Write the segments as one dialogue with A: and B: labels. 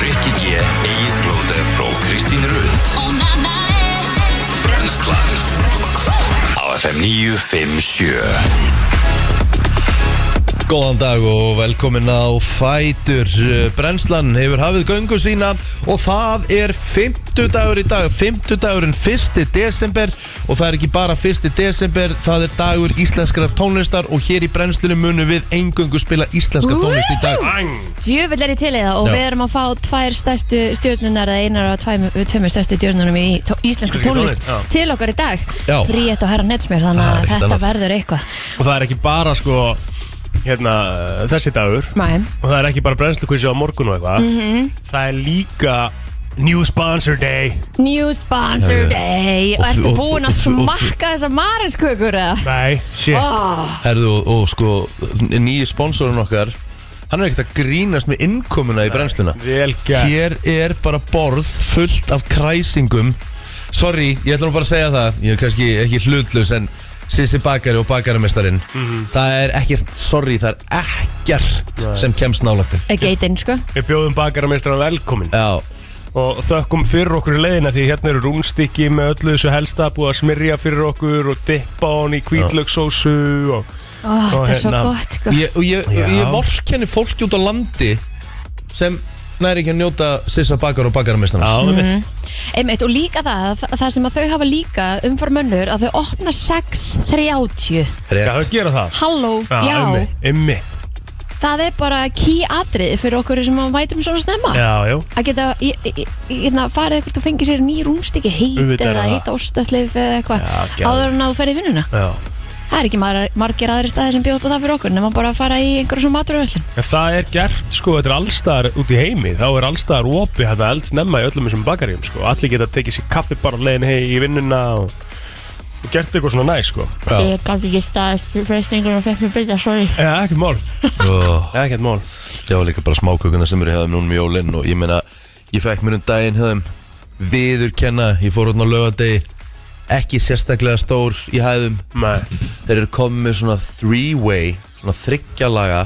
A: Rikki G, Egil Blóter og Kristín Rund Brenslan Á FM 957
B: Góðan dag og velkomin á Fætur Eh, Brennslan hefur hafið göngu sína og það er 50 dagur í dag 50 dagurinn 1. desember og það er ekki bara 1. desember það er dagur íslenskrar tónlistar og hér í Brennslinu munum við eingöngu spila íslenska tónlist í dag
C: Djöfull er ég til í það og
B: Já.
C: við erum að fá tvær stærstu stjórnunar eða einar af tvæmur- tveimur stærstu stjórnunum í tó íslensku
D: Íslenskri
C: tónlist
D: tónlist, já.
C: til okkar í dag
B: Já.
C: Bríett og herra Netsmjör þannig
B: Það er
C: að
B: ekkert
C: þetta
B: annað.
C: verður eitthvað
D: Og það er ekki bara sko hérna, þessi dagur
C: Mæm,
D: og það er ekki bara brennslukvísi á morgun og eitthvað
C: Mhm. Mm.
D: það er líka New Sponsor Day
C: New Sponsor
B: Já, já.
C: Day og
B: Og
C: ertu
B: þú-
C: búin
B: og
C: að
B: þú- og þú-
C: smakka þessar mariskökur eða?
D: Nei, shit
B: Herðu og, og sko nýju sponsorinn okkar hann er ekkert að grínast með innkomuna í brennsluna
D: Vel gert
B: Hér er bara borð fullt af kræsingum Sorry, ég ætla nú bara að segja það Ég er kannski ekki hlutlaus en Sissi bakari og bakarumestarinn
D: Mhm.
B: Það er ekkert, sorry, það er ekkert sem kemst nálagtin
C: Eh, Geitinn sko
D: Við bjóðum bakarameistran velkomin
B: Já,
D: og þökkum fyrir okkur í leiðina því hérna eru rúnstykki með öllu þessu helsta búið að smyrja fyrir okkur og dippa hon í kvítlöksósu og
C: Ó, Þetta er svo
D: hérna.
C: gott sko
B: ég, og ég,
D: Já.
B: ég vorkenni fólki út á landi sem næri ekki að njóta Sissa bakar og bakarumestarins
D: Já,
C: Mhm.
D: mm.
C: Einmitt, og líka það, að þa- það sem að þau hafa líka umfram önnur að þau opna 6.30
D: Já, þau gera það
C: Halló, já,
D: einmitt, einmitt.
C: það er bara ký atrið fyrir okkur sem að mætum svona snemma
D: Já, já,
C: að geta í- í- í- hérna, farið eitthvað og fengið sér ný rúmstykki heit
D: Auðvitað er
C: eða
D: það.
C: heit ástasleif eða eitthvað
D: Já, geðveikt.
C: áður en að þú ferði í vinnuna
D: já
C: það er ekki mar margir aðri staði sem bjóða upp á það fyrir okkur nema bara að fara í einhverjum svona maturvöldin
D: En það er gert, sko, þetta er allstaðar út í heimi Þá er allstaðar opið þetta eld snemma í öllum þessum bakaríum, sko Allir geta tekið sér kaffi bara á leiðin hei í vinnuna og, og gert eitthvað svona næ, sko
B: Já.
C: gæti ekki staði freysningur og fekk mér byrja, sorry
D: Eða, ekkert mál
B: Ó,
D: Eða, ekkert mál
B: Oh. Já, líka bara smákökunar sem eru hefðum núna með jólinn og ég meina, ég fekk mér um daginn hefðum viðurkenna, ég fór hérna á laugadegi ekki sérstaklega stór í hæðum
D: Nei,
B: þeir eru komið með svona three-way svona þryggjalaga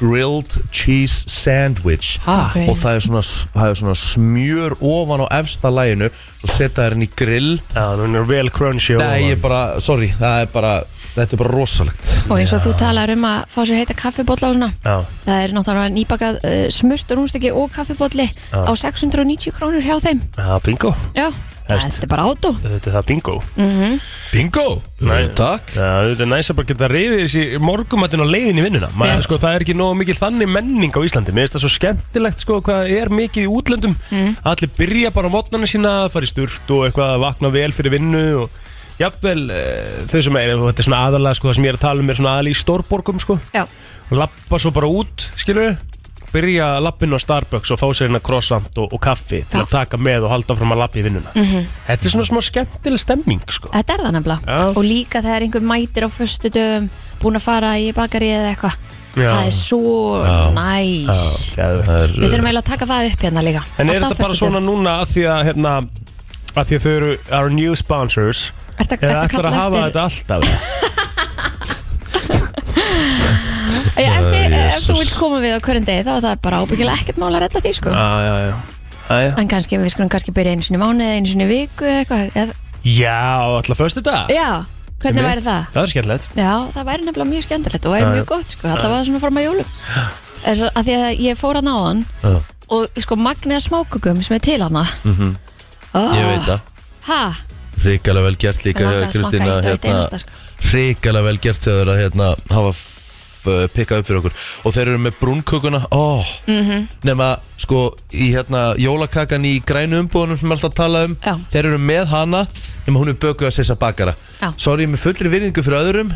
B: grilled cheese sandwich
C: Ha? Ok.
B: og það er, svona, það er svona smjör ofan á efsta læginu svo setja þær inn í grill
D: já, hún er vel crunchy
B: Nei, ég bara, sorry, það er bara þetta er bara rosalegt
C: og eins og þú talar um að fá sér heita kaffibólla og svona
D: Já,
C: það er náttúrulega nýbakað uh, smurt rúmstykki og kaffibólli á 690 krónur hjá þeim
D: já, bingo
C: já,
D: Hefst.
C: þetta er bara átó
D: Þetta er það bingo
C: Mhm.
B: Bingo!
D: Nei.
B: Takk
D: Já, þetta er næst að bara geta reyðið þessi morgumatinn á leiðin í vinnuna Maður,
C: Rétt.
D: sko, Það er ekki nógu mikil þannig menning á Íslandi Mér finnst það svo skemmtilegt sko, hvað er mikið í útlöndum
C: Mm.
D: Allir byrja bara á mótnana sína fara í sturt og eitthvað að vakna vel fyrir vinnu og jafnvel eh, þau sem er, þetta er svona aðalega sko, það sem ég er að tala um er svona aðalega í stórborgum sko.
C: já,
D: Lappa svo bara út, skilur byrja lappinu á Starbucks og fá sér hérna croissant og, og kaffi til að taka með og halda fram að lappa í vinnuna
C: Mhm.
D: Þetta er svona smá skemmtileg stemming sko.
C: Þetta er það nefnilega
D: Já.
C: Og líka þegar einhver mætir á föstu dögum Búin að fara í bakari eða eitthvað
D: Já.
C: Það er svo næs
D: Geðvegt.
B: Það er,
C: Við þurfum eiginlega að taka það upp hérna líka
D: En er
C: Alltaf
D: þetta bara
C: föstudögum.
D: svona núna að því að, hérna, að því að þau eru our new sponsors
C: Ertu ertu
D: eða ætlar að
C: kalla
D: hafa
C: eftir
D: þetta alltaf?
C: Já, ef, þið, ef þú
B: Jesus.
C: vilt koma við á hverjum degi Þá er það bara ábyggilega ekkert mál að retta því sko.
D: Já, já, já. Já, já.
C: En kannski við skulum kannski byrja einu sinni í mánuði Einu sinni í viku eða eitthvað eða,
D: Já, alltaf förstu dag?
C: Já, hvernig væri það?
D: Það er skemmtilegt.
C: Já, það væri nefnilega mjög skemmtilegt Og væri
D: Já, já.
C: mjög gott sko Það var svona form að jólum Þess að því að ég fór að náðan
B: Já. Mhm.
C: Og sko magnið af smákökum sem er til hana mm
B: ég veit það
C: Ha?
B: Ríkala vel gert líka
C: Mig langaði
B: hjá
C: að
B: Kristín
C: smakka
B: að,
C: eitt og eitt einasta,
B: hérna,
C: sko.
B: Ríkala vel gert þau að hérna, hafa f- uh, pikkað upp fyrir okkur og þeir eru með brúnkökuna oh.
C: Mhm.
B: nema sko í hérna jólakakan í grænu umbúðunum sem er alltaf talað um
C: Já.
B: þeir eru með hana nema hún er bökuð að sessa bakara
C: Já.
B: sorry með fullri virðingu fyrir öðrum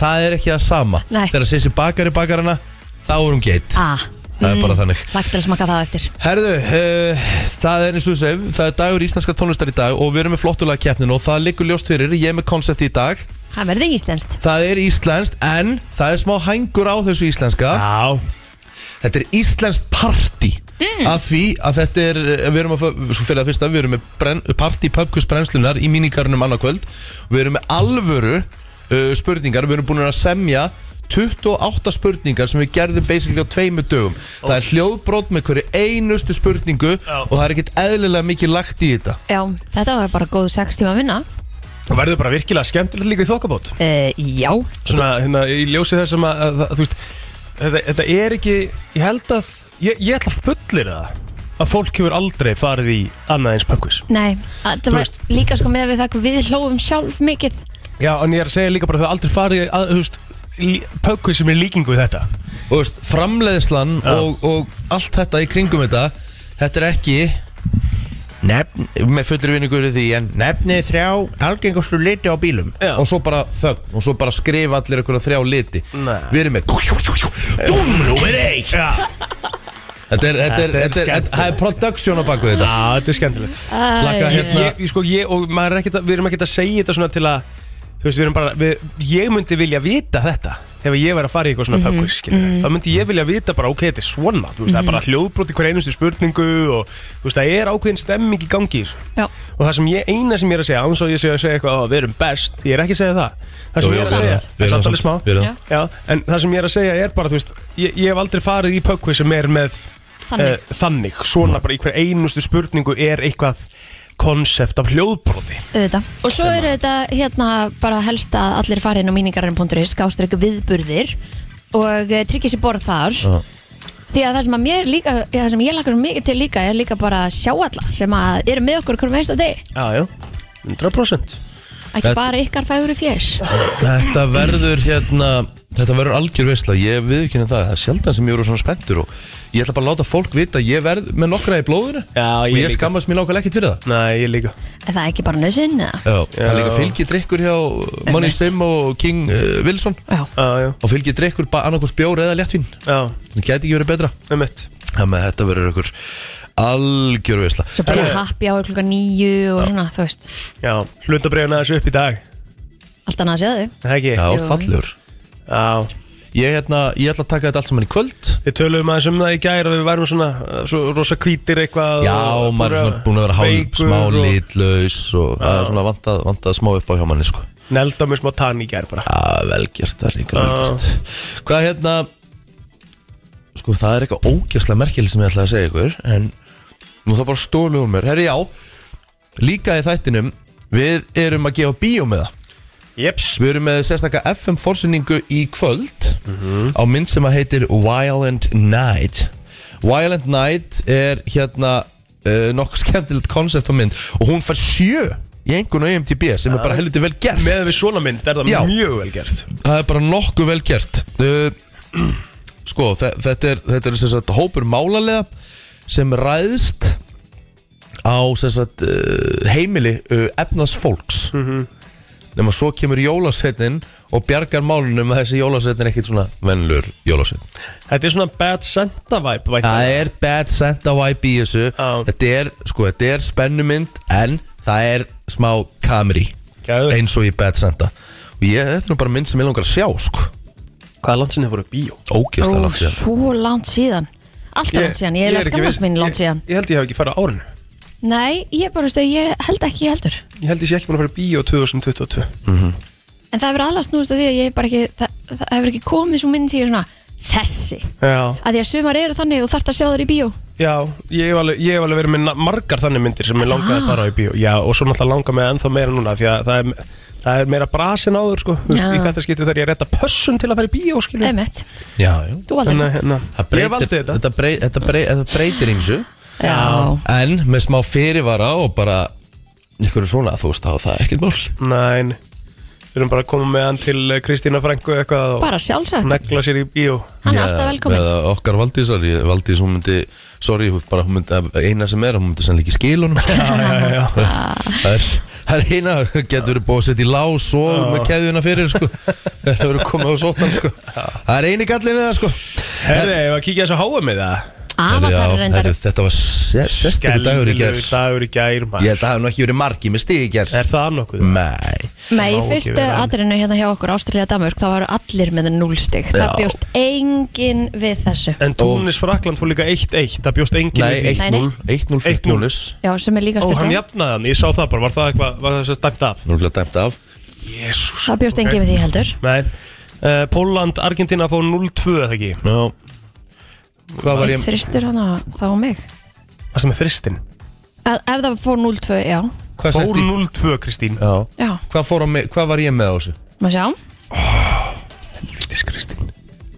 B: það er ekki það sama
C: Nei.
B: þegar sessi bakari bakarana þá er hún geitt
C: Ah,
B: það er bara þannig
C: lagt til að smaka það á eftir
B: Herðu, uh, það er eins og þú segir, það er dagur íslenskar tónlistar í dag og við erum með flottulega keppnin og það liggur ljóst fyrir, ég er með konsepti í dag,
C: Það verði íslenskt
B: það er íslenskt en það er smá hængur á þessu íslenska,
D: Já,
B: þetta er íslenskt party að því að þetta er, við erum að, fá- svo fyrir að fyrsta, við erum með brenn, party pubquiz brennslunar í mínikarunum annarkvöld, við erum með alvöru uh, spurningar, við erum búin að semja 28 spurningar sem við gerðum basically á tveimur dögum það er hljóðbrot með hverju einustu spurningu og það er ekkert eðlilega mikið lagt í þetta
C: Já, þetta var bara góð 6 tíma að vinna
D: Það verður bara virkilega skemmtilegt líka í þokkabót
C: uh, Já,
D: Svona, hérna, í ljósi þess að, að, að þú veist, þetta, þetta er ekki Ég held að, ég, ég ætla að fullir það Að fólk hefur aldrei farið í annað eins pökkus
C: nei, þetta var
D: veist.
C: líka sko með við það hvað við hlófum sjálf mikið
D: Já, en ég er að segja líka bara að það aldrei farið í að, þú veist, pökkus sem er líkingu við þetta
B: og þú veist, framleiðslan og, og allt þetta í kringum þetta þetta er ekki nefn, með fullri vinningur í því en nefnið þrjá algengastu liti á bílum
D: Já.
B: og svo bara þögn og svo bara skrifa allir ykkur þrjá liti
D: Nei.
B: við erum með búm, númer eitt
D: Já,
B: þetta er, þetta er,
D: Þetta er
B: þetta er,
D: skemmtilegt.
B: þetta er production á baku þetta
D: þetta er skemmtilegt
B: Hlakka
C: Æ,
B: hérna
D: ég, ég, sko, ég, og maður er ekkert að, við erum ekkert að segja þetta svona til að þú veist, við erum bara, við, ég myndi vilja vita þetta ef ég væri að fara í eitthvað svona
C: Mhm,
D: mm þá myndi ég vilja vita bara, ok, þetta er svona þú veist, það er
C: Mhm.
D: bara hljóðbrot í hver einustu spurningu og þú veist, það er ákveðin stemming í gangi í þessu.
C: Já,
D: og það sem ég, eina sem ég er að segja án svo ég sé að segja eitthvað, "Ó, við erum best, ég er ekki að segja það það sem
B: Jú,
D: ég
B: jú, við
D: er að segja,
B: erum
D: það er samt alveg smá
B: við erum
C: Já.
B: það.
D: Já, en það sem ég er að segja er bara, þú veist, ég, ég hef aldrei farið í pökkvið sem er með
C: Þannig.
D: eh, þannig svona bara í hver einustu spurningu er eitthvað konsept af hljóðbroti
C: auðvitað Og svo eru þetta hérna bara helst að allir farin á míningarinn.is Gástrík viðburðir Og eh, tryggja sér borð þar
B: Já.
C: Því að það sem, að mér líka, ja, það sem ég lakar mikið til líka er líka bara að sjá alla sem að eru með okkur hverjum einsta degi
D: Já, já, 100%
C: Ekki
B: Þetta-
C: bara ykkar fægur í fjés
B: Þetta verður hérna Þetta verður algjör veistla, ég viðkynna það Það er sjaldan sem ég eru svona spenntur og ég ætla bara að láta fólk vita að ég verð með nokkra í blóðinu og
D: Já, ég
B: ég
D: líka.
B: skammast mér nákvæmlega ekkert fyrir það
D: Nei, ég líka
C: Er það ekki bara nöðsinn? eða?
B: Já, það er
D: Já.
B: líka fylgidrykkur hjá Money
C: Einmitt.
B: Stim og King uh, Wilson
C: Já,
D: Já, já,
B: og fylgidrykkur bara annarkvort bjór eða léttvín
D: já,
B: sem gæti ekki verið betra
D: um mitt
B: Þannig að þetta verður ykkur algjör veistla
C: svo bara happy hour klukka nýju og svona, þú veist
D: Já, hlutabriðan aðeins upp í dag
C: Allt annað að séð þau
D: Það ekki?
B: Já,
C: Jú.
B: fallegur
D: Já.
B: ég, hérna, ég ætla að taka þetta allt saman í kvöld
D: Við töluðum aðeins um það í gæri að við værum svona eh, svo rosa hvítir eitthvað
B: Já,
D: og-
B: maður er svona búin að vera hálf
D: veikur
B: smá
D: og
B: litlaus og það er svona vantað, vantað smá upp á hjá manni sko.
D: Nelda mér smá tann í gæri bara
B: Já, velgjört, það er líka
D: Já.
B: velgjört Hvað hérna Sko, það er eitthvað ógjörslega merkjali sem ég ætlaði að segja ykkur En nú það bara stólu um mér Herri, já, líka í þættinum Við erum að gefa bíó með það
D: Jeps
B: Við erum með sérstakka FM forsinningu í kvöld
D: Mhm.
B: Á mynd sem að heitir Violent Night Violent Night er hérna uh, nokkuð skemmtilegt konsept á mynd Og hún fær sjö í E einhvern og IMDb sem er bara helviti vel gert
D: Meðan við svona mynd er það
B: Já.
D: mjög vel gert
B: það er bara nokkuð vel gert uh, sko þe- þetta er, þetta er sem sagt, hópur málarlega sem ræðst á sem sagt, uh, heimili uh, efnaðs fólks
D: Mhm.
B: nema svo kemur jólasveitin og bjargar málunum að þessi jólasveitin er ekkit svona vennlur jólasveitin
D: Þetta er svona bad senta vibe vænt
B: Það
D: ég.
B: er bad sent á IP í þessu
D: Já.
B: Þetta er, sko, þetta er spennumynd En það er smá kamri
D: Geðveikt.
B: Eins og í bad senta Og ég, þetta er nú bara mynd sem ég langar að sjá, sko
D: Hvað er langt sinni fóru í bíó?
B: Ógeðslega
C: Ó,
B: langt síðan
C: svo langt síðan Alltaf langt síðan, ég, ég
D: er
C: er
D: ekki
C: skammast
D: viss-
C: mín langt
D: ég-
C: síðan
D: Ég held ég hef ekki farið á árinu
C: Nei, ég bara veistu, ég held ekki heldur
D: Ég held ég sé ekki búin að fara í bíó 2022
B: Mhm.
C: En það hefur alveg snúðist að því að ég bara ekki Það, það hefur ekki komið svo mynd sem ég er svona Þessi,
D: Já,
C: að því að sumar eru þannig og þarft að sjá þér í bíó
D: já ég hef alveg, ég hef alveg verið með na- margar þannig myndir sem ég langaði
C: Ah.
D: að fara á í bíó Já, og svo náttúrulega langar mig ennþá meira núna Því að það er, það er meira brasin áður sko Þú veist,
C: Já.
D: Í þetta skipti þegar ég rétta pössun til að fara í bíó skilur
C: Emmett,
B: Já, já
C: þú aldrei
D: Þannig, hérna,
B: Það
D: Ég
B: breytir,
D: valdi þetta
B: þetta brey, þetta brey, þetta breytir einsu
C: Já,
B: En með smá fyrirvara og bara Ykkur er svona, þú veist, þá er það er ekkert mál
D: Nein, við erum bara að koma með hann til eh, Kristína Franku eitthvað og
C: bara sjálfsagt
D: negla sér í bíó
C: Hann er
B: Já,
C: alltaf velkomin
B: Með okkar Valdísar, ég- Valdís, hún myndi Sorry, hún bara, hún myndi, eina sem er Hún myndi sannleik í skilunum sko.
D: Já, já, já, já.
B: Það er, það er eina, getur verið búið að setja í lás og með keðuna fyrir sko. Það eru komið á sóttan sko. Það er eini gallin við það sko.
D: Herði, ef að kíkja þessu háa með það
C: Avatar
B: Herri, já,
C: reyndar
B: herri, Þetta var sé- sérstöku dagur í gerð
D: Skelvilegur dagur í gær
B: Ég
D: maður.
B: held að það hefði nú ekki verið margi með stig í gerð
D: Er það nokkuð?
B: Nei
C: Nei, í
D: Má ekki
C: fyrstu
D: vera enn.
C: atrinu hérna hjá okkur Ástralja Damörk, þá var allir með núlstig
B: Já.
C: Það bjóst engin við þessu
D: En Túnis Frakland fór líka 1-1 Það bjóst enginn
B: Nei,
D: í því
C: eitt- Nei, nei.
B: 1-0 1-0 fyrir
D: 1-0.
B: Túnis
C: Já, sem er líka
D: Ó, hann
C: styrkja
D: jafnaði hann, ég sá það bara Var það eitthvað, var það þess að dæmt af?
B: Núlega dæmt af
D: Jésús
C: Það bjóst engin við því heldur
D: Nei, uh, Póland, Argentina fór 0-2 eða ekki
B: Já Hvað var ég?
C: Þristur hana, þá á mig
D: Það sem er þristin
C: Ef ef það fór 0-2, já
B: Hvað
D: Fór
B: setti?
D: 0-2 Kristín
B: Já
C: Já,
B: Hvað, fór á mig, hvað var ég með á þessu?
C: maður sjá
D: Lítis Kristín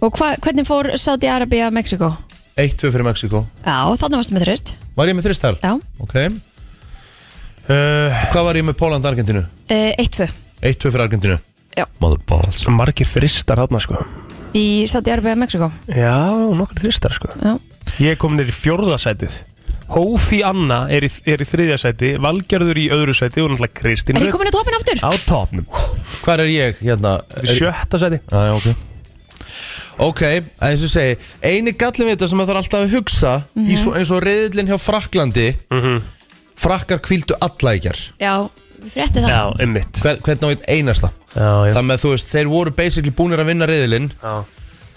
C: Og hva, hvernig fór Saudi Arabia, Mexiko?
B: 1-2 fyrir Mexiko
C: Já, þannig varstu með þrist
B: Var ég með þrist þar?
C: Já,
B: Ok
D: uh,
B: Hvað var ég með Póland Argentínu?
C: Eh, 1-2
B: 1-2 fyrir Argentínu
C: Já.
B: Mother balls
D: Svo margir þristar þarna sko
C: Í Saudi Arabia, Mexiko
D: Já, nokkur þristar sko
C: Já,
D: Ég kom nýr í fjórðasætið Hófi Anna er í, er í þriðjasæti Valgerður í öðru sæti og náttúrulega Kristín
C: er ég
D: Rut
C: komin á topin aftur?
D: Á topnum
B: Hvað er ég hérna? Er-
D: Sjötta sæti
B: Já, já, ok Ok, að þess að segja Eini gallin við þetta sem maður þarf alltaf að hugsa mm
C: Mhm.
B: svo, eins og reyðlinn hjá Fraklandi
D: Mhm.
B: Frakkar kvíldu alla í ger
C: Já, við frétti það
D: Já, einmitt
B: Hver, Hvernig á einn einasta
D: Já, já,
B: Þannig að þú veist, þeir voru basically búnir að vinna reyðlinn
D: já.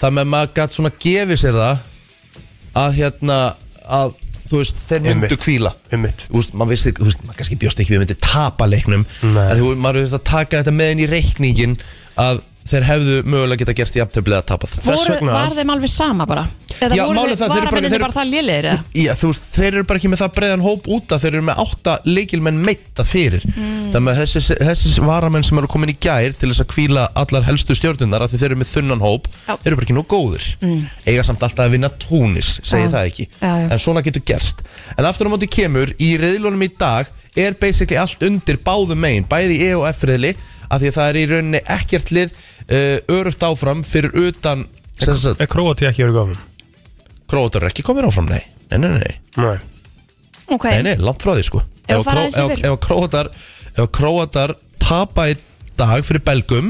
B: Þannig að maður gætt svona gefið sér það Að hérna að, Þú veist, þeir myndu
D: Einmitt.
B: kvíla
D: einmitt
B: Þú veist, maður vissi, þú veist, maður kannski bjóst ekki við myndi tapa leiknum
D: Nei.
B: að þú, maður þurft að taka þetta með inn í reikningin að þeir hefðu mögulega geta gert í aftöflið að tapa það
D: Þess
C: voru,
D: vegna-
C: Var þeim alveg sama bara? Eða
B: Já,
C: voru
B: málið
C: þeir
B: það, þeir eru bara-
C: varamennir
B: þeir-
C: bara það lélir? eða?
B: Já, þú veist, þeir eru bara ekki með það breiðan hóp út að þeir eru með átta leikilmenn meitta fyrir þannig að þessi, þessi varamenn sem eru komin í gær til þess að kvíla allar helstu stjórnunar að þeir eru með þunnan hóp
C: Já.
B: þeir eru bara ekki nú góðir mm. eiga samt alltaf að vinna túnis, segi
C: Já.
B: það ekki
C: Já, já.
B: en svona getur gerst en aftur á móti kemur, í reyðlunum í dag er basically allt undir báðum megin bæði í E og F reyðli af því að það er í rauninni ekkert lið uh, öruft áfram fyrir utan sem sagt,
D: Er Króati ekki verið góðum?
B: Króatar eru ekki komin áfram, nei, nei, nei, nei.
D: Nei
C: Ok,
B: Nei, nei, langt frá því sko
C: Ef að
B: Ef að
C: fara
B: Kró-
C: aðeins yfir.
B: ef- ef að króatar Ef að króatar tapa í dag fyrir belgum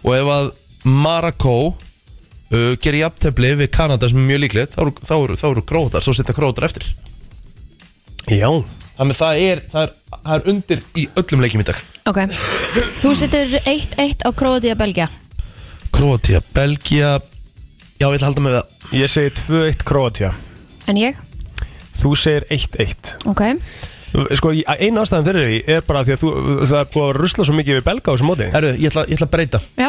B: Og ef að Marakó uh, Gerir jafntefli við Kanada sem er mjög líklegt Þá eru, þá eru, þá eru króatar, svo setja króatar eftir
D: Já
B: Þannig að það er, það, er, það er undir í öllum leikjum í dag
C: ok Þú setur 1-1 á Króði að Belgia
B: Króatia, Belgia Já, ég ætla að halda með það
D: Ég segi 2-1 Króatia
C: En ég?
D: Þú segir 1-1
C: Ok
D: Sko, eina ástæðan fyrir því er bara því að þú, það er búið að rusla svo mikið við belga á þessu móti
B: Herru, ég ætla, ég ætla að breyta
C: Já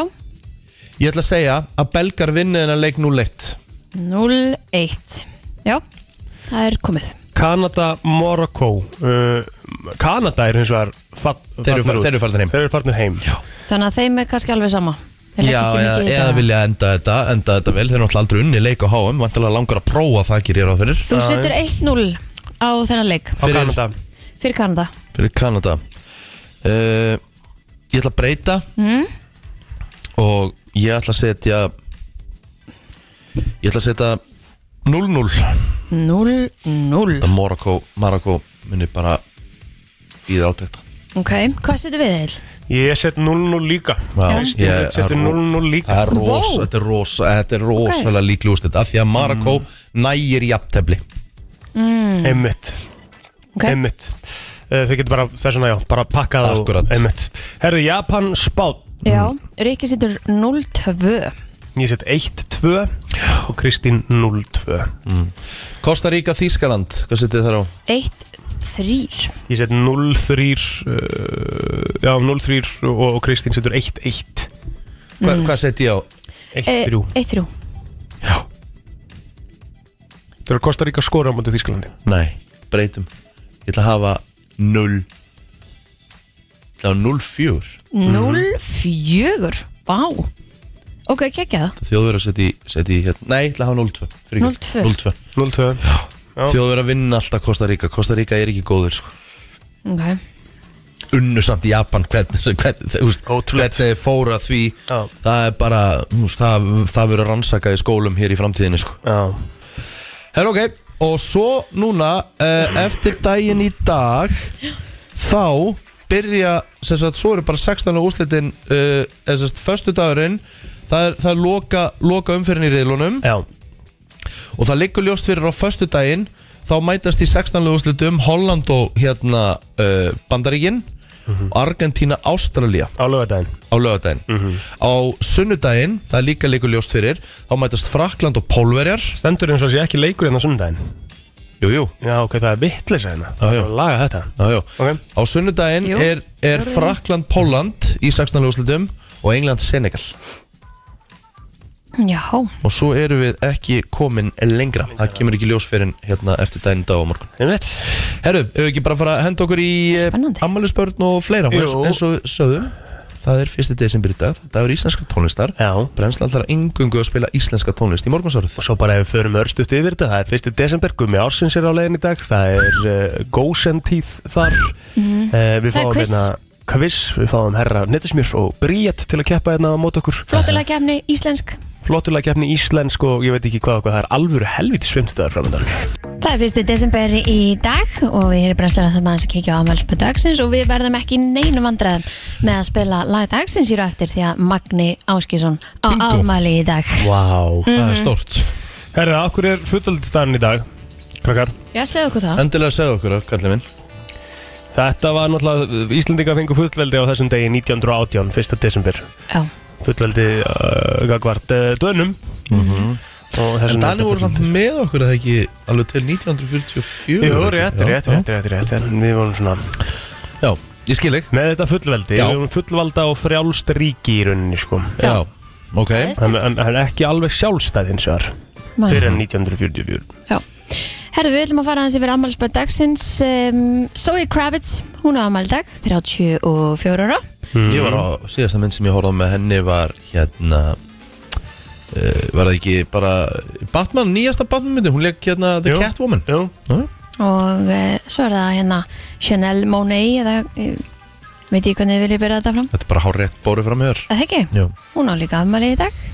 B: Ég ætla að segja að belgar vinni þennan leik 0-1
C: 0-1 Já, það er komið
D: Kanada, Morocco uh, Kanada er hins vegar fat,
B: Þeir eru fa-
D: út.
B: þeir eru farnir heim.
D: Þeir eru farnir heim Já,
C: Þannig að þeim er kannski alveg sama Þeir leggja
B: Já,
C: ekki
B: eða,
C: mikið í
B: Eh, eða
C: þetta.
B: vilja enda þetta, enda þetta vel Þeir eru náttúrulega aldrei unni leik á HM Vantilega langar að prófa það gerir ég ráð fyrir
C: Þú setur 1-0 á þennan leik
D: á
B: Fyrir-
D: Kanada
C: Fyrir Kanada
B: Fyrir Kanada uh, Ég ætla að breyta
C: mm?
B: Og ég ætla að setja Ég ætla að setja 0-0
C: 0-0
B: Það Morocco, Marokko Minni bara í það átækta
C: Ok, hvað setur við þeir?
D: Ég set 0-0 líka
B: Já, það
D: Ég seti
B: er ro-
D: 0-0
B: það
D: líka
B: er rosa,
C: Vó.
B: þetta er rosa, þetta er rosalega okay. líklegust þetta af Því að Marokko
D: Mm.
B: nægir jafntefli
C: Mm.
D: Einmitt
C: Ok,
D: Einmitt Uh, Þau getur bara þessuna já, bara pakkað og-
B: Akkurat.
D: Einmitt Herðu, Japan, Spán
C: já, Rikki setur 0-2
D: Ég set 1-2 og Kristín 0-2
B: Mm. Costa Rica, Þískaland, hvað setið þar á?
C: 1-3
D: Ég set 0-3 uh, Já, 0-3 og, og Kristín setur 1-1
B: Hva, Hvað setið ég á?
C: Eh.
D: 1-3
C: 1-3
D: Þau eru Kosta Ríka skora á móti Þísklandi
B: Nei, breytum Ég ætla að hafa 0 Það var 0-4 Mm.
C: 0-4 Vá Ok, kekja það
B: Það Þjóðverð að setja í, setja í hérna Nei, ég ætla að hafa 0-2 fyrirgefðu.
C: 0-2.
B: 0-2
D: 0-2 Já.
B: Þjóðverð að vinna alltaf Kosta Ríka Kosta Ríka er ekki góður sko
C: Ok,
B: Unnu samt í Japan Hvernig, hvernig, þú veist, hvernig
D: Ótrúlegt.
B: þeir fóra því
D: Já.
B: Það er bara þú veist, Það, það verður rannsaka í skólum hér í framtíðinni sko
D: Já
B: Herra ok, og svo núna uh, eftir daginn í dag þá byrja sem sagt, svo eru bara 16 og úrslitin uh, eða sem sagt, föstu dagurinn það er, það er loka, loka umferðin í riðlunum
D: Já
B: og það liggur ljóst fyrir á föstu daginn þá mætast í 16 og úrslitum Holland og hérna uh, Bandaríkin Argentína, Ástralía
D: Mhm. Á Mhm. lögadaginn
B: á lögadaginn á sunnudaginn, það er líka liggur ljóst fyrir þá mætast Frakland og Pólverjar
D: Stendur eins og sé ekki leikur hérna á sunnudaginn
B: jú, jú,
D: Já, ok, það er vittlis hérna
B: Já, já.
D: Það er að laga þetta
B: já, já.
D: Ok
B: Á sunnudaginn
C: Jú,
B: er, er
C: fjórði.
B: Frakland Póland í 16. úrslitum og England Senegal
C: Já,
B: og svo erum við ekki komin lengra það kemur ekki ljósferinn hérna eftir daginn í dag og á morgun
D: Einmitt.
B: Herru, hefur við ekki bara að fara að henda okkur í
C: Spennandi.
B: ammælisbörn og fleira
D: Jú.
B: eins, eins og við sögðum það er 1. desember í dag, það er íslenska tónlistar
D: Já.
B: brennsla allar engungu að spila íslenska tónlist í morgunsárið
D: Og svo bara ef við förum örstuft yfir þetta, það er 1. desember, Gumi Ársins er á leiðin í dag, það er uh, Gósentíð þar, uh, við
C: Mhm. Það er
D: fáum
C: quiz.
D: hérna kviss, við fáum herra Nettismjör og Bríett til að keppa hérna á mót okkur.
C: flottulega kemni, íslensk
D: Flottulega keppni íslensk og ég veit ekki hvað okkur, það er alvöru helvítið svimtudagur framöndan.
C: Það er fyrsti desember í dag og við erum brennsluna það mann sem kikja á afmælspöð dagsins og við verðum ekki í neinum vandræðum með að spila lag dagsins hér á eftir því að Magni Áskísson á
B: Bingo.
C: afmæli í dag
D: Vá. Wow.
B: það er stórt
D: Herra, okkur er fullaldistæðan í dag, krakkar.
C: Já, segðu okkur það
B: endilega segðu okkur, kallið minn
D: Þetta var náttúrulega, Íslendinga fengu fullveldi á þessum degi 1918, 1. desember.
C: Já,
D: Fullveldi uh, gagvart uh, dönum.
B: Mm.
D: Mhm. Og þessum
B: en Dani voru samt með okkur eða ekki alveg til 1944
D: Jú,
B: eða ekki?
D: rétt,
B: Já,
D: rétt,
B: já.
D: rétt, rétt, rétt, rétt. Við vorum svona
B: já, ég skil ekki
D: með þetta fullveldi,
B: Já.
D: við vorum fullvalda og frjálst ríki í rauninni, sko.
B: já, ok
C: Veist.
D: En, en, en ekki alveg sjálfstæð hins vegar,
C: Nei.
D: fyrir en 1944.
C: já Herðu, við ætlum að fara aðeins yfir afmælspöð dagsins um, Zoe Kravitz, hún á afmæli í dag 34 ára
D: Mhm.
B: Ég var á síðasta mynd sem ég horfði á með henni var hérna uh, var það ekki bara Batman, nýjasta Batman myndi, hún leik hérna The
D: Jú.
B: Catwoman
D: Jú,
C: og uh, svo er það hérna Chanel Monet eða uh, veit ég hvernig þið viljið byrja þetta fram
B: Þetta er bara hár rétt bórið fram hér
C: að það ekki?
B: Já,
C: Hún á líka afmæli í dag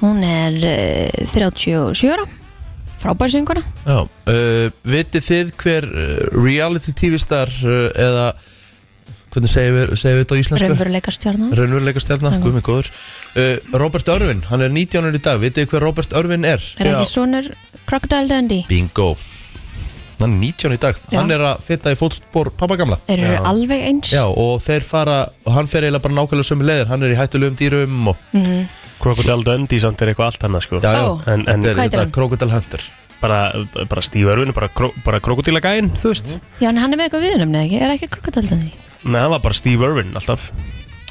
C: Hún er uh, 37 ára Frábær sönguna
B: já uh, Vitið þið hver uh, reality tv star uh, eða hvernig segjum við, segjum við þetta á íslensku?
C: Raunveruleika stjarnar
B: Rönnveruleika stjarnar,
C: Mhm.
B: guð mig góður uh, Robert Örvin, hann er 19 ára í dag Vitið þið hver Robert Örvin er?
C: Er
D: Já.
C: ekki sonur Crocodile Dundee
B: Bingo Hann er 19 í dag,
C: Já.
B: hann er að feta í fótspor pappa gamla
C: Þeir eru alveg eins
B: Já, og þeir fara, og hann fer eiginlega bara nákvæmlega sömu leiðir, hann er í hættulegum dýrum og,
D: Crocodile Dundee samt er eitthvað allt annað, sko.
B: já, já,
C: Mhm. Ó.
D: En, en
B: þetta er
C: Hvað heitir
B: þetta
C: hann?
B: Crocodile Hunter.
D: bara, bara stífarun, bara, kró, bara krokodilagæin, þú veist.
C: Já, en hann er með eitthvað viðnumni ekki Er ekki Crocodile Dundee
D: Nei, hann var bara Steve Irwin alltaf.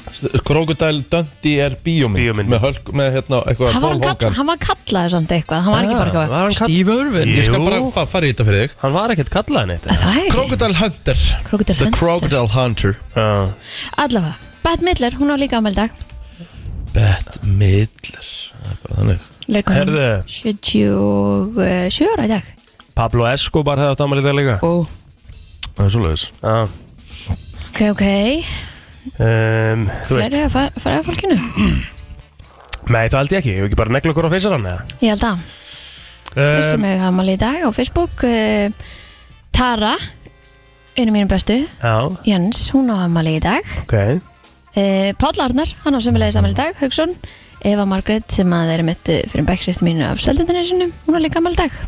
B: S- Crocodile Dundee er bíómynd,
D: Bíómynd.
B: með hölk, með hérna eitthvað
C: Hann var, hann kall, hann var kallaður samt eitthvað Hann var ekki bara eitthvað
D: var hann kall...
E: Steve Irwin
B: Ég skal bara
D: Jú.
B: fa fara í þetta fyrir þig.
D: Hann var ekkert kallaðin eitt.
C: Það er ekki
B: Crocodile Hunter,
C: Crocodile
B: The
C: Hunter.
B: Crocodile Hunter.
D: Já,
C: Allavega Bette Midler, hún á líka afmæli í dag
B: Bett Midler, það er bara þannig.
C: Leikonum
D: herðu,
C: 77 ára í dag
D: Pablo Escobar hefði átt ámæli þetta líka.
C: Ó
B: Það er svoleiðis.
D: Já,
C: Ok, ok
D: um, þú veist.
C: Fleiri að fa- fara að fólkinu
D: Nei, það held ég ekki, hefur ekki bara negla okkur á feysarann eða?
C: Ég held að Þeir sem
D: Um,
C: hefur afmæli í dag á Facebook eh, Tara einu mínum bestu,
D: já,
C: Jens, hún á afmæli í dag
D: ok
C: uh, Páll Arnar, hann á sömulegis afmæli í dag Hauksson, Eva Margrét sem að þeir eru mitt eh, fyrir bæksist mínu af Seldindanesinu, hún á líka afmæli í dag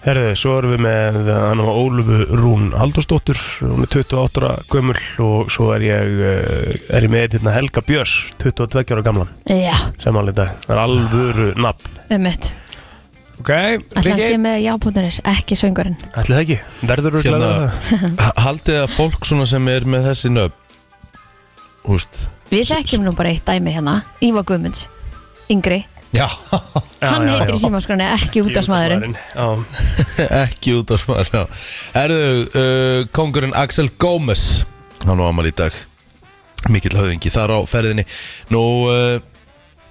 D: Herðu, svo erum við með hann og Ólufu Rún Haldursdóttur hún er 28 ára gömul og svo er ég, eh, er ég með hérna Helga Björs, 22 ára gamlan
C: Já,
D: sem alveg dag, það er alvöru nafn
C: um mitt
D: Ok,
C: Alltaf hann
D: Riki,
C: sé með já.is, ekki söngurinn
D: ætli það ekki, verður við
B: Hérna-
D: glæður það
B: Ha- Haldið að fólk svona sem er með þessi nöfn, húst,
C: Við þekkjum nú bara eitt dæmi hérna Ívar Guðmunds, yngri
B: já,
C: Hann heitir í símaskroni ekki út af smaðurinn
D: Já,
B: ekki út af smaður, já. Erðu uh, kongurinn Axel Gómez, hann á amal í dag, mikill höfðingi þar á ferðinni. Nú, uh,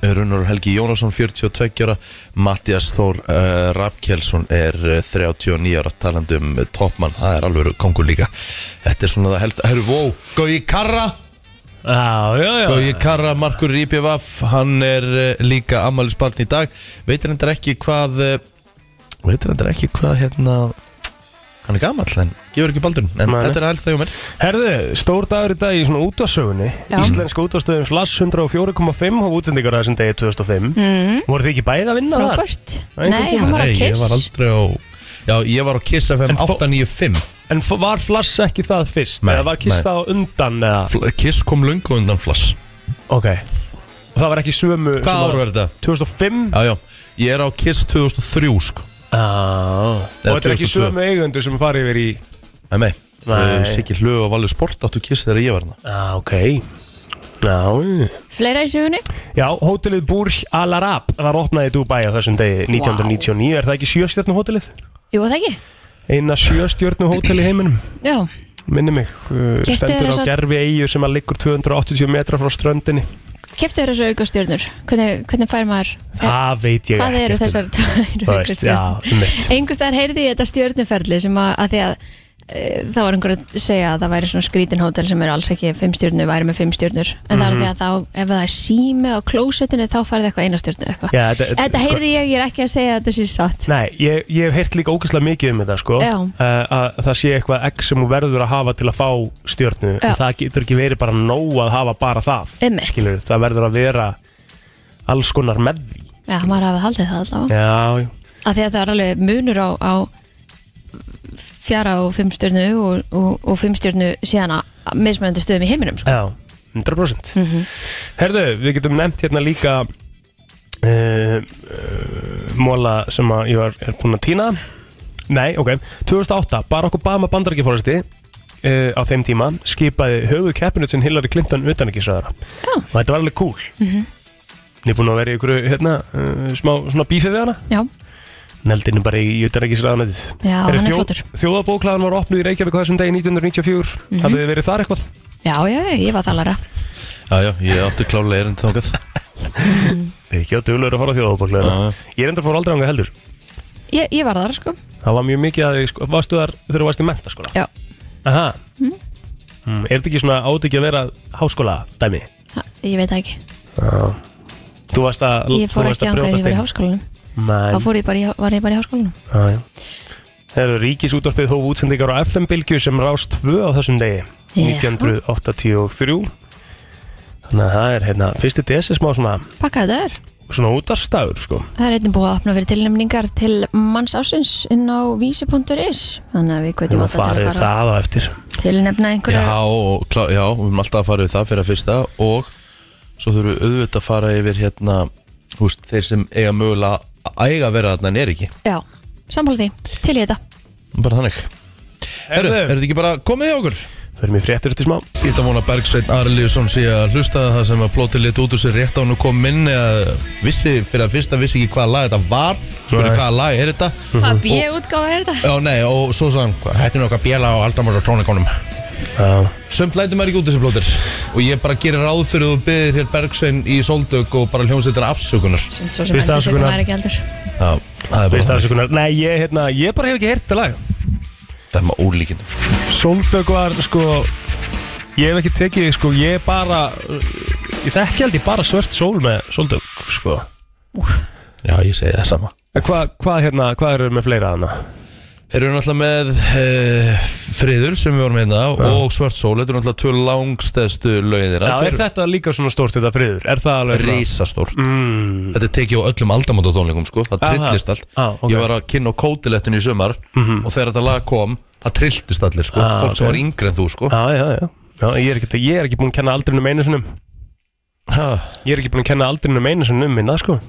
B: Runar Helgi Jónasson, 42 ára, Mattias Þór uh, Rappkjelsson er uh, 39 ára, talandi um uh, topmann, það er alveg kongur líka. Þetta er svona það helst, herru, wow, Gauji Karra!
D: já, já, já.
B: Gauji Karra, Markur Rípjavaf hann er eh, líka ammælisbarn í dag veitir hendur ekki hvað eh, veitir hendur ekki hvað hérna hann er gamall en gefur ekki baldur en
D: Nei, nei.
B: þetta er helst það hjá mér
D: Herðu, stór dagur í dag í svona útvarsögunni
C: Já.
D: Íslenska útvarstöðum Flass 104,5 og útsendingar að þessum degi 2005 mm. Voru þið ekki bæði að vinna þar?
C: Robert,
D: Einhvern
C: nei,
D: tímann.
C: hann var að
B: ég var
C: kiss
B: aldrei á já, ég var á Kiss FM
D: En þó-
B: 895
D: En f- var Flass ekki það fyrst?
B: Nei,
D: eða var Kiss
B: nei.
D: það á undan? Eða?
B: Fl- Kiss kom lungu undan flass
D: Ok Og það var ekki sömu
B: hvað ára verður þetta?
D: 2005?
B: já, já, ég er á Kiss 2003 sko
D: Ah. Og
B: Eða
D: þetta er ekki
B: 2002.
D: sömu eigundur sem farið yfir í
B: nei, nei,
D: Nei.
B: nei. Siggi Hlöf og Valur Sport áttu Kiss þegar ég var hérna
D: ah, Ok Ah, Já
C: Fleira í sögunni
D: Já, hótelið Burj Al Arab var opnað í Dubai á þessum degi 1999, er það ekki sjöstjörnu hótelið?
C: Jú, það ekki?
D: Eina sjöstjörnu hótel í heiminum,
C: Já,
D: minni mig uh,
C: Keyptu
D: Stendur
C: þér
D: á
C: þessar-
D: gerfi eigu sem að liggur 280 metra frá ströndinni
C: keftu þér þessu aukastjörnur Hvernig, hvernig fær maður
D: Það veit ég
C: Hvað
D: ekkert
C: eru
D: um.
C: þessar tvær
D: Það veist, Já,
C: aukastjörnur?
D: mitt
C: Einhverstaðar heyrði ég þetta stjörnuferli sem að, að því að e, það var einhver að segja að það væri svona skrítin hótel sem eru alls ekki fimm stjörnur, væri með fimm stjörnur en það er því
D: Mhm.
C: að þá, ef það er sími á klósettinu þá farið eitthvað eina stjörnu eitthvað
D: Já, þetta- þetta-
C: Þetta
D: sko-
C: heyrði ég, ég er ekki að segja að þetta sé satt
D: Nei, ég, ég hef heyrt líka ógæslega mikið um þetta sko
C: Já.
D: Eh, að það sé eitthvað egg sem hún verður að hafa til að fá stjörnu
C: Já.
D: en það getur ekki verið bara nóg að hafa bara það
C: Einmitt.
D: Skilurðu, það verður að vera alls konar með því
C: Já, maður hafði haldið það allavega
D: Já, já.
C: að því að það er alveg munur á, á fjara og fimmstjörnu og, og, og fimmstjörnu síðan að mismunandi stöðum í heiminum sko.
D: já 100%
C: Mhm.
D: Herðu, við getum nefnt hérna líka uh, uh, Móla sem að ég var, er búinn að týna Nei, ok 2008, Barack Obama bandarækjaforesti uh, á þeim tíma skipaði höfuð keppinut sem Hillary Clinton utanækisraðara
C: Já,
D: og þetta var alveg cool
C: Mhm.
D: ég er búin að vera í ykkur hérna, uh, smá svona bífið við hana
C: já,
D: neldinu bara í utanækisraðanætið
C: Já, hann er flottur. Mhm.
D: þjóðabóklaðan var opnuð í Reykjavík á þessum degi 1994 hafið þið verið þar eitthvað
C: já, já, ég var þalara
B: Já, já, ég átti klálega erinn þákað
D: ekki á duglur að fara á þjóðabóklaðan
B: Já.
D: ég er enda að fór aldrei ánga heldur
C: ég, ég var þar sko,
D: það var mjög mikið að þið sko, varstu þar þegar þú varst í menta skóla
C: já Hmm?
D: aha mm, er þetta ekki svona átt ekki að vera háskóla dæmi
C: Ha, ég veit það ekki,
D: þú varst að
C: ég fór ekki angað því ég var í háskólanum þá
D: háskóla
C: fór ég bara, í- var ég bara í háskólanum
D: Já, já. Það eru ríkisútvarfið hóf útsendingar á FM-bylgju sem rást tvö á þessum degi,
C: Já.
D: 1983. Þannig að það er hérna, fyrsti desi smá svona,
C: pakkaði það er,
D: svona útvarstafur, sko.
C: það er einnig búið að opna fyrir tilnæmningar til manns ásins inn á vísi.is þannig að við
D: Við
C: kveitum
D: varum
C: alltaf til að
D: farið
C: fara
D: það á eftir.
C: tilnefna einhverja
B: Já, og klá, já, við höfum alltaf að fara við það fyrir að fyrsta og svo þurfum við auðvitað að fara yfir hérna, húst, þeir sem eiga mögulega að eiga að vera þarna en er ekki
C: já, sammála því, til í þetta
B: bara þannig Herru, er þetta ekki bara komið hjá okkur?
D: Förum í fréttir eftir smá.
B: Ég ætla að vona að Bergsveinn Arliðsson sé að hlusta það sem að plótið lit út úr sér rétt á hann og kom inn eða vissi fyrir að fyrsta vissi ekki hvaða lag þetta var spurði
D: Nei.
B: hvaða lag er
D: Mhm.
B: þetta
C: hvað bjöðutgáfa er þetta?
B: Já, nei, og svo sagði hann, "Hvað, þetta er nokkað bjela á aldamörður trónikonum
D: Já,
B: Sumt lætur maður ekki út þessi plótir Og ég bara gerir ráð fyrir að þú byggðir hér Bergsvein í Soldök og bara hljómsveitina afsökunar
C: Svo sem
D: Fyrsta
C: endur sökum
D: afsökunar.
C: er ekki aldur
B: Já, það er bara
D: fyrst
B: þannig.
D: afsökunar. Nei, ég, hérna, ég bara hef ekki heyrt þetta lag.
B: Það er maður ólíkind
D: Sóldögg var, sko, ég hef ekki tekið, sko, ég bara, ég þekki held ég bara svört sól með Sóldögg, sko.
B: Já, ég segi það sama
D: En Hvað, hvað, hérna, hvað eru með fleira að hana?
B: Þeir eru náttúrulega með uh, Friður sem við vorum einna og Svart Sól Þetta eru náttúrulega tvö langstæðstu lögin
D: Já,
B: þeirra
D: er þetta líka svona stórt þetta friður? Er það alveg svona-
B: Rísastórt
D: Mm,
B: Þetta er tekið á öllum aldamóta tónleikum sko Það
D: Aha.
B: trillist allt
D: Ah, ok. Mhm.
B: Ég var að kynna á kótilettinu í sumar Og þegar þetta lag kom Það trilltist allir sko
D: Ah,
B: Fólk sem
D: ok.
B: var yngri en þú sko
D: já, já, já. já ég, er ekki, ég er ekki búin að kenna aldrinum einu sinum
B: ha,
D: Ég er ekki búin að kenna aldrinum einu sinum minna, sko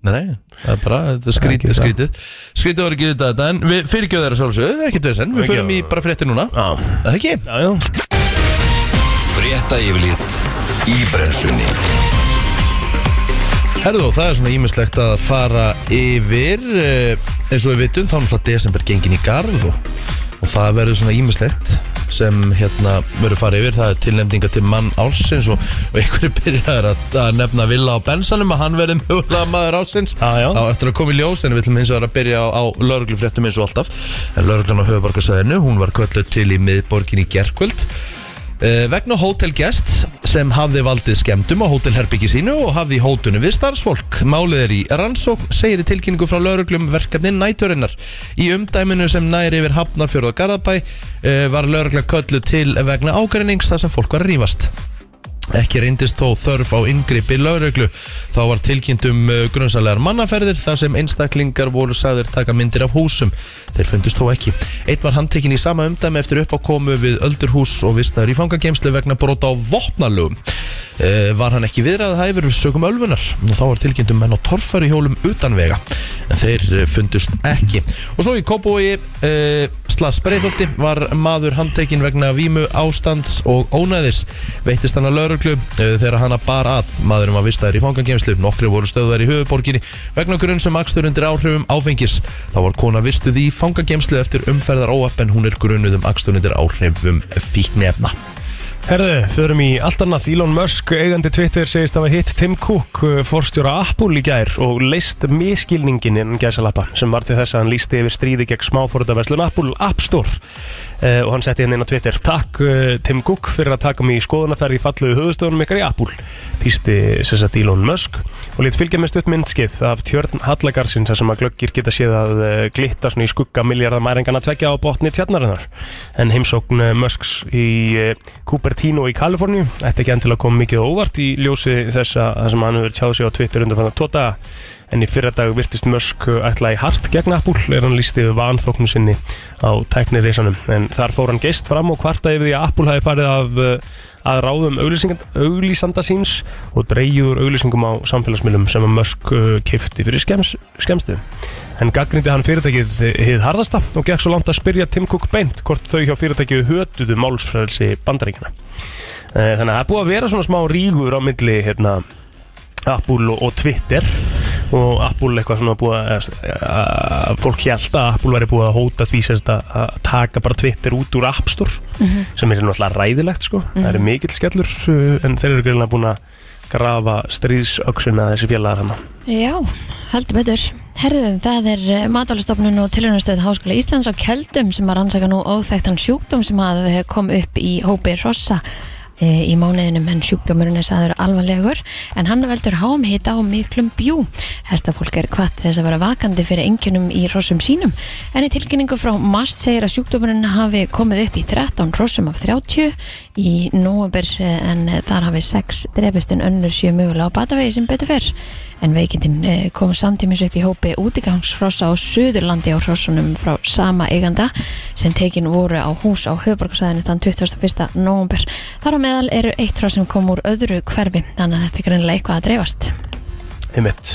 B: Nei, nei, það er bara þetta er
D: Það
B: skrítið,
D: er ekki
B: skrítið Skrítið var ekki þetta En við fyrirgjöðu þeirra sjálfsögðu, ekkert þess Við
D: Ekki
B: förum í
D: að-
B: bara frétti núna
D: Já,
B: Það er ekki
D: Ah. já, já
A: Frétta yfirlit í brennslunni
B: Herðu, það er svona ímislegt að fara yfir eh, eins og við vitum þá er náttúrulega desember gengin í garð og, og það verður svona ímislegt sem hérna verður fara yfir það er tilnefninga til mann ársins og, og einhverju byrjar að, að nefna Villa á bensanum að hann verði mögulega maður ársins
D: Já, já.
B: á eftir að koma í ljós en við ætlum eins og að byrja á, á lauruglufréttum eins og alltaf en lauruglan á höfubarkasæðinu, hún var kölluð til í miðborgin í gerkvöld Eh, vegna hótelgest sem hafði valdið skemmtum á hótelherbyggi sínu og hafði í hótunum við starfsfólk. Málið er í rannsókn, segir í tilkynningu frá lauruglum verkefni næturinnar. Í umdæminu sem næri yfir Hafnarfjörð og Garðabæ eh, var laurugla köllu til vegna ágreinings þar sem fólk var að rífast. Ekki reyndist þó þörf á yngripi lauruglu. Þá var tilkynnt um eh, grunsamlegar mannaferðir þar sem einstaklingar voru sagðir taka myndir af húsum. Þeir fundust þó ekki. Eitt var handtekinn í sama umdæmi eftir uppákomu við öldurhús og vistaður í fangagemslu vegna brota á vopnalögum. Eh, Var hann ekki viðræðið hæfur við sögum ölfunar og þá var tilkynnt um menn á uh, torfari hjólum utan vega. En þeir eh, fundust ekki. Og svo í Kópói Slas Breiðholti var maður handtekinn vegna vímu ástands og ónæðis veittist hann að lauruglu þegar hann að bar að maðurinn var vistaður í fangangemslu nokkri voru stöðar í höfuborginni vegna grunn sem akstur undir áhrifum áfengis þá var kona vistuð í fangangemslu eftir umferðar óapp en hún er grunnuð um akstur undir áhrifum fíknefna
D: Herðu, förum í allt annað. Elon Musk, eigandi Twitter, segist að hafa hitt Tim Cook, uh, forstjóra Apple í gær og leist miskilningin innan gæsalappa sem var til þess að hann lísti yfir stríði gegn smáfórtaverslun Apple App Store uh, og hann setti henni inn á Twitter. Takk uh, Tim Cook fyrir að taka mig í skoðunarferð í falluðu höfustöðunum ykkar í Apple, týsti sem sagt Elon Musk og lít fylgja með stutt myndskið af tjörn Hallagarsins þar sem að glöggir geta séð að uh, glitta svona í skugga miljardamæringana tvekja á botni tjarnarinnar en heimsókn eh, Musks í eh, Cupertino í Kaliforníu ætti ekki endilega að koma mikið á óvart í ljósi þess að það sem hann hefur tjáð sig á Twitter undan fann að tóta en í fyrra dag virtist Musk eh, ætla í hart gegn Apple er hann lísti við vanþóknu sinni á tæknireisanum en þar fór hann geist fram og kvarta yfir því að Apple hafi farið af eh, að ráðum auglýsingan- auglýsanda síns og dreyjur auglýsingum á samfélagsmiðlum sem að Musk uh, kifti fyrir skems, skemstu en gaggrindi hann fyrirtækið hið harðasta og gekk svo langt að spyrja Tim Cook beint hvort þau hjá fyrirtækið hötuðu málsfrelsi bandaríkina Eh, þannig að það er búið að vera svona smá rígur á milli hérna, Apple og, og Twitter og Apple eitthvað svona búið að eh, fólk hjælt að Apple væri búið að hóta því sem sagt, að að taka bara Twitter út úr App Store sem er náttúrulega ræðilegt sko. það eru mikill skellur uh, en þeir eru greinlega búin að grafa stríðsöksuna þessi félagar hann
C: Já, heldur betur. Herðum, það er matalastofnun og tilhörnastöð Háskóla Íslands á Keldum sem að rannsaka nú óþekktan sjúkdóm sem að kom upp í hópi Rossa eh, í mánuðinum en sjúkdómurinn er saður alvarlegur en hann veldur háum hita á miklum bjú. Hestafólk er hvað þess að vera vakandi fyrir enginum í rossum sínum en í tilkynningu frá MAST segir að sjúkdómurinn hafi komið upp í 13 rossum af 30 í nóaber en þar hafi 6 drefist en önnur 7 mögulega á batavegi sem betur fer en veikindin eh, kom samtímis upp í hópi útigangsfrossa á Suðurlandi á hrossunum frá sama eiganda sem tekin voru á hús á höfuborgarsæðinu þann 21. nóvumber. Þar á meðal eru eitt hross sem kom úr öðru hverfi þannig að þetta er greinlega eitthvað að dreifast.
D: Einmitt.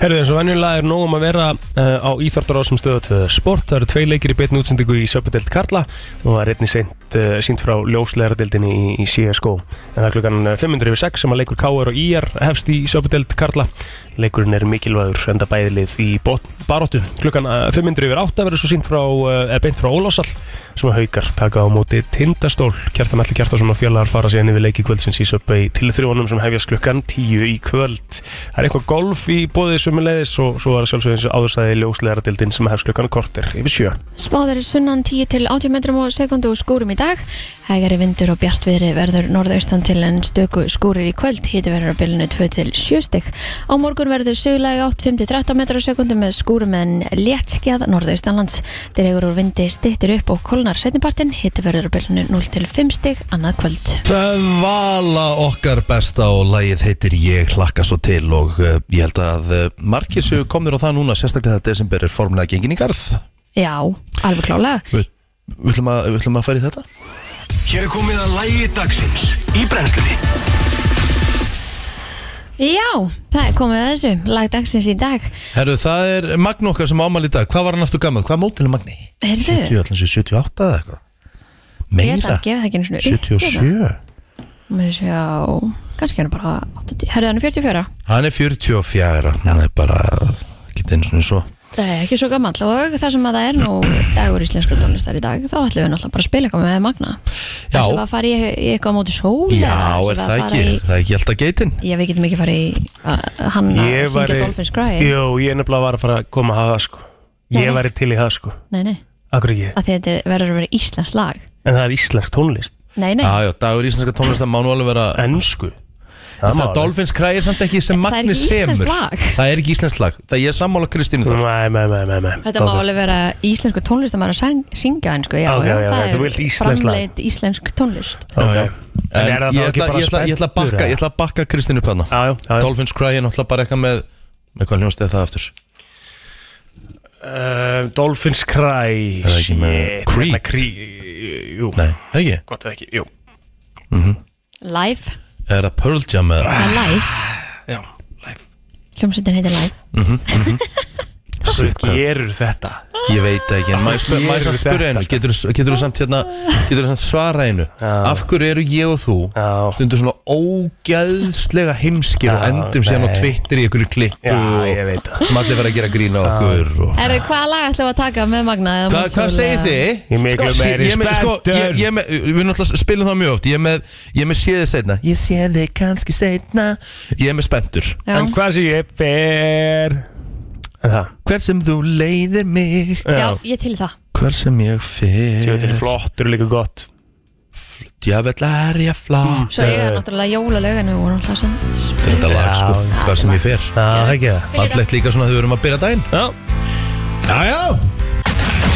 D: Herðu eins og venjulega er nóg um að vera uh, á Íþartará sem stöðu til sport. Það eru tvei leikir í betni útsendingu í Söpudeld Karla og það er einnig seint uh, sínt frá ljóslegaradildinni í, í CSGO. En það er klukkan eh, 506 sem að leikur KR og IR hefst í Söpudeld Karla. Leikurinn er mikilvægur enda bæðilið í bot, baróttu. Klukkan uh, 508 verður svo sínt frá, uh, beint frá Ólásal sem að haukar taka á móti tindastól. Kjartan Alli Kjartason og fjallar fara síðan yfir leiki kvöldsins í Söpudeld til þrjónum sem hefjast klukkan 10 í kvöld. Það er eitthvað golf í bóðið sumulegis og svo er sjálfsögðin sem áðurstæði ljóslegaradildin sem hefst klukkan kortir yfir sjö.
C: Spáður er sunnan 10 til 80 metrum og sekundu skúrum í dag. Hægari vindur og bjartviðri verður norðaustan til en stöku skúrir í kvöld. Hiti verður á bylunu 2 til 7 stygg. Á morgun verður sögulega 8-5-13 metrar sekundu með skúrum en léttskjað norðaustanlands. Dregur úr vindi stittir upp og kólnar setnipartin. Hiti verður á bylunu 0 til 5 stygg annað kvöld.
B: Það vala okkar besta og lagið heitir Ég hlakka svo til og uh, ég held að uh, margir séu komnir á það núna sérstaklega það desember er formlega gengin í garð
C: Já, alveg klálega.
B: Við við ætlum að, við ætlum að fara í þetta
A: Hér er komið að lægi dagsins í brennslunni
C: Já, það er komið að þessu. Lagdagsins í dag.
B: Herru, það er Magni okkar sem ámæli í dag Hvað var hann aftur gammal? Hvað mótil er Magni?
C: Heyrðu,
B: 70, ætlum sé 78 eða eitthvað
C: ég ætla
B: Meira?
C: að gefa það ekki einu svona upp. hérna.
B: 77
C: Mér sjá, kannski er hann bara 80, herrið hann er 44
B: Hann er 44 Hann er bara, geta einu svona svo
C: Það er ekki svo gammal og það sem að það er nú dagur íslenska tónlistar í dag þá ætlum við náttúrulega bara að spila eitthvað með Magna
B: Já.
C: Ætlum við að fara í, í eitthvað á móti sól
B: Já,
C: eða ætlum
B: er
C: við að
B: það
C: fara
B: ekki?
C: í,
B: Það er ekki alltaf geitin?
C: Já, við getum ekki farið í að- hann að
D: Ég
C: syngja
D: væri-
C: Dolphins Cry
D: Jó, ég er nefnilega var að fara að koma að hafa það sko.
C: Nei.
D: Ég væri til í það sko.
C: Nei, nei,
D: Akkur ekki.
C: að þetta er- verður að vera íslensk lag
D: En það er íslensk tónlist.
C: Nei, nei,
D: Ah,
B: Já, já, dagur íslenska tónlist það má nú alveg vera
D: Ennsku.
B: Það, það
D: má alveg.
B: Dolphins Cry er samt ekki sem
C: En það er
B: Magni
C: ekki íslenskt
B: semur
C: lag.
B: Það er ekki íslensk lag Það ég er sammála Kristínu þar
D: Nei, nei, nei, nei, nei.
C: þetta má alveg vera íslensku tónlist að maður að sang- syngja en sko, já,
D: Ok, já,
C: það
D: já, þú vilt
C: er
D: íslensk lag.
C: framleitt íslensk tónlist
D: Okay.
B: En ég
D: En er það þá ekki
B: ætla,
D: bara
B: ég, ætla, ég, ætla að bakka, ég ætla að bakka Kristínu upp þarna
D: Já, já, já.
B: Dolphins Cry er náttúrulega bara eitthvað með með hvað hljóðst eða það aftur
D: Uh, Dolphins Cry.
B: Er það ekki með
D: Shit,
B: Creed?
D: hérna Creed, Jú,
B: Nei, ekki
D: gott ef ekki. Jú.
C: Live,
B: Er það Pearl Jam eða
C: það er live
D: Já, Ah, live.
C: Hljómsveitin heitir live
D: Akkur
B: Shit, hvað-
D: gerur Mhm, þetta
B: Ég veit ekki, en maður spyr-
D: gerirðu
B: maður samt spyrir
D: þetta?
B: einu Getur þú samt, hérna, getur samt svara einu
D: Já.
B: Af hverju eru ég og þú
D: Já.
B: Stundur svona ógæðslega heimskir Og
D: Já,
B: endum síðan á
D: nei.
B: Twitter í einhverju klippu
D: Já,
B: og-
D: ég veit það.
B: Sem allir verða að gera grín á okkur og...
C: Erðu, hvaða lag ætlum við að taka með Magna? eða
B: Hva, Hvað
C: Mansúl,
B: segir
C: eða-
B: þið?
D: Ég er miklu meiri
B: ég er með, sko, ég,
D: spenntur.
B: ég er með, Við náttúrulega spilum það mjög oft Ég er með, ég er með séð þið setna Ég sé þið kannski setna Ég er með spenntur
C: Já.
D: En hvað sé ég fer En það
B: Hvert sem þú leiðir mig
C: Já, ég til í það
B: Hvert sem ég
D: Þetta er
B: fer
D: flottur og líka gott Mm.
B: Djöfell er ég flott
C: Svo ég er
D: Eh.
C: náttúrulega jólalög en við vorum alltaf sem
B: Þetta er þetta lag sko,
D: Já.
B: hvað sem ég fer
D: Já, það er ekki það
B: Fallegt líka svona þegar við erum að byrja daginn
D: Já,
B: Jájá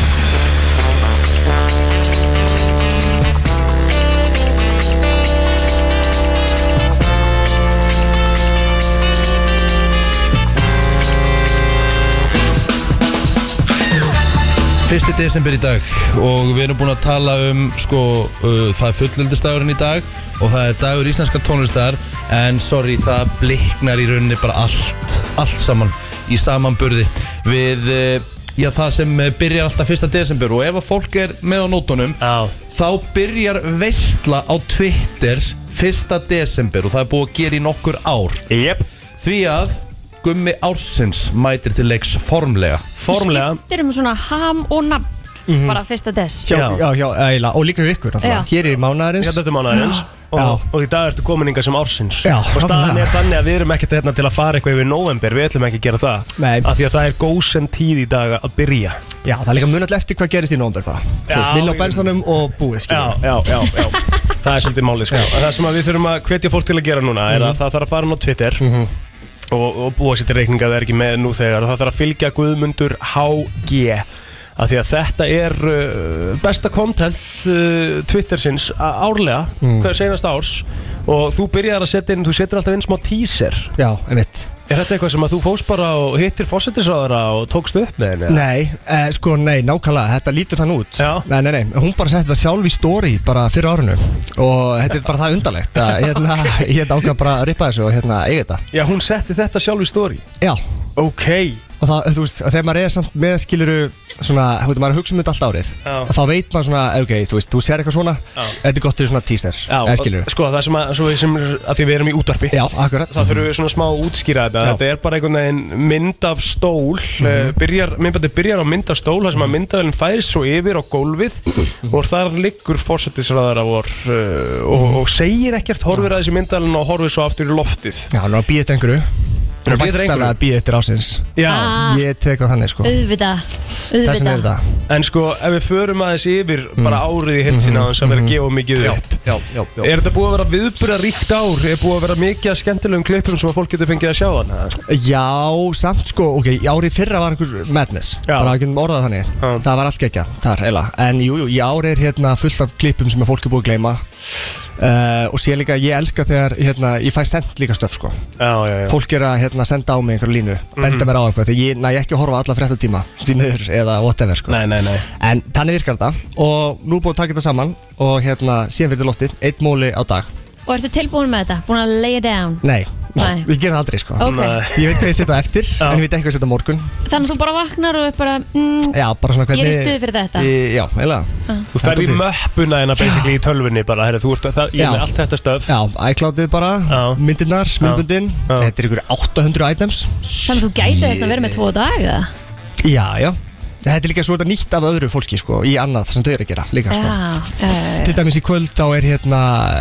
B: Fyrsti desember í dag og við erum búin að tala um sko, uh, það er fullöldistagurinn í dag og það er dagur íslenskar tónlistar en sorry, það bliknar í rauninni bara allt, allt saman í samanburði við uh, já, það sem eh, byrjar alltaf fyrsta desember og ef að fólk er með á nótunum
D: Já.
B: þá byrjar veistla á Twitter fyrsta desember og það er búið að gera í nokkur ár
D: jep,
B: því að Gummi Ársins mætir til leiks formlega
D: formlega
C: Skiptir um svona ham og nafn
B: Mhm.
C: Bara fyrsta des
E: Hjá,
D: Já.
E: já, já, eiginlega, og líka við ykkur
C: Já.
E: alltaf. Hér er mánaðarins
D: Þetta er mánuðarins
E: Já.
D: og, og í dag ertu komin inga sem ársins
E: Já,
D: Og staðan
E: nákvæmlega.
D: er þannig að við erum ekkert hérna til að fara eitthvað yfir november Við ætlum ekki að gera það
E: Nei.
D: Af Því að það er gósen tíð í dag að byrja
E: Já, það er líka munall eftir hvað gerist í nóndar bara Þú
D: Já,
E: veist, Lilla á
D: ég-
E: bensanum og búið,
D: Já,
E: skiljum
D: já, já, já. Það er svolítið málið sko. En Það sem að við þurfum að hvetja fólk til að gera núna er
E: Mhm.
D: að það þarf að fara nú á Twitter og, og búa sér til reikninga að það er ekki með nú þegar það þarf að fylgja Guðmundur HG af því að þetta er uh, besta content uh, Twittersins á- árlega
E: Mhm.
D: hver senast árs og þú byrjar að setja inn, þú setur alltaf inn smá teaser
E: Já, einmitt
D: Er þetta eitthvað sem að þú fóst bara og hittir fósettisráðara og tókst upp með henni?
E: Nei, eh, sko, nei, nákvæmlega, þetta lítur þann út
D: Já.
E: Nei, nei, nei, hún bara setti það sjálf í story bara fyrir árinu Og þetta er bara það undarlegt að, hérna, Ég hefði ákveð bara að rippa þessu og hérna, eiga þetta
D: Já, hún setti þetta sjálf í stóri
E: Já,
D: Ok,
E: og það, þú veist, þegar maður er samt með skiluru svona, þú veit, maður er að hugsa um þetta allt árið
D: Já.
E: Þá veit maður svona, ok, þú veist, þú sér eitthvað svona
D: Já.
E: Þetta er gott til svona teaser,
D: Já,
E: eða skiluru
D: sko það sem að, svo við sem, að því við erum í útvarpi
E: Já, akkurat
D: þá þurfum við svona smá að útskýra þetta
E: Já. Mhm.
D: þetta er bara einhvern veginn mynd af stól mm byrjar, myndbæti byrjar á mynd af stól þar sem að myndavelin fæðist svo yfir á gólfið
E: Mhm.
D: og þar liggur fórsetisræðara vor uh, og, og segir ekkert horfir að þessi myndavelin og horfir svo aftur í loftið
E: Já, hann var að býja eftir einhverju
D: Hann er
E: Hann
D: að bíða eftir
E: væntanlega
D: einhverju?
E: að býja eftir ásins
D: Já,
C: Ah.
E: Ég tek það þannig sko
C: Auðvitað
E: Þessin er
C: Auðvitað
E: það Mm.
D: en sko ef við förum aðeins yfir bara árið í hilsina þess að vera að gefa mikið upp
E: Mm-hmm. já, já,
D: Er þetta búið að vera viðbyrða ríkt ár? Er búið að vera mikið að skemmtilegum klippum sem að fólk getur fengið að sjá hann?
E: Já, samt sko, ok, árið fyrra var einhver madness
D: Já.
E: Bara ekki um orðað þannig
D: Já.
E: Það var allt gekkja, þar, eila En jú, jú, í árið er hérna fullt af klippum sem að fólk er búið að gleyma uh, Og sé líka, ég elska þegar, hérna, ég fæ send líka stöf sko
D: Já, Mhm. já, já.
E: Fólk er að hérna, senda á mig einhverju línu Benda mér á eitthvað, þegar ég næ ekki að horfa alla fréttatíma Því miður, eða whatever sko
D: Nei, nei, nei.
E: En þannig virkar þetta og nú er búið að taka þetta saman og hérna síðan fyrir til loftið, eitt móli á dag
C: Og ertu tilbúin með þetta? Búin að lay it down?
E: Nei,
C: Nei.
E: við gerum það aldrei sko
C: Ok,
D: Nei.
E: Ég veit hvað ég setja á eftir,
D: Já.
E: en ég veit ekki hvað ég setja á morgun
C: þannig að þú bara vaknar og er bara mm, ah.
E: Já, bara svona
C: Ég
E: hvernig
C: er í stuði fyrir þetta.
E: Í, já, eiginlega
D: Þú ferð í möppuna hérna basically í tölvunni bara, herri, þú ert það, ég er með
E: Já.
D: allt þetta stöf
E: Já, iCloudið bara,
D: Já.
E: myndirnar, myndbundin
D: Já.
E: Þetta er ykkur 800 items
C: Þannig að þú gæti þess að vera með tvo dag eða?
E: Já, já Þetta er líka svo þetta nýtt af öðru fólki sko, í annað sem þau eru að gera líka sko
C: Já, eh. já,
E: Til dæmis í kvöld þá er hérna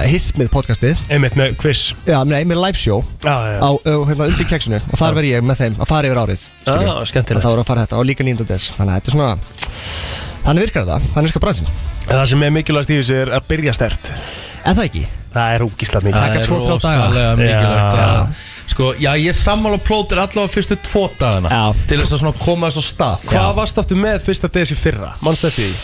E: Hismið podcastið,
D: Einmitt með quiz
E: já, nei, með live show
D: Já, já,
E: á, á hérna, undir keksinu og þar verð ég með þeim að fara yfir árið skilurðu.
D: Já, skemmtilegt.
E: En þá er að fara þetta og líka 9. des þannig að þetta er svona þannig virkar þetta, þannig virkar bransin
D: En það sem er mikilvægast í þessu er að byrja stert
E: en það ekki,
D: Það er úkislega mikilvægt
E: Takk.
B: Það er
E: tvo, þrjá daga.
B: rosalega mikilvægt
D: Já.
B: já. Sko, já, ég sammála plótir allavega fyrstu tvo dagana
E: Já.
B: Til þess að svona koma þess að stað
D: Hvað varst áttu með fyrsta desi fyrra? Manst þetta í?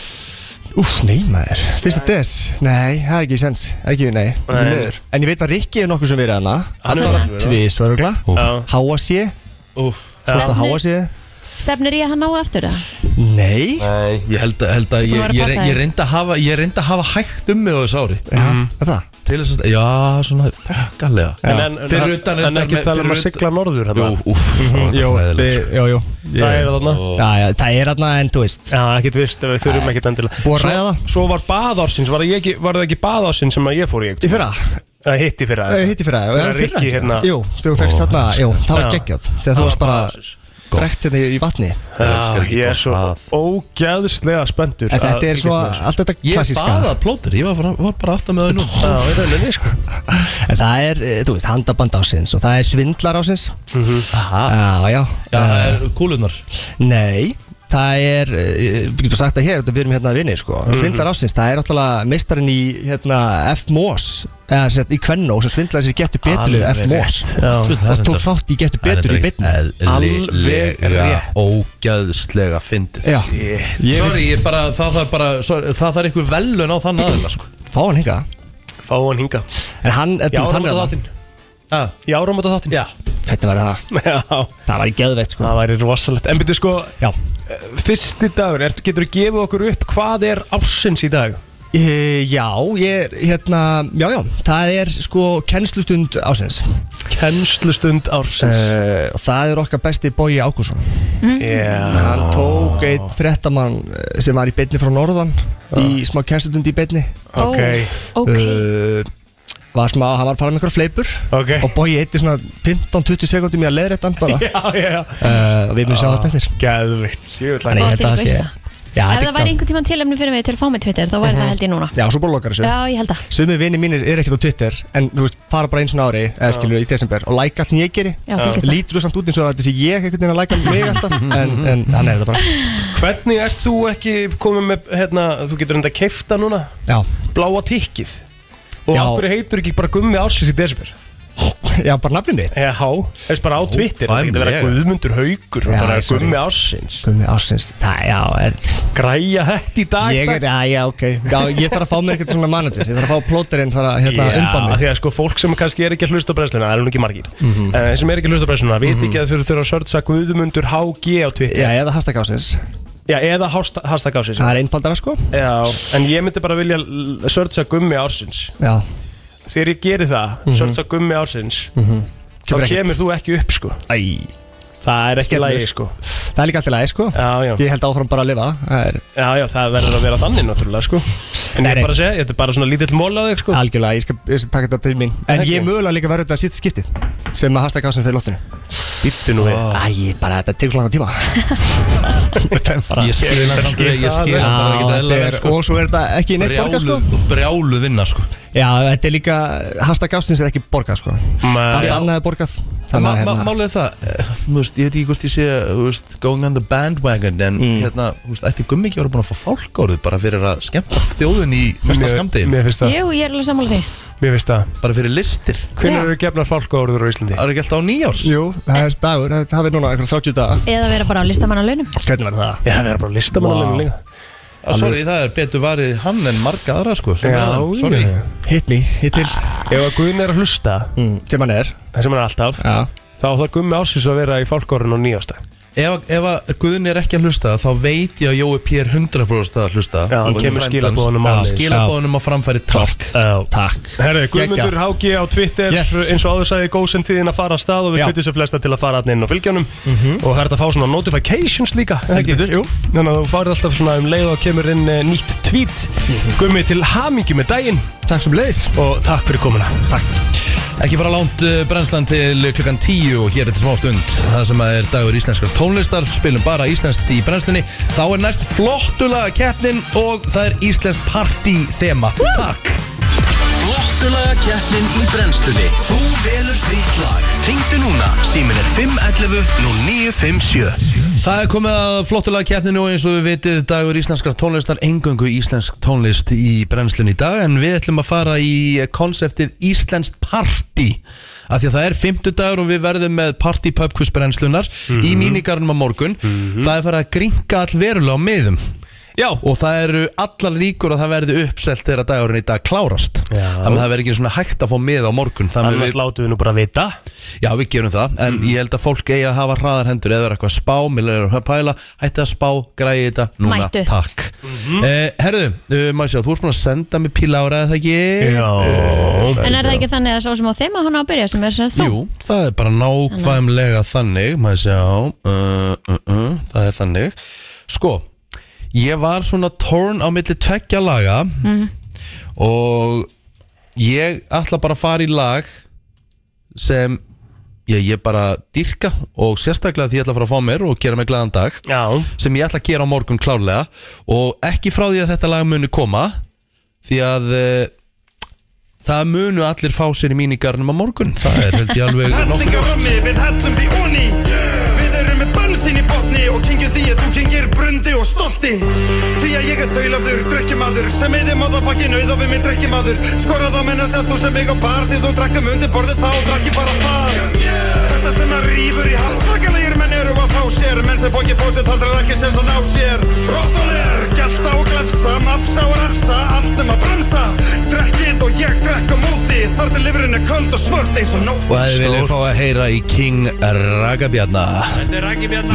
E: úf, nei maður fyrsta des, nei, það er ekki sens er ekki, nei, nei.
D: Nei.
E: Miður. en ég veit að Rikki er nokkuð sem verið hana
D: Hann
E: hann
D: er
E: var
D: nokkuð verið,
E: tvísvörgla
D: Já.
E: háa sé,
D: Já.
E: slótt að háa sé
C: já. Stefnir ég að hann ná aftur það?
E: nei,
B: Nei, ég held að, held að
C: Þú
B: ég,
C: verður að
B: ég,
C: passa
B: ég,
C: þig.
D: Mhm.
B: reyndi að hafa, ég reyndi að hafa hægt um mig á þessu ári
E: já, það
B: til þess að, já, svona þökkalega
D: En, en,
B: Fyrir
D: en-
B: utan
D: en
B: reyndar
D: ekki
B: með-
D: tala um
B: fyrir
D: að
B: utan-
D: sigla norður
B: Jú,
D: hérna
B: úff, það
E: Jó,
B: var hræðilegt, sko.
E: við- Jó, jó ég-
D: Það er þarna
E: Já, já, það er aðna en þú veist
D: Já, ekkert vist, við þurfum ekkert endilega
E: Búið að ræða það?
D: Svo, svo var baðársins, var, ég ekki, var það ekki baðársins sem að ég fór í
E: Í fyrra,
D: Það hitti fyrir
E: Eh, hitt í fyrra,
D: Þegar
E: eða fyrra
D: Rikki hérna-
E: Jú, þegar þú fegst þarna, jú, það var
D: Já.
E: geggjað Þegar þú varst bara brekt hérna í í vatni En
B: elskar ekki
D: Ég er
B: gott
D: svo
B: bað.
D: ógæðslega spenntur að
E: þetta er
D: fylgjast
E: svo,
D: með þessu.
E: allt þetta
B: Ég baða
E: klassíska
B: plótur, ég var, bara- var bara aftan með það nú
F: Ah,
D: Já, í rauninni, sko
E: En það er, eh, þú veist, handaband ásins Og það er svindlar ásins
B: Aha,
E: Já, já Eh,
B: já, það er kúlunar
E: Nei, það er, eh, við getum sagt það hér, þetta við erum hérna að vinni sko Svindlar ásins, það er alltaf meistarinn í hérna, F-Mos eða sett í Kvennó sem svindlaði sér getur betur
D: Alveg
E: F-Mos
D: Já.
E: og tók þátt í getur betur í bitni
D: Alveg
B: Alveg
D: rétt.
B: ógæðslega fyndið
E: Já, ég veit,
B: Sorry, ég bara, það þarf bara sorry, Það þarf ykkur velun á þann aðeins sko.
E: fá hann hinga
D: Fá hann hinga
E: En hann, eh,
D: Í
E: þú veist, hann er
D: áramóta
E: það
D: þáttinn
B: ah,
D: Í áramóta þáttinn
B: Já,
E: Hvernig var það?
D: Já,
E: Það var í geðveitt sko
D: það væri rosalegt En byrju sko,
E: Já
D: fyrsti dagur ertu- Geturðu gefið okkur upp hvað er ársins í dag?
E: e, Já, ég er, hérna, já, já Það er sko kennslustund ásins
D: Kennslustund ársins
E: e, Og það er okkar besti Bogi Ágússon
C: Mm.
D: Já
E: Hann tók einn frettamann sem var í beinni frá norðan í smá kennstutundi í beinni
D: Ah. Ok,
C: Ó, ok
E: uh, var smá, hann var farað með einhverja fleipur
D: ok
E: og bói eitti svona 15-20 sekundum í að leiðrétta hann bara
D: Já, Ah, já, já
E: uh, og við munum sjá þetta eftir Þannig
D: Gæðvikt
C: Ó,
E: ég held að það
C: þvílík
E: sé
C: veisla.
E: Já,
C: Ef
E: þetta
C: það
E: er
C: væri
E: gaman.
C: einhvern tíma tilöfni fyrir mig til að fá mig Twitter þá
B: Mhm.
C: væri það held ég núna
E: Mhm. Já, svo bara lokar þessu
C: Já, ég held það
E: Sumi vini mínir er ekkert á Twitter en þú veist, fara bara eins og ári eða skilur í desember og like allt sem ég geri
C: Já, fylgist með.
E: Lítur þú samt út eins og að þetta sé ég einhvern veginn að like mig alltaf en, en hann er þetta bara
D: Hvernig ert þú ekki komið með, hérna, þú getur enda að keifta núna
E: Já,
D: Bláa tikkið Og
E: Já.
D: okkur heitur ekki bara gummi ársins í desember
E: já bara nafnum mitt
D: Já, þess bara á Twitter Það getur að vera
B: Ófæmilega.
D: guðmundur haugur
E: Já,
D: og bara
E: ég sorry.
D: gummi ársins
E: Gummi ásins, það, já, er
D: Græja þetta í dag
E: Ég er, já, já, ok Já, ég þarf að fá mér eitthvað svona manager Ég þarf að fá plóterinn þarf að hérna umba
D: Já,
E: mig
D: því að sko fólk sem kannski er ekki að hlusta á brennsluna, það er nú ekki margir mm
E: Mhm.
D: sem er ekki að hlusta á brennsluna, veit ekki að þau þurfa að sörtsa Guðmundur HG á Twitter
E: Já, eða hashtag ásins
D: Já, eða hásta- hashtag ásins
E: Það er einfaldara sko
D: Já, en ég myndi bara vilja l- sörtsa gummi ársins
E: Já,
D: Þegar ég geri það,
E: Mhm.
D: sörtsa gummi ársins þá
E: Kemur mhm. ekkert.
D: kemur þú ekki upp sko
E: æ
D: Það er ekki
E: Skellur.
D: lægi sko
E: Það er líka alltaf læg sko
D: Já, já,
E: Ég held áfram bara að lifa Það er
D: já, já það verður að vera þannig náttúrulega sko
E: Nei,
D: En ég
E: nei.
D: er bara að segja, þetta er bara svona lítill mól á þig sko
E: algjörlega, ég skal, ég skal taka þetta til mín En
D: Ekki.
E: ég mögulega líka verður þetta sítt skipti Sem að hashtag ásins fyrir loftinu
D: Býttu nú við
E: Æ, bara þetta tekur svo langan tíma Þetta er bara
B: ég skil hann samt vel, Ég skil hann bara
E: Já,
B: ekki
E: þetta
B: eðlilega
E: er,
B: vel, sko.
E: og svo er þetta ekki í neitt borga sko
B: Brjáluð, brjáluð vinna sko
E: Já, þetta er líka, hashtag ásins er ekki borgað sko
D: Ma-
E: Allt
B: Já.
E: annað er borgað
B: Ma,
E: Þannig að
B: ma,
E: hérna-
B: málið er það, eh, þú veist, ég veit ekki hvort ég sé þú veist, going on the bandwagon en
D: Mm.
B: hérna, þú veist, ætti gummi ekki að vera búin að fá fálkórið bara fyrir að skemmta þjóðin í mesta
D: Mér,
B: skamdegin,
D: mér finnst það,
C: Jú, ég er alveg sammála því
D: mér finnst það
B: bara fyrir listir
D: Hvernig
C: Já.
D: eru gefnar fálkaórður á Íslandi?
B: það er ekki alltaf á nýjárs
E: Jú, það er dagur, það það er núna einhverja 30 daga
C: Eða vera bara á listamannaunum
E: Hvernig verður það?
D: Já, það er bara listamannalegin
E: Vá.
D: líka
B: ah, sorry, það er betur varið hann en marga aðra sko, sem
D: Já,
B: ræðan, sorry
D: já
E: Hit me, hit til
D: Ef að Guðin er að hlusta,
E: mm. Sem hann er
D: það sem hann er alltaf
E: Já
D: þá þarf gummi ásins að vera í fálkaórðun á nýjasta
B: ef, ef að Guðni er ekki að hlusta þá veit ég að Jói P. er 100% að hlusta
D: Já, hann
B: Og
D: kemur
B: frændans-
D: skilaboðunum
B: Já,
D: áleiðis.
B: skilaboðunum á framfæri takk
E: Takk
D: Herri, Guðmundur HG á Twitter
E: Yes.
D: eins og áður sagði góðsend tíðin að fara að stað og við
E: Já. Mhm.
D: kvittum sér flesta til að fara hann inn og fylgja honum og það er þetta að fá svona notifications líka er það ekki?
E: Heldur, jú
D: þannig að þú farið alltaf svona um leið og kemur inn eh, nýtt tweet
E: Mhm.
D: Guðmi til hamingju með daginn
E: Takk sem leiðis
D: og takk fyrir komuna
B: Ekki fara langt uh, brennslan til klukkan 10 og hér er þetta smá stund Það sem að er dagur íslenskar tónlistar Spilum bara íslenskt í brennslunni Þá er næst flottulaga keppnin Og það er íslenskt partíþema Takk
A: Flottulaga keppnin í brennslunni Þú velur þitt lag Ringdu núna, símin er 511 0957
B: Það er komið að flottulega keppninu og eins og við vitið dagur íslenskar tónlistar engöngu íslensk tónlist í brennslun í dag en við ætlum að fara í konseptið Íslenskt Party af því að það er 50 dagur og við verðum með Party Pub Quiz brennslunar í mínigarnum á morgun það er farið að gringa all verulega á miðum
D: Já.
B: og það eru allar líkur að það verði uppselt þegar dagurinn í dag klárast
D: Já.
B: þannig að það verði ekki svona hægt að fá með á morgun þannig
D: Annars
B: við,
D: látum við nú bara vita Mhm.
B: já við gerum það en ég held að fólk eigi að hafa hraðar hendur eða vera eitthvað að spá, mér er að pæla hætti að spá, græði þetta, núna,
C: Mættu.
B: takk mm
D: Mhm.
B: herðu, uh, maður sjá, þú ert búin að senda mér píla ára eða það ekki Eh,
D: Já
C: En er það ekki þannig að sá sem á þeim að hún á að byrja sem er sem sagt þú?
B: Jú, það er bara nákvæmlega þannig, maður sé á, uh, uh, uh, það er þannig. Sko, ég var svona torn á milli tveggja laga
C: Mhm.
B: og ég ætla bara að fara í lag sem ég, ég bara dyrka og sérstaklega því ég ætla að fara að fá mér og gera mig glæðan dag
D: Já
B: sem ég ætla að gera á morgun klárlega og ekki frá því að þetta lag muni koma því að uh, það munu allir fá sér í mínigarnum á morgun það er held ég alveg nokkuð
F: Hellingar rammi, við hellum því onni Við erum með bensin í botni Og kengið því að þú kengir brundi og stolti Því að ég er þaulafður, drekkimaður Sem eði maðafakkin auða við minn drekkimaður Skorað á mennast að þú sem mig á bar Því þú drekkum undir borðið þá, drekki bara það Þetta sem að rýfur í hald Svakalegir menn eru að fá sér Menn sem fókið fósið þar er ekki sens að ná sér Róttalir, gælta og glefsa Mafsa og rafsa, allt um að bransa Drekkið og ég drekk á móti Þar til lifurinn er köld og svört eins og nótt
B: og það vil ég fá að heyra í King Ragabjarna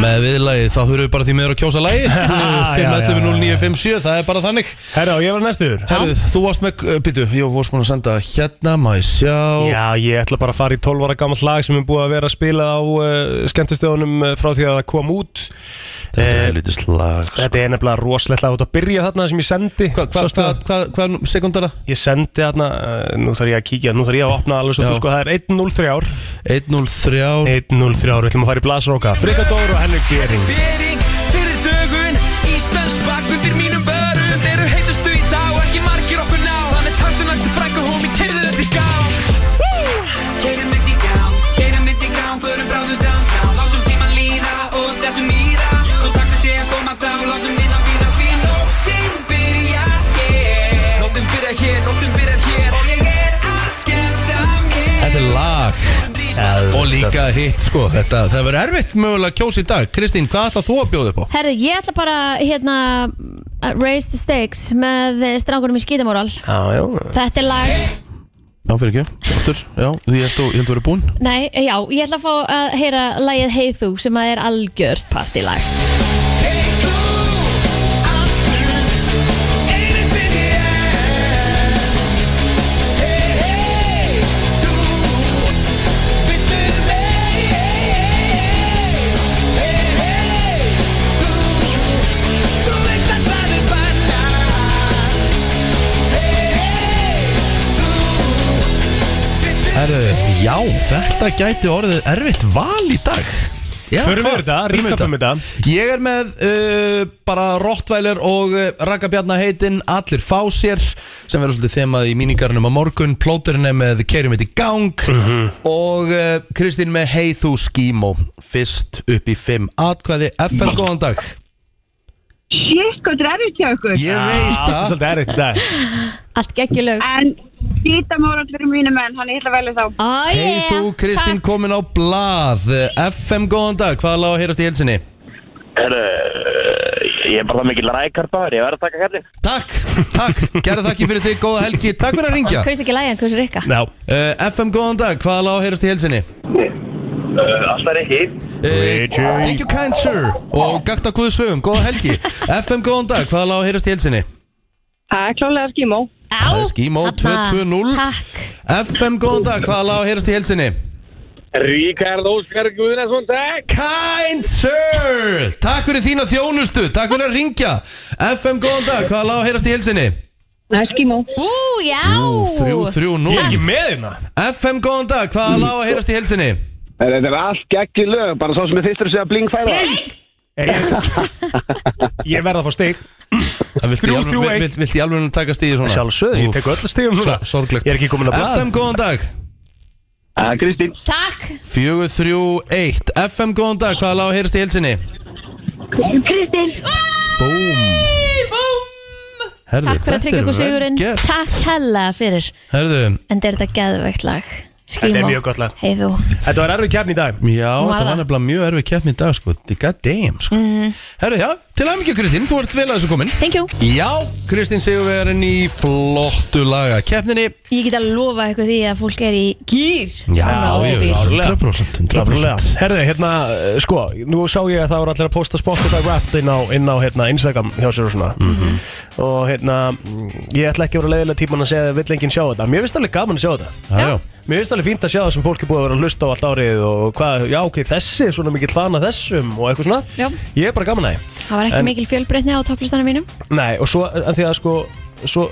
B: með viðlagið þá þurfum við bara því meður að kjósa lagið
D: já, já, já.
B: 511-0957 það er bara þannig
D: Herra, og ég var næstur
B: Herðu, þú varst með, býtu, ég varst búin að senda hérna, maður sjá
D: Já, ég ætla bara að fara í 12 ára gammal lag sem er búið að vera að spila á uh, skemmtistöðunum uh, frá því að það kom út
B: Þetta
D: Eh,
B: er helviti slag sko.
D: Þetta er nefnilega rosalegt lag út að byrja þarna sem ég sendi
B: Hvað, hvað,
D: Sástu
B: hvað,
D: það?
B: hvað, hvað, sekundara?
D: Ég sendi þarna, uh, nú þarf ég að kíkja, nú þarf ég að opna alveg svo
B: Já.
D: þú sko, það er 103 ár
B: 103
D: 103 ár, við ætlum að fara í blasróka Frikka Dóru og Henrik Gering
G: Bering fyrir dögun Íslands bakundir mínum börum Eru heitustu í dag og ekki margir okkur ná Það með taktu næstu frækka hómi, keirðu upp í gám Keirum upp í gám, keirum upp í gám Förum bráðu downtown, látum tíman líða Og dettum í það, og taktu sé að koma þá Látum vinna býða því nóttin byrja hér Nóttin byrja hér, nóttin byrja hér Og ég er að skemmta mér
B: Þetta er lag Og líka hitt sko þetta, Það verður erfitt mögulega að kjósa í dag Kristín, hvað ætlað þú að bjóða upp á?
C: Herðu, ég ætla bara hérna að raise the stakes með eh, strákunum í skítamóral
D: Já, já,
C: Þetta er lag,
B: Já, fyrir ekki, aftur Já, ég held að þú eru búinn
C: nei, já, ég ætla að fá að heyra lagið Hey Þú sem að er algjört partylag
B: Herru, já, þetta gæti orðið erfitt val í dag Já,
D: Förum við
B: hvað?
D: þetta,
B: Förum við
D: recapum þetta.
B: Ég er með uh, bara Rottweiler og uh, Ragabjarna heitin Allir fá sér sem verður svolítið þemað í míningarnum á morgun Plóturinn er með Kerum eitt í gang
D: Mhm.
B: og uh, Kristín með Hey þú skímó Fyrst upp í 5 atkvæði FM, góðan dag
H: Sýtt hvað drefið til okkur
B: Ég veit
D: Ah, þetta er
B: að
D: svolítið errið þetta
C: Allt geggjulög
H: En skítamóral fyrir mínu menn Hann ég ætla að velja þá
C: oh,
B: Hey þú Kristín komin á blað FM, góðan dag, hvað lág að heyrast í helsinni?
I: Herru, ég er bara það mikil rækarpaður, ég verð að taka kallin.
B: Takk, takk, gerðu þakki fyrir þig, góða helgi Takk fyrir að ringja
C: Kaus ekki lagið, kaus rikka
D: Já,
B: Uh, FM, góðan dag, hvaða lág heyrast í helsinni?
I: Uh, alltaf er ekki.
B: Uh, thank you kind sir Og gakt að guðu svöfum, góða helgi FM, góðan dag, hvaða lág heyrast í helsinni?
H: Það er klálega skímó
B: Það er skímó, 220.
C: Takk
B: FM, góðan dag, hvaða lág heyrast í helsinni?
I: Ríkard Óskar Guðnason, takk!
B: Kind sir Takk fyrir þína þjónustu, takk fyrir að ringja FM, góðan dag, hvaða lág heyrast í helsinni?
H: Það er skímó
C: Ú, já
D: ég er
B: 330
D: ekki með hérna
B: FM, góðan dag, hvaða lág heyrast í helsinni?
I: Þetta er allt geggi lög, bara svo sem er fyrstur að segja bling færa. Bling!
D: Ég verð að fá stig
B: Það Viltu í
D: Þrjú, þrjú,
B: alveg-
D: eitt.
B: vilt- viltu í alveg taka stíði svona?
D: Sjálfsögðu, ég tek öll stigum núna.
B: Sor- Sorglegt
D: Ég er ekki kominn á blað.
B: FM, góðan dag
I: Uh, Kristín,
C: Takk
B: 431 FM, góðan dag, hvaða lág heyrst í helsinni?
H: Kristinn
B: Búm Herðu,
C: Takk fyrir að
B: þetta er
C: tryggja okkur
B: vel
C: sigurinn
B: gert.
C: Takk hella fyrir
B: Herðu,
C: En þetta er þetta geðveikt lag Skímó.
D: Þetta er mjög gott lag.
C: Hey þú.
D: Þetta var erfið kefni í dag
B: Já,
C: Hún var
B: þetta var
C: það. Mhm.
B: nefnilega mjög erfið keppni í dag sko God damn sko Herru, já, til aðeins ekki Kristín, þú ert vel að þessu komin
C: Thank you.
B: Já, Kristín Sigurvegarinn í flottu laga keppninni
C: Ég get að lofa eitthvað því að fólk er í gýr.
B: Já,
C: Ná,
B: ég
C: bíl.
B: 100% 100%
D: Herðu, hérna, eh, sko, nú sá ég að það voru allir að posta Spotify Wrapped inn á, inn á hérna, Instagram hjá sér og svona
B: Mhm.
D: Og hérna, mm, ég ætla ekki að vera leiðilega tíman að segja að vill enginn sjá þetta Mér finnst alveg gaman að sjá þetta
B: Já, já
D: Mér finnst alveg fínt að sjá það sem fólk er búið að vera að hlusta á allt árið Og hvað, já ok, þessi, er svona mikill fan að þessum og eitthvað svona
C: Já.
D: Ég er bara gaman að því
C: Það var ekki
D: En-
C: mikil fjölbreytni á topplistanum mínum.
D: Nei, og svo, en því að sko, svo,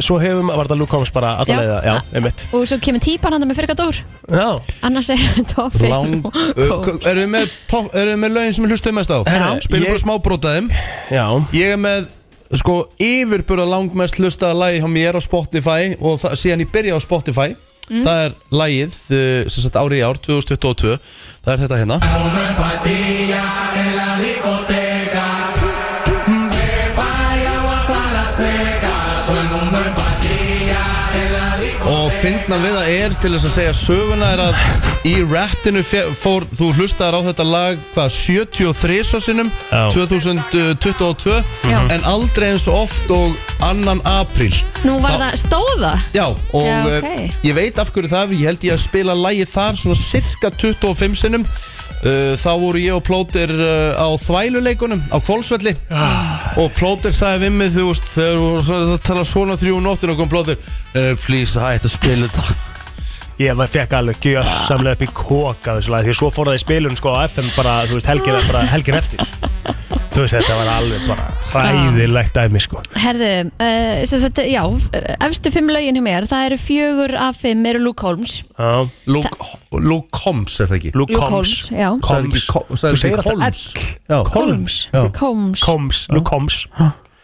D: svo hefum, var þetta Luke Combs bara alla
C: Já.
D: leiða, já, einmitt
C: Og svo kemur típan handa með fyrir dór.
D: Já,
C: Annars er toppin.
B: Lang, erum við með, top- eruð þið með lögin sem við hlustum mest á?
D: Herru,
B: Spilum
D: ég-
B: bara smábrotaðum
D: já,
B: Ég er með sko yfirburða langmest hlustaða lagi hjá mér á Spotify og það, síðan ég byrja á Spotify það er lagið uh, sem sagt árið í ár 2022 það er þetta hérna Og finna við að er til þess að segja söguna er að í rappinu fe- fór, þú hlustaðar á þetta lag hvað, 73 svo sinnum eh,
D: Já.
B: 2022
C: Já.
B: en aldrei eins og oft og annan apríl
C: Nú var
B: Þá-
C: það stóða.
B: Já, og
C: Já,
B: eh,
C: ok.
B: ég veit af hverju það er, ég held ég að spila lægið þar svona cirka 25 sinnum Uh, þá voru ég og Plóter uh, á þvæluleikunum á Kvolsvelli og Plóter sagði við mig þú veist þegar þú voru að tala svona þrjú nóttin og kom Plóter uh, please hætt að spila þetta
D: Ég maður fekk alveg gjössamlega upp í koka þessu lagi Því svo fór það í spilun sko á FM bara, þú veist, helgin, bara, helgin eftir Þú veist, þetta var alveg bara hræðilegt dæmi sko
C: Herðu, uh, sem sagt, já, eh, efstu fimm lögin hjá mér, það eru fjögur af fimm eru Luke Holmes.
D: Já,
B: Luke, Luke Holmes er það ekki
D: Luke
C: Luke
D: Combs
C: Holmes, já.
B: Sagði ekki Ko- sagði
D: Þú
B: ekki
D: segir alltaf
B: Holmes?
D: ell
B: Já.
D: Holmes
B: Já.
C: Luke Holmes.
D: Combs, Luke Combs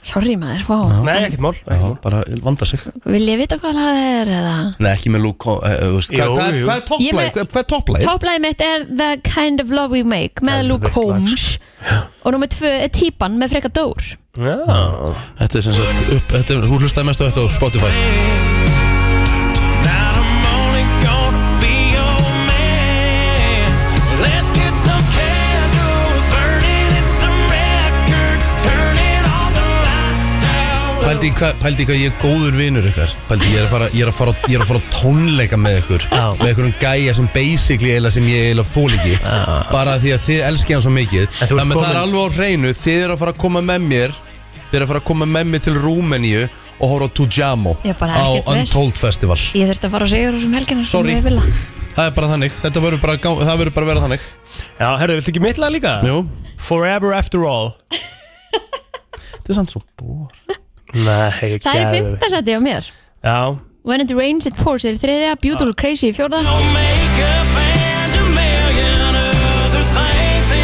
C: Sorry maður, fá.
D: Nei, ekkert mál
B: Já, bara vanda sig
C: Vil ég vita hvað það er eða?
B: Nei, ekki með Luke Holmes uh, veist,
D: Jú,
B: hvað, hvað,
D: jú.
B: er- hvað er
C: Ég með-
B: topplægið? Hvað, hvað er topplægið?
C: Topplæði mitt er The Kind of Love We Make með Luke
D: Geðveikt lag.
C: Holmes og nummer tvö er Típan með Freka Dór.
D: Já,
B: Þetta er sem sagt upp, þetta er, hún hlustaði mest á þetta á Spotify Pældi í hvað pældi í hvað ég er góður vinur ykkar Pældi ég er að fara, ég er að fara, ég er að fara á tónleika með ykkur
D: Já.
B: Með einhverjum gæja sem basically eila sem ég eila fól ekki Bara því að þið elski hann svo mikið
D: En þú ert
B: Þannig að það er
D: komin-
B: alveg á hreinu Þið eru að fara að koma með mér Þið eru að fara að koma með mér til Rúmeníu Og horfa á Tujamo
C: Ég bara
B: Á
C: ekkert viss.
B: Untold Festival
C: Ég þurfti að fara á Sigur og sem helgina sem
B: Sorry.
C: ég vilja.
B: Það er bara þannig, þetta verður bara, gá- það verður bara að vera þannig
D: já herru, viltu ekki mittla líka?
B: Jú,
D: Forever After All
B: þetta er samt svo bór
D: Nei,
C: Það er í
D: geðveikt.
C: fymta seti á mér.
D: Já,
C: When it rains it pours er í þriðja, Beautiful Crazy í fjórða.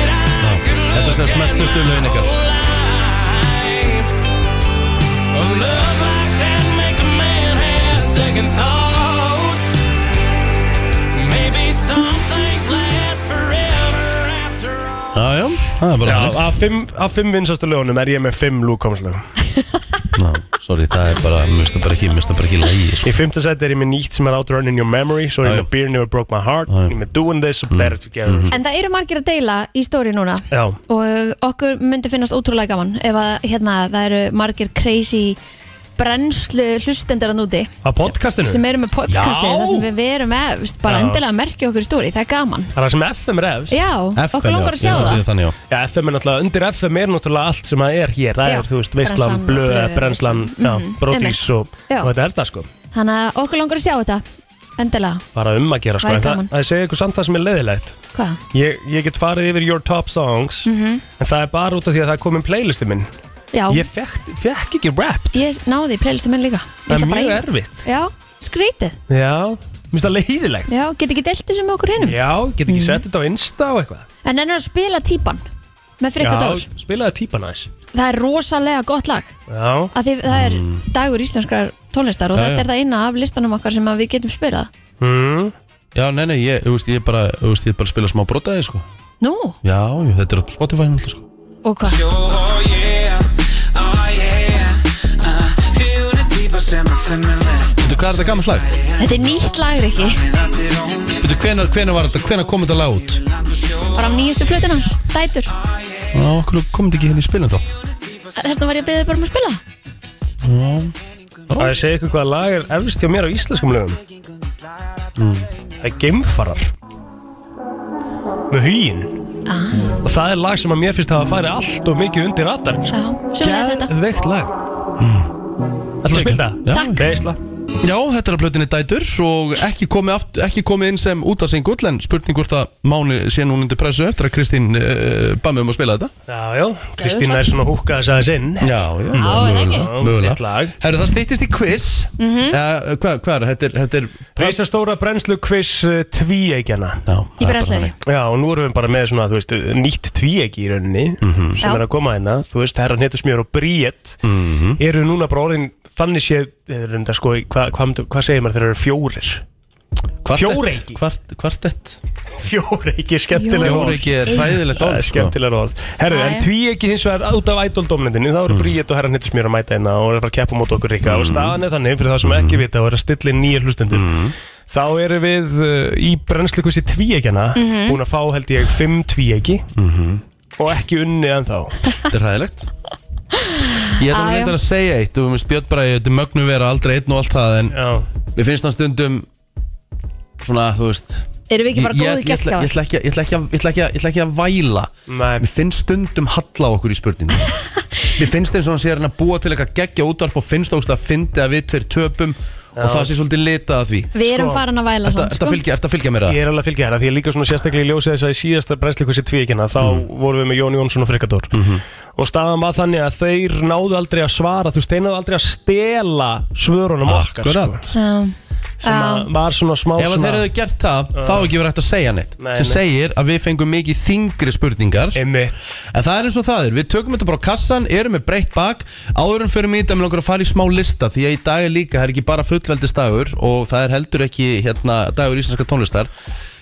B: Þetta er sérst mest hlustu lögin ykkar Já, já, það er bara
D: já
B: þannig
D: af fimm, af fimm vinsastu lögunum er ég með fimm Luke Combs lögum
B: Ná, sorry, það er bara, mér finnst það bara ekki, mér finnst það bara ekki lægi, sko
D: Í fymta set er ég með nýtt sem er Out Running Your Memory Svo er
B: Já,
D: ég
B: já.
D: með Beer Never Broke My Heart
B: já. Mm-hmm.
D: Ég er með Doing This og Better Together
C: En það eru margir að deila í stóri núna
D: Já,
C: og okkur myndi finnast ótrúlega gaman ef að hérna, það eru margir crazy brennslu hlustendur að núti
D: Á podcastinu?
C: sem eru með podcastið
B: Já.
C: þar sem við verum efst bara
D: Já.
C: endilega að merkja okkur í stóri, það er gaman
D: það er það sem FM er efst
C: Já, okkur langar að sjá það
B: Þannig, já
D: Já, FM er náttúrulega, undir FM er náttúrulega allt sem að er hér Það
C: Já.
D: er, þú veist, Veistlan,
C: Brennslan,
D: Blöð,
C: Blöð,
D: Brennslan,
C: Veislan,
D: já,
C: mhm,
D: Brodís
C: einmitt.
D: og,
C: Já.
D: og þetta er það sko
C: Þannig að okkur langar að sjá þetta endilega,
D: Bara um að gera sko
C: Væri
D: En það,
C: gaman.
D: það segja ykkur samt það sem er leiðilegt
C: hvað?
D: ég, ég get farið yfir Your Top Songs En það er bara út af því að það er komin playlisti minn
C: Mhm. Já,
D: Ég fekk, fekk ekki rapped
C: ég náði í playlistu minn líka Ég
D: Það
C: ætla
D: er
C: bara
D: mjög
C: í-
D: erfitt
C: Já, skrítið
D: Já, minnst það leiðilegt
C: Já, get ekki deilt þessu með okkur hinum
D: Já, get
C: Mhm.
D: ekki sett þetta á Insta og eitthvað
C: En ennur að spila típan með Frikka
D: Já,
C: Dórs
D: spilaði típan aðeins
C: Það er rosalega gott lag
D: Já,
C: að því það er
B: Mm.
C: dagur íslenskrar tónlistar og
B: Já, já.
C: þetta er það eina af listanum okkar sem að við getum spilað
D: mm,
B: Já, nei, nei, ég, þú veist, ég bara, þú veist, ég bara spila smá brotaði, sko
C: Nú,
B: Já, já, þetta er á Spotify, náttúrulega, sko
C: og hvað?
G: Oh, Uh,
B: Þetta Býtu, hvað er þetta gammal lag?
C: Þetta er nýtt lag, Rikki
B: Býtu, hvenar, hvenar var þetta? Hvenar kom þetta lag út?
C: Bara á nýjustu plötuna, dætur
B: Já, okkur kom þetta ekki hérna í spilin þá
C: Þess vegna var ég að beðið bara um að spila
D: Það er að segja ykkur hvaða lag er efst hjá mér á íslenskum lögum
B: Mm.
D: Það er Geimfarar Með hugin
C: ah,
D: Og það er lag sem að mér finnst hafa farið allt og mikið undir radarinn sko.
C: Já, sjóðum þess þetta
D: Geðveikt lag Það er að spila það?
B: Já.
C: Takk.
D: Veisla
B: Já, þetta er að blötinni dætur og ekki komið, aft, ekki komið inn sem út af singull en spurning hvort að Máni sé núna undir pressu eftir að Kristín uh, bæði um að spila þetta
D: Já, já, Kristín er svona húkað þess aðeins inn
B: Já,
C: Já,
B: já,
C: er það ekki?
D: Já, nýtt
B: mögulega
D: lag.
B: Herru, það stýttist í quiz mm
D: Mhm.
G: Mhm.
B: Hvað, hvað er, þetta er, þetta er
D: Reisa stóra brennslu quiz tvíegjana
C: Í
B: Já, það er bara
C: brensleiri
B: þannig.
D: Já, og nú erum við bara með svona, þú veist, nýtt tvíegi í rauninni
B: Mhm.
D: sem
C: Já.
D: er að koma hérna, þú veist, herra Netusmjör og Bríett
B: Mhm.
D: eru núna bara orðin þannig séð, er reynda sko, í- hvað hva, hva, hva segir maður þegar það eru fjórir?
B: Kvartett.
D: Fjóreiki.
B: Kvart- Kvartett
D: Fjóreiki, skemmtilega
B: Fjóreiki er hræðilegt
D: Það
B: orð
D: er
B: sko.
D: skemmtilega orð Herru,
C: Já,
D: en
C: já.
D: tvíegi hins vegar út af ædoldomlendinu þá eru mm. Bríett og herra Netusmjör að mæta hérna og eru bara að keppa mót okkur rikka
B: Mm.
D: og staðan er þannig, fyrir það sem ekki vita og eru að stilla inn nýja hlustendur Þá erum við uh, í brennslukvissi tvíegjana búin að fá held ég fimm tvíegi og ekki unni en þá
B: Þetta er hæðilegt Ég
C: Á,
B: ætla að
C: já.
B: reynda að segja eitt og minnst Björn Bræði, þetta er mögnu vera aldrei einn og allt það en
D: Já,
B: mér finnst hann stundum svona, þú veist
C: Erum við ekki bara
B: ég- ég
C: góðu
B: ætla- ég ætla-
C: gæstgáðar?
B: ég ætla ekki að- ég ætla ekki að- ég ætla ekki að- ég ætla ekki að væla
D: Nei.
B: Mér finnst stundum halla á okkur í spurningum Mér finnst eins og hann sé að reyna að búa til eitthvað geggja útvarp og finnst ógstlega að fyndi að við tveir töpum og það sé svolítið litað að því
C: Við erum
D: Sko,
C: farin að væla
B: Þetta
C: samt,
B: sko?
C: sko
B: fylgja, ertu að fylgja mér
D: ég
B: það?
D: er alveg að fylgja hérna því ég líka svona sérstaklega í ljósið þess að í síðasta brennslukvissi tvíegina þá
B: Mm.
D: vorum við með Jón Jónsson og Frikador
B: Mhm.
D: og staðan var þannig að þeir náðu aldrei að svara, þú veist, þeir náðu aldrei að stela svörunum okkar sko,
B: Akkurat
D: sem að Hérna, var svona smá
B: Ef að þeir
D: svona
B: hefðu gert það, þá er ekki verið hægt að segja neitt
D: Nei,
B: sem
D: nei.
B: segir að við fengum mikið þingri spurningar
D: Einmitt.
B: En það er eins og það er, við tökum þetta bara á kassan, erum með breytt bak Áðurum fyrir mig í dag með langar að fara í smá lista Því að í dag er líka, það er ekki bara fullveldisdagur Og það er heldur ekki hérna, dagur íslenska tónlistar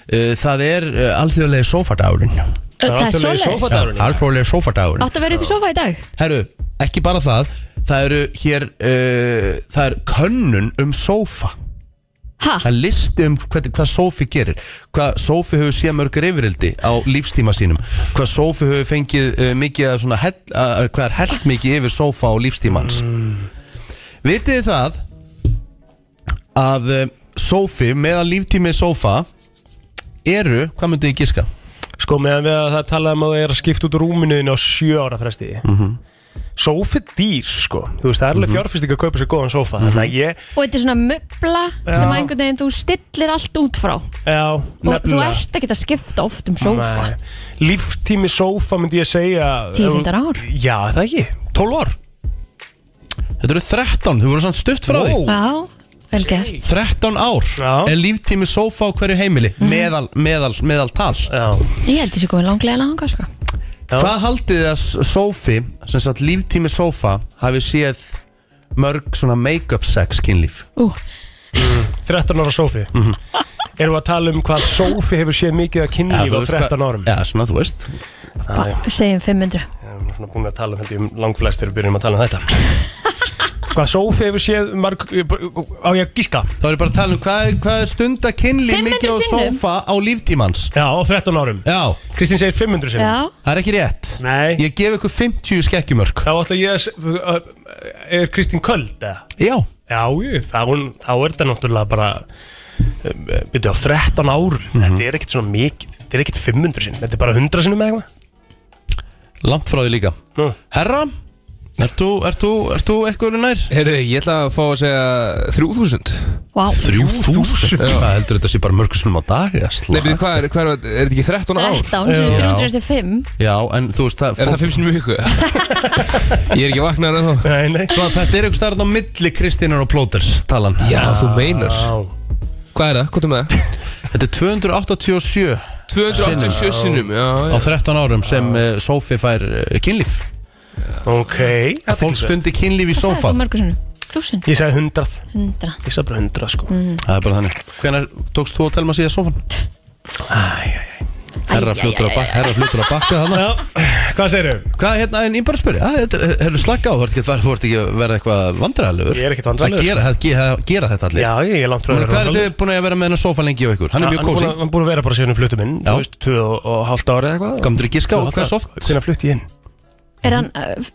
B: Uh, Það er uh, alþjóðlega sófardagurinn
C: Það er
D: alþjóðlegi
C: svoleiðis
D: sófadagurinn. Dagurinn í dag.
B: Alþjóðlega sófardagurinn
C: Áttu að vera upp í sofa í dag?
B: Herru, ekki bara það Það eru hér, uh, það er könnun um sófa
C: Ha?
B: Það er listi um hvað, hvað Sofi gerir Hvað Sofi hefur séð mörg reyfirildi á lífstíma sínum Hvað Sofi hefur fengið uh, mikið að svona hell, uh, Hvað er held mikið yfir Sofa á lífstímans mm. Vitið þið það Að uh, Sofi meðan líftími Sofa Eru, hvað myndið ég giska?
D: sko meðan við að það talaði um að það er að skipta út rúminuðin á sjö ára fresti mm -hmm. sófi dýr sko þú veist það er alveg
B: Mhm.
D: fjárfyrsting að kaupa sér góðan sófa þannig að ég,
C: Og þetta er svona möbla sem að einhvern veginn þú stillir allt út frá og
D: já,
C: þú ert ekkert að skipta oft um sofa
D: Nei. líftími sófa myndi ég segja um-
C: 10-15 ár.
D: já það ekki, 12 ár
B: Þetta eru 13, þau voru samt stutt frá því
D: Ó.
C: Já, vel gert
B: 13 ár
D: Já. Mhm.
B: er líftími Sofa á hverju heimili meðal, meðal, meðal tal
D: já,
C: Ég held þessi komið langlega langa sko
D: Já.
B: Hvað haldið þið að Sofi, sem sagt líftími Sofa, hafi séð mörg svona make-up sex kynlíf? Mhm.
C: Ú,
D: 13 ára sófi erum við að tala um hvað sófi hefur séð mikið að kynlíf
B: þú
D: á
B: veist
D: 13
B: hvað-
D: árum
B: Já, svona, þú veist.
D: já, já.
C: segjum 500
D: erum svona búin að tala um þetta um langflest þegar við byrjum að tala um þetta Hvað Sofi hefur séð marg, á ég að gíska
B: Þá er ég bara að tala um hvað, er- hvað er stunda kynlíf
C: 500
B: mikið á
C: sinnum?
B: Sofa á líftímans?
D: Já, á 13 árum
B: Já,
D: Kristín segir 500 sinni
C: Já,
B: það er ekki rétt.
D: Nei,
B: Ég gef ykkur 50 skekkjumörk.
D: þá ætla ég að se- að- Er Kristín köld eða?
B: Já,
D: Já, jú, þá, hún- þá er þetta náttúrulega bara Byrju á 13 árum
B: Mhm.
D: Þetta er ekkert svona mikið Þetta er ekkert 500 sinni, þetta er bara 100 sinni með eitthvað
B: langt frá því líka.
D: Nú.
B: Herra, ert þú, ert þú, ert þú eitthvað nær?
J: Heyrðu, ég ætla að fá að segja 3000
C: vá
B: 3000? Hvað heldur þetta sé bara mörgsunum á dag? eða
J: Nei,
B: slag?
J: betur, hvað er, hvað er, er þetta ekki 13 ár?
C: 13 sem er 365
B: Já, en þú veist það,
J: Er það 5 sinni mjög ykkur? ég er ekki vaknar en þá
D: Nei, nei
B: Svo að þetta er eitthvað starf á milli Kristínar og Plóters talan
J: Já, þú meinar
D: Já,
J: Hvað er það? Hvað er með það?
B: Þetta er 287
J: 287 sinnum, já,
B: á
J: já
B: 13 árum sem uh, Sofi fær uh, kynlíf
D: ok
B: að fólk stundi kynlíf í
C: Hvað sagði
B: sófa
C: þú mörgur svona? 1000,
D: Ég sagði 100
C: 100
D: Ég sagði bara
C: Mm.
D: 100 sko
C: Mhm.
B: Það er bara þannig Hvenær tókst þú að telma síðan sófan?
C: Æ,
B: Herra fljótur að bakka, herra fljótur að bakka hana
D: Já, hvað segirðu?
B: Hvað, hérna, en ég bara spyrir, að þetta er- herru slakka á, þú ert ekki að- þú ert ekki að vera eitthvað vandræðalegur
D: Ég er ekkert vandræðalegur,
B: Að gera, að gera, að gera þetta allir
D: Já, ég er langt frá
B: Núna, Hvað er
D: vandræðalegur.
B: þið búin að vera með hennar sófa lengi á ykkur? Hann er mjög
D: búinn
B: kósi
D: að- Hann búin að vera bara síðan við fluttum inn Þú
B: Já.
D: veist, tvö og, og hálft ári eða eitthvað
B: Gamdur ekki ská,
D: Tvö og
B: hvað
D: hálft
B: er
D: ár.
B: soft?
D: Hvenær flutti ég inn?
C: Er hann, uh, f-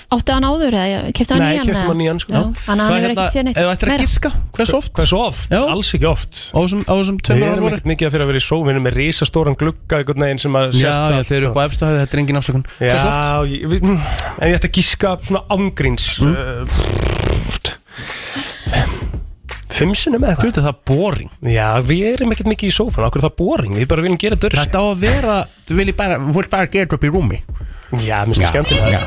C: f- áttu hann áður eða kefti hann
D: Nei,
C: nýjan?
D: keyptum hann nýjan, sko.
C: Þannig að
B: Hvað
C: hann hefur
B: hérna,
C: ekkert séð neitt
B: ef þú ættir að
C: meira.
B: giska, hvað er soft?
D: Hvað er svo oft?
B: Já.
D: Alls ekki oft
B: Á þessum- á þessum
D: Við
B: tveimur ára
D: erum
B: voru?
D: ekkert mikið að fyrir að vera í sóvinum með risastóran glugga einhvern veginn sem að
B: Já,
D: sést
B: já,
D: allt
B: þeir eru upp á efstu hæði, þetta er engin afsökun Hvað er soft?
D: Já, ég, við- mm, en ég ætti að gíska svona ángríns mm. Fimm sinnum eða
B: Þú
D: eitthvað
B: veit að það er boring
D: Já, við erum ekkert mikið í sófan, okkur er það boring Við bara viljum gera dörr
B: Þetta á að vera, þú viljið bara, þú vilt bara gera þetta upp í rúmi
D: Já, mér finnst það skemmtilega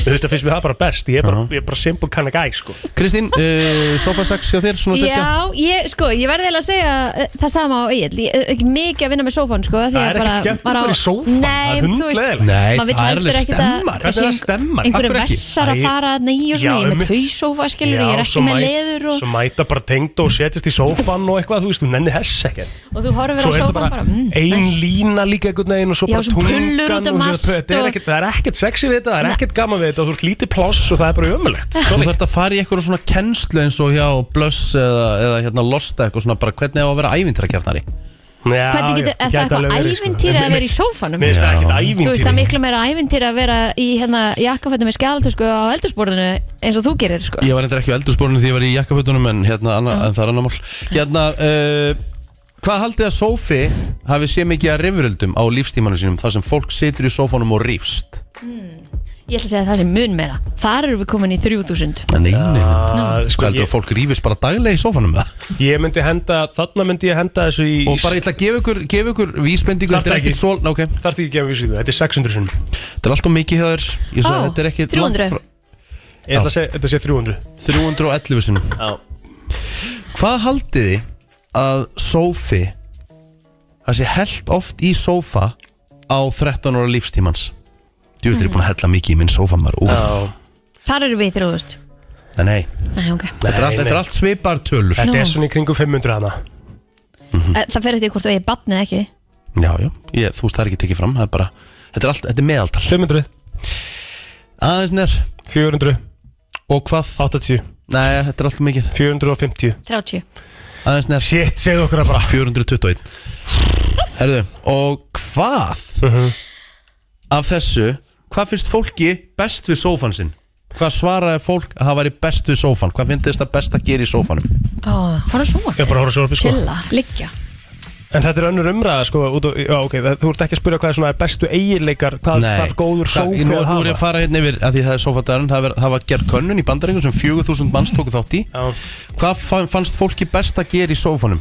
D: Þetta finnst við það bara best Ég er bara, ég er bara simple kind of guy, sko
B: Uh-huh. Kristín, uh, sofa 6 hjá þér, svona cirka
C: Já, ég, sko, ég verði eiginlega að segja eh, það sama á Egil, ég er ekki mikið að vinna með sófan sko, því
D: Það
C: að
D: er ekkert
C: bara-
D: skemmtilegt
C: bara-
D: að vera í sófann, það er
C: Nei, þú veist,
D: hundleiðinlegt.
B: Nei,
C: maður vill
B: það er
C: heldur
B: alveg
C: ekkert að-
B: stemmar.
D: Hvernig
C: sé
D: það stemmar?
C: Einhverju
B: Af hverju ekki?
C: vessar að
D: Æ,
C: fara þarna í og svona,
D: já,
C: ég er með
D: einmitt.
C: tausófa skilur, ég er
D: Já,
C: ekki
D: svo
C: með
D: mæ-
C: leður og,
D: Svo mæta bara tengd og setjast í sófan og eitthvað, þú veist, þú nenni hess ekkert
C: og þú horfir á
D: Svo er þetta
C: sófan
D: bara,
C: bara, mm,
D: ein
C: nice.
D: lína líka einhvern veginn og svo
C: Já,
D: bara
C: svo
D: tungan
C: pullur út um
D: og svo-
C: allt
D: þetta er
C: og-
D: ekkert- Það er ekkert sexy við þetta, það er ekkert gaman við þetta og þú ert lítið pláss og það er bara Sko, ömulegt
B: Þú þarft að fara í eitthvað svona kennslu eins og hjá Blöss eða, eða hérna Lost eitthvað svona bara hvernig á að vera ævintrakjarnari
C: Hvernig getur, er það eitthvað
D: sko.
C: ævintýri að vera í sófanum?
D: Mér finnst það
C: Þú
D: ekkert
C: veist,
D: ævintýri
C: það er miklu meira ævintýri að vera í hérna jakkafættu með skjálatösku á eldursporðinu eins og þú gerir sko.
B: Ég var eitthvað ekki á eldursporinu því ég var í jakkafötunum en, hérna, anna, en það er annar mál Hérna, uh, hvað haldið að Sofi hafi sé mikið að rifrildum á lífstímanum sínum þar sem fólk situr í sófanum og rífst
C: Ég ætla að segja að það sem mun meira. Þar eru við komin í 3000.
B: Nei, nei, nei
D: Ah,
B: Sko
D: sko,
B: heldur að
D: ég,
B: fólk rífist bara daglega í sófanum með það
D: ég myndi henda, þarna myndi ég henda þessu í
B: Og bara ég ætla að gefa ykkur, gefa ykkur vísbendingu
D: Þarf
B: Þetta er
D: ekki.
B: ekkert svo, ok,
D: Þarf ekki að gefa vísu í þetta er 600 sinum
B: þetta er alltaf mikið hjá þér Ég sagði
C: Ó,
B: þetta er ekkert langt
C: 300.
B: frá-
D: Ég ætla að segja, þetta sé 300
B: 311 sinum
D: Já.
B: Hvað haldið þið að sófi það sé held oft í sófa á 13 ára lífstímans Þú veitir, ég er búin að hella mikið í minn sófa maður Úf,
C: Þar eru við í 3000.
B: Nei, nei,
C: Nei, ok.
B: þetta er allt,
D: nei.
B: þetta er allt svipar tölur Já,
D: Þetta er svona í kringum 500 hana
C: Eh, Það fer eftir hvort þú eigi batni eða ekki.
B: já, ég, þú veist það er ekki tekið fram Það er bara, þetta er, allt, þetta er meðaltal
D: 500,
B: Aðeins nér,
D: 400,
B: og hvað?
D: 80,
B: Nei, þetta er alltaf mikið
D: 450
C: 30.
B: Aðeins nér,
D: Shit, segðu okkur það bara
B: 421 Herðu, og hvað
D: Mhm.
B: af þessu hvað finnst fólki best við sófan sinn? Hvað svaraði fólk að það væri best við sófan? Hvað finnst það best að gera í sófanum?
C: Ó, hvað er svona?
D: Ég er bara að horfa svo upp í sko
C: Chilla, liggja.
D: En þetta er önnur umræða sko út og, já, okay, það, Þú ert ekki að spyrja hvað er svona bestu eiginleikar Hvað Nei. þarf góður
B: Hvað- nú,
D: sófi að
B: nú er ég að
D: hafa
B: fara hérna yfir að því það er sófadagurinn það, ver- það var gerð könnun í bandaringum sem 4000 manns tóku þátt í
D: Já.
B: Hvað fa- fannst fólki best að gera í sófanum?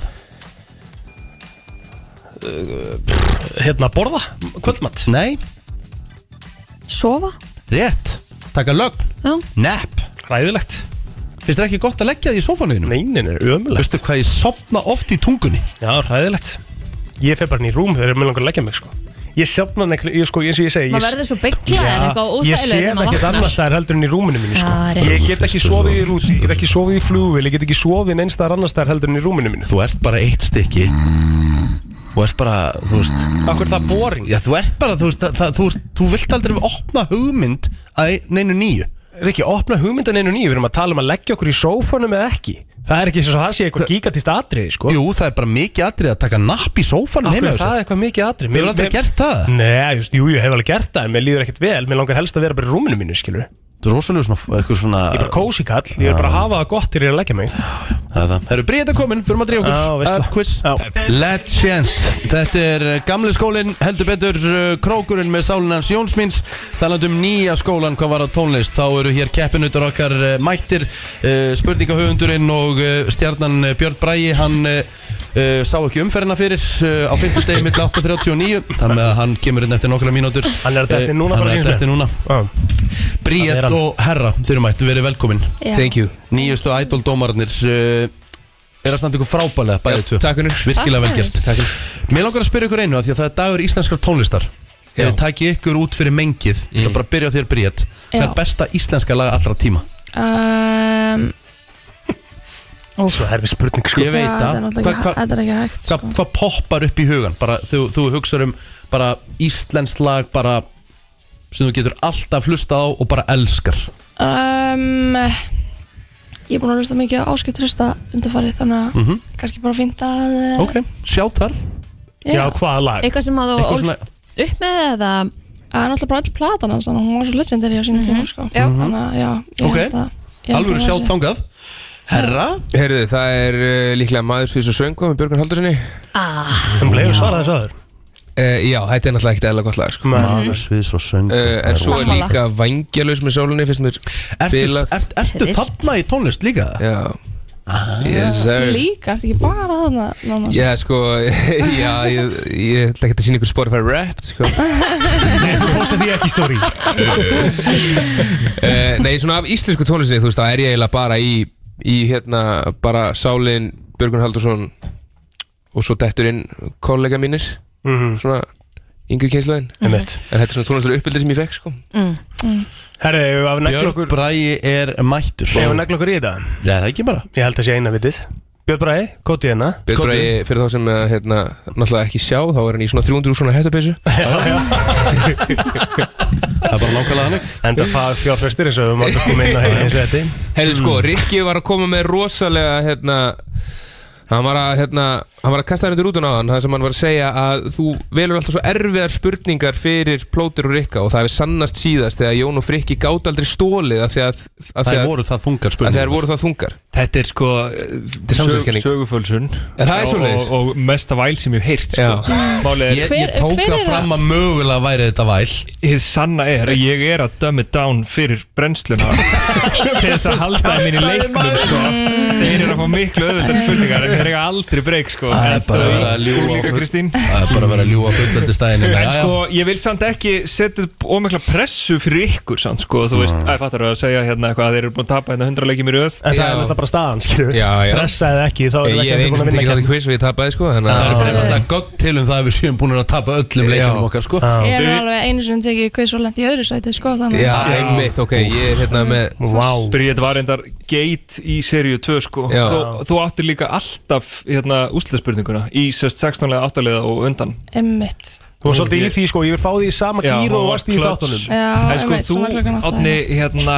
D: Hérna borða, kvöldmatt
B: Nei,
C: Sofa.
B: rétt Taka lögn,
C: Já.
B: nepp
D: Ræðilegt
B: Finnst þér ekki gott að leggja því í sófanuðinu?
D: Neinin er ömulegt
B: Veistu hvað ég sopna oft í tungunni?
D: Já, ræðilegt Ég fer bara inn í rúm þegar mér langar að leggja mig sko Ég sefna nekli, ég, sko, eins og ég segi
C: Maður
D: ég,
C: verður svo byggla en eitthvað
D: ég
C: óþægilega
D: sef ekkert annars staðar heldur en í rúminu mínu sko.
C: Já, Ah, rétt.
D: Ég get ekki sofið í rúti, ég get ekki sofið í flugvél Ég get ekki sofið neins staðar annars staðar heldur en í rúminu mínu
B: þú ert bara eitt stykki og ert bara, þú veist
D: Akkur það boring
B: já, þú ert bara, þú veist, það, það, þú, ert, þú vilt aldrei opna hugmynd að neinu nýju
D: Rikki, opna hugmyndan einu nýju, við erum að tala um að leggja okkur í sófanum eða ekki Það er ekki svo það sé eitthvað gigatist atriði sko
B: jú, það er bara mikið atrið að taka napp í sófanum
D: Akkur
B: heima
D: er
B: hjá sér.
D: það eitthvað mikið atrið
B: Hefur aldrei gert það?
D: Nei, just, jú, ég hef alveg gert það, en mér líður ekkert vel Mér langar helst að vera bara í rúminu mínu, skilur Ég
B: Þetta er rosalega svona, eitthvað svona
D: er bara kósi kall, ég er bara að hafa það gott til ég er að leggja mig
B: Það er það. Herru, Bríða komin, fyrir maður að drífa
D: Já,
B: okkur
D: veistla.
B: að quiz
D: Já.
B: Legend Þetta er uh, gamli skólinn, heldur betur uh, Krókurinn með sálinans Jónsmins Talandi um nýja skólan, hvað var á tónlist Þá eru hér keppinutur okkar uh, mættir uh, Spurningahöfundurinn og uh, stjarnan uh, Björn Bræi Hann uh, uh, sá ekki umferðina fyrir uh, á 50 degi mill 8.39 Þannig að hann kemur inn eftir nokkra mínútur Eh,
D: Hann er að detta inn núna
B: Hann
D: bara
B: er að
D: síns
B: detta inn núna
D: Já. Hann er
B: Bríð
D: hann.
B: og Herra, þeir eru mættu, verið velkomin
J: Thank you
B: Nýjustu ædoldómarnir uh, er að standa ykkur frábælega bæðið tvö
J: Takk unnur
B: Virkilega vel
C: Takk.
B: gert
J: Takk unnur
B: Mér langar að spyrja ykkur einu af Því að það er dagur íslenskar tónlistar Ef
J: Já.
B: við takið ykkur út fyrir mengið mm. Það bara að byrja á þér Bríett Hvað er
K: Já.
B: besta íslenska laga allra tíma?
K: um,
D: Svo er við spurning sko
B: Ég veit
K: það er
B: það
K: náttúrulega
B: Hvað-
K: ekki-
B: hvað-
K: Þetta er ekki hægt
B: Hvað
K: sko.
B: hvað poppar upp í hugan? Bara, þú, þú hugsar um bara íslensk lag bara sem þú getur alltaf hlusta á og bara elskar
K: um, Ég er búin að hlusta mikið á áskipt hlusta undarfarið þannig að
B: Mhm.
K: kannski bara fínt að eh,
B: Ok, sjá þar
K: Já. Já,
D: hvaða lag?
C: Eitthvað sem að þú
B: Eitthvað
C: ólst
B: svona-
C: upp með eða Mhm.
K: Það er náttúrulega bara all platan hans þannig að hún var svo legendary á sínum tíma sko.
C: Já.
K: Þannig
J: Mhm.
K: að já, ég
B: Mhm. Ok.
K: held að ég held
B: Alvöru
K: að
B: sjá
K: það sé-
B: þangað Herra
J: Herðu, það er uh, líklega maður svís og söngu með Björgun Haldurssoni
C: ah,
D: Sem leiður svarað þessu aður
J: uh, Já, þetta er náttúrulega ekkert eðla gott lag sko. uh,
B: Maður sviðs og söng
J: En svo er
C: Sammála.
J: líka vangjalaus með sálinni finnst mér
B: Ertu,
J: bilað.
B: ert, ertu
C: Trillt.
B: þarna í tónlist líka? Ah.
J: Já Yes, sir
K: Líka, þetta ekki bara þarna nánast.
J: Já, sko, já, ég, ég ætla ekki að sína ykkur Spotify Wrapped, sko
D: Þú postið því ekki í story
J: uh, Nei, svona af íslensku tónlistinni, þú veist, þá er ég eiginlega bara í, í hérna, bara Sálin, Björgun Haldursson og svo dettur inn kollega mínir, svona yngri kynslaðin En
D: Einmitt.
J: þetta er svona tónlistur uppbyldir sem ég fekk, sko
D: Herri, ef við neglir
B: Björn
D: okkur
B: Bræi er mættur
D: Ef við neglir okkur í þetta
B: Já, það ekki bara
D: Ég held að sé eina vitið Björn Bræði, kótið hérna
J: Björn
B: Komdu.
J: Bræði, fyrir þá sem, eh, hérna, náttúrulega ekki sjá, þá er hann í svona 300 svona hættupeysu
B: Það er bara nákvæmlega þannig
D: Enda fag fjárfrestir eins og við mátum koma inn á
L: hérna
D: heim eins og þetta
J: Herðu sko,
L: Mm.
J: Rikki var að koma með rosalega hérna Hann var að, hérna, hann var að kasta hann undir rútun á hann Það sem hann var að segja að þú velur alltaf svo erfiðar spurningar fyrir plótir og Rikka Og það hefur sannast síðast þegar Jón og Frikki gátt aldrei stólið af því að, að,
B: Það
J: að,
B: voru það þungar
J: að þeir
B: spurningar
J: voru það þungar
L: Þetta er sko
J: eh, er samsæðiskenning.
L: Sögufölsun
J: En það er
L: Og-
J: svoleiðis.
L: og, og mesta væl sem ég hef heyrt sko.
J: Já.
L: Málið er,
B: Ég,
K: Hver-
B: ég tók
K: hver
B: það
K: er
B: fram að mögulega væri þetta væl
L: hið sanna er að Ég er að dömi down fyrir brennsluna Til þess að halda þeim mín í leiknum sko. Þeir eru að fá miklu öðvöldar spurningar En þeir eru aldrei breyk sko.
B: Það er
L: En
B: bara
L: þau-
B: að vera að
L: Þú
B: ljúga á
L: líka,
B: full-
L: Kristín
B: Það er bara að vera að ljúa fullandi stæðinu
L: En sko, ég vil samt ekki setja upp ómikla pressu fyrir ykkur samt, sko, þú
B: Mm.
L: veist, æ, fattar þú að segja hérna eitthvað að þeir eru búin að tapa hérna 100 leikjum í röð
D: En
J: Já.
D: það er náttúrulega bara staðan, skilju
J: Já, já.
D: Pressaði ekki, þá
J: Ég
D: erum við
J: ég hef
D: ekki
J: einu
D: búin að
J: sem
D: vinna
J: tekið þátt í
D: ekki
J: quiz og ég tapaði sko Þannig
B: Það er
J: að
B: bara einfallega gögn til um það að við séum búin að tapa öllum leikunum okkar sko
K: Ég er alveg einu sinni tekið hvað svo lent í öðru sæti sko, þannig
J: Já,
K: að
J: einmitt, ok, ég er hérna með
D: Vá
L: Bríðið var reyndar gate í seríu 2 sko
J: Já.
L: þú, þú áttir líka alltaf hérna úrslitaspurninguna í sérst 16 lega 8 lega og undan
K: Emmitt
D: Þú var svolítið í því, sko, ég vil fá því í sama
L: hún
D: gýr og
L: var
D: varst í
L: klöts.
D: þáttunum
K: Já,
L: En sko
K: einmitt,
L: þú,
K: svona klukkan átta.
L: Átni, hérna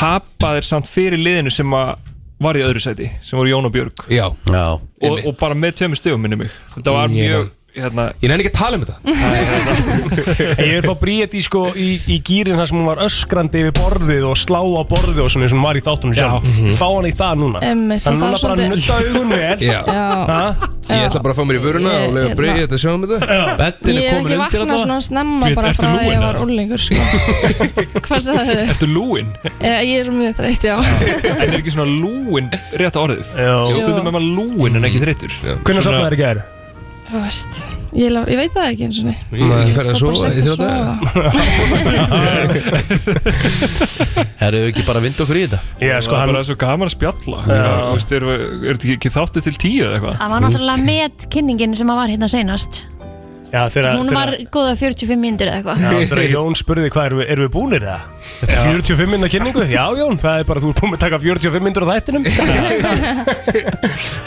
L: tapaðir samt fyrir liðinu sem að var í öðru sæti, sem voru Jón og Björg
J: Já,
B: Já
L: og, og bara með tveimur stegum minni mig Þetta var
J: Mm, ég
L: mjög, hérna
J: ég nenni ekki að tala um þetta
D: En Ég vil fá bríðið í, sko, í, í gýrin þar sem hún var öskrandi yfir borðið og slá á borðið og svona eins og hún var í þáttunum sjálf Fá hann í það núna
K: Einmitt,
D: Þannig
K: það
D: núna
K: þarf
D: bara að
K: svolítið-
D: nutta augun vel
J: Já,
K: Já,
D: Ha?
J: ég ætla bara að fá mér í vöruna
K: Ég-
J: og lega
K: hérna.
J: breyja þetta sjáum þetta
B: Bettin
K: Ég
B: er
K: hef
B: komin
K: ekki
B: undir
K: vaknað
B: þetta
K: svona snemma
L: Grét,
K: bara
L: ertu
K: frá að
L: lúin,
K: ég var
L: eða?
K: úlingur sko. Hvað sagði þið?
L: Ertu lúin?
K: Ég er mjög þreytt, já
L: En er ekki svona lúin rétt á orðið?
D: Já.
L: Stundum er maður lúin en ekki þreyttur
D: Hvernig
L: Svona-
D: sopnaði þér í gær?
K: Þú veist, ég, lá- ég veit það ekki eins og niður
J: Ég er ekki
K: Fór
J: ferð að
K: bara
J: sofa í
K: seint að
J: þrjá daga
K: sofa.
B: Herru, við ekki bara vind okkur í þetta
D: Já,
L: Það
D: sko,
L: var
D: hann
L: bara svo gaman að spjalla Þú veist, er, er þetta ekki þáttu til tíu eða eitthvað?
C: Það var náttúrulega met kynningin sem að var hérna seinast
D: Já, þegar
C: Hún var
D: þegar-
C: góða 45 mínútur eða eitthvað
D: Já, þegar Jón spurði hvað erum við, erum við búnir það? Þetta er 45 minna kynningu? Já Jón, það er bara þú er búin að taka 45 minnur á þættinum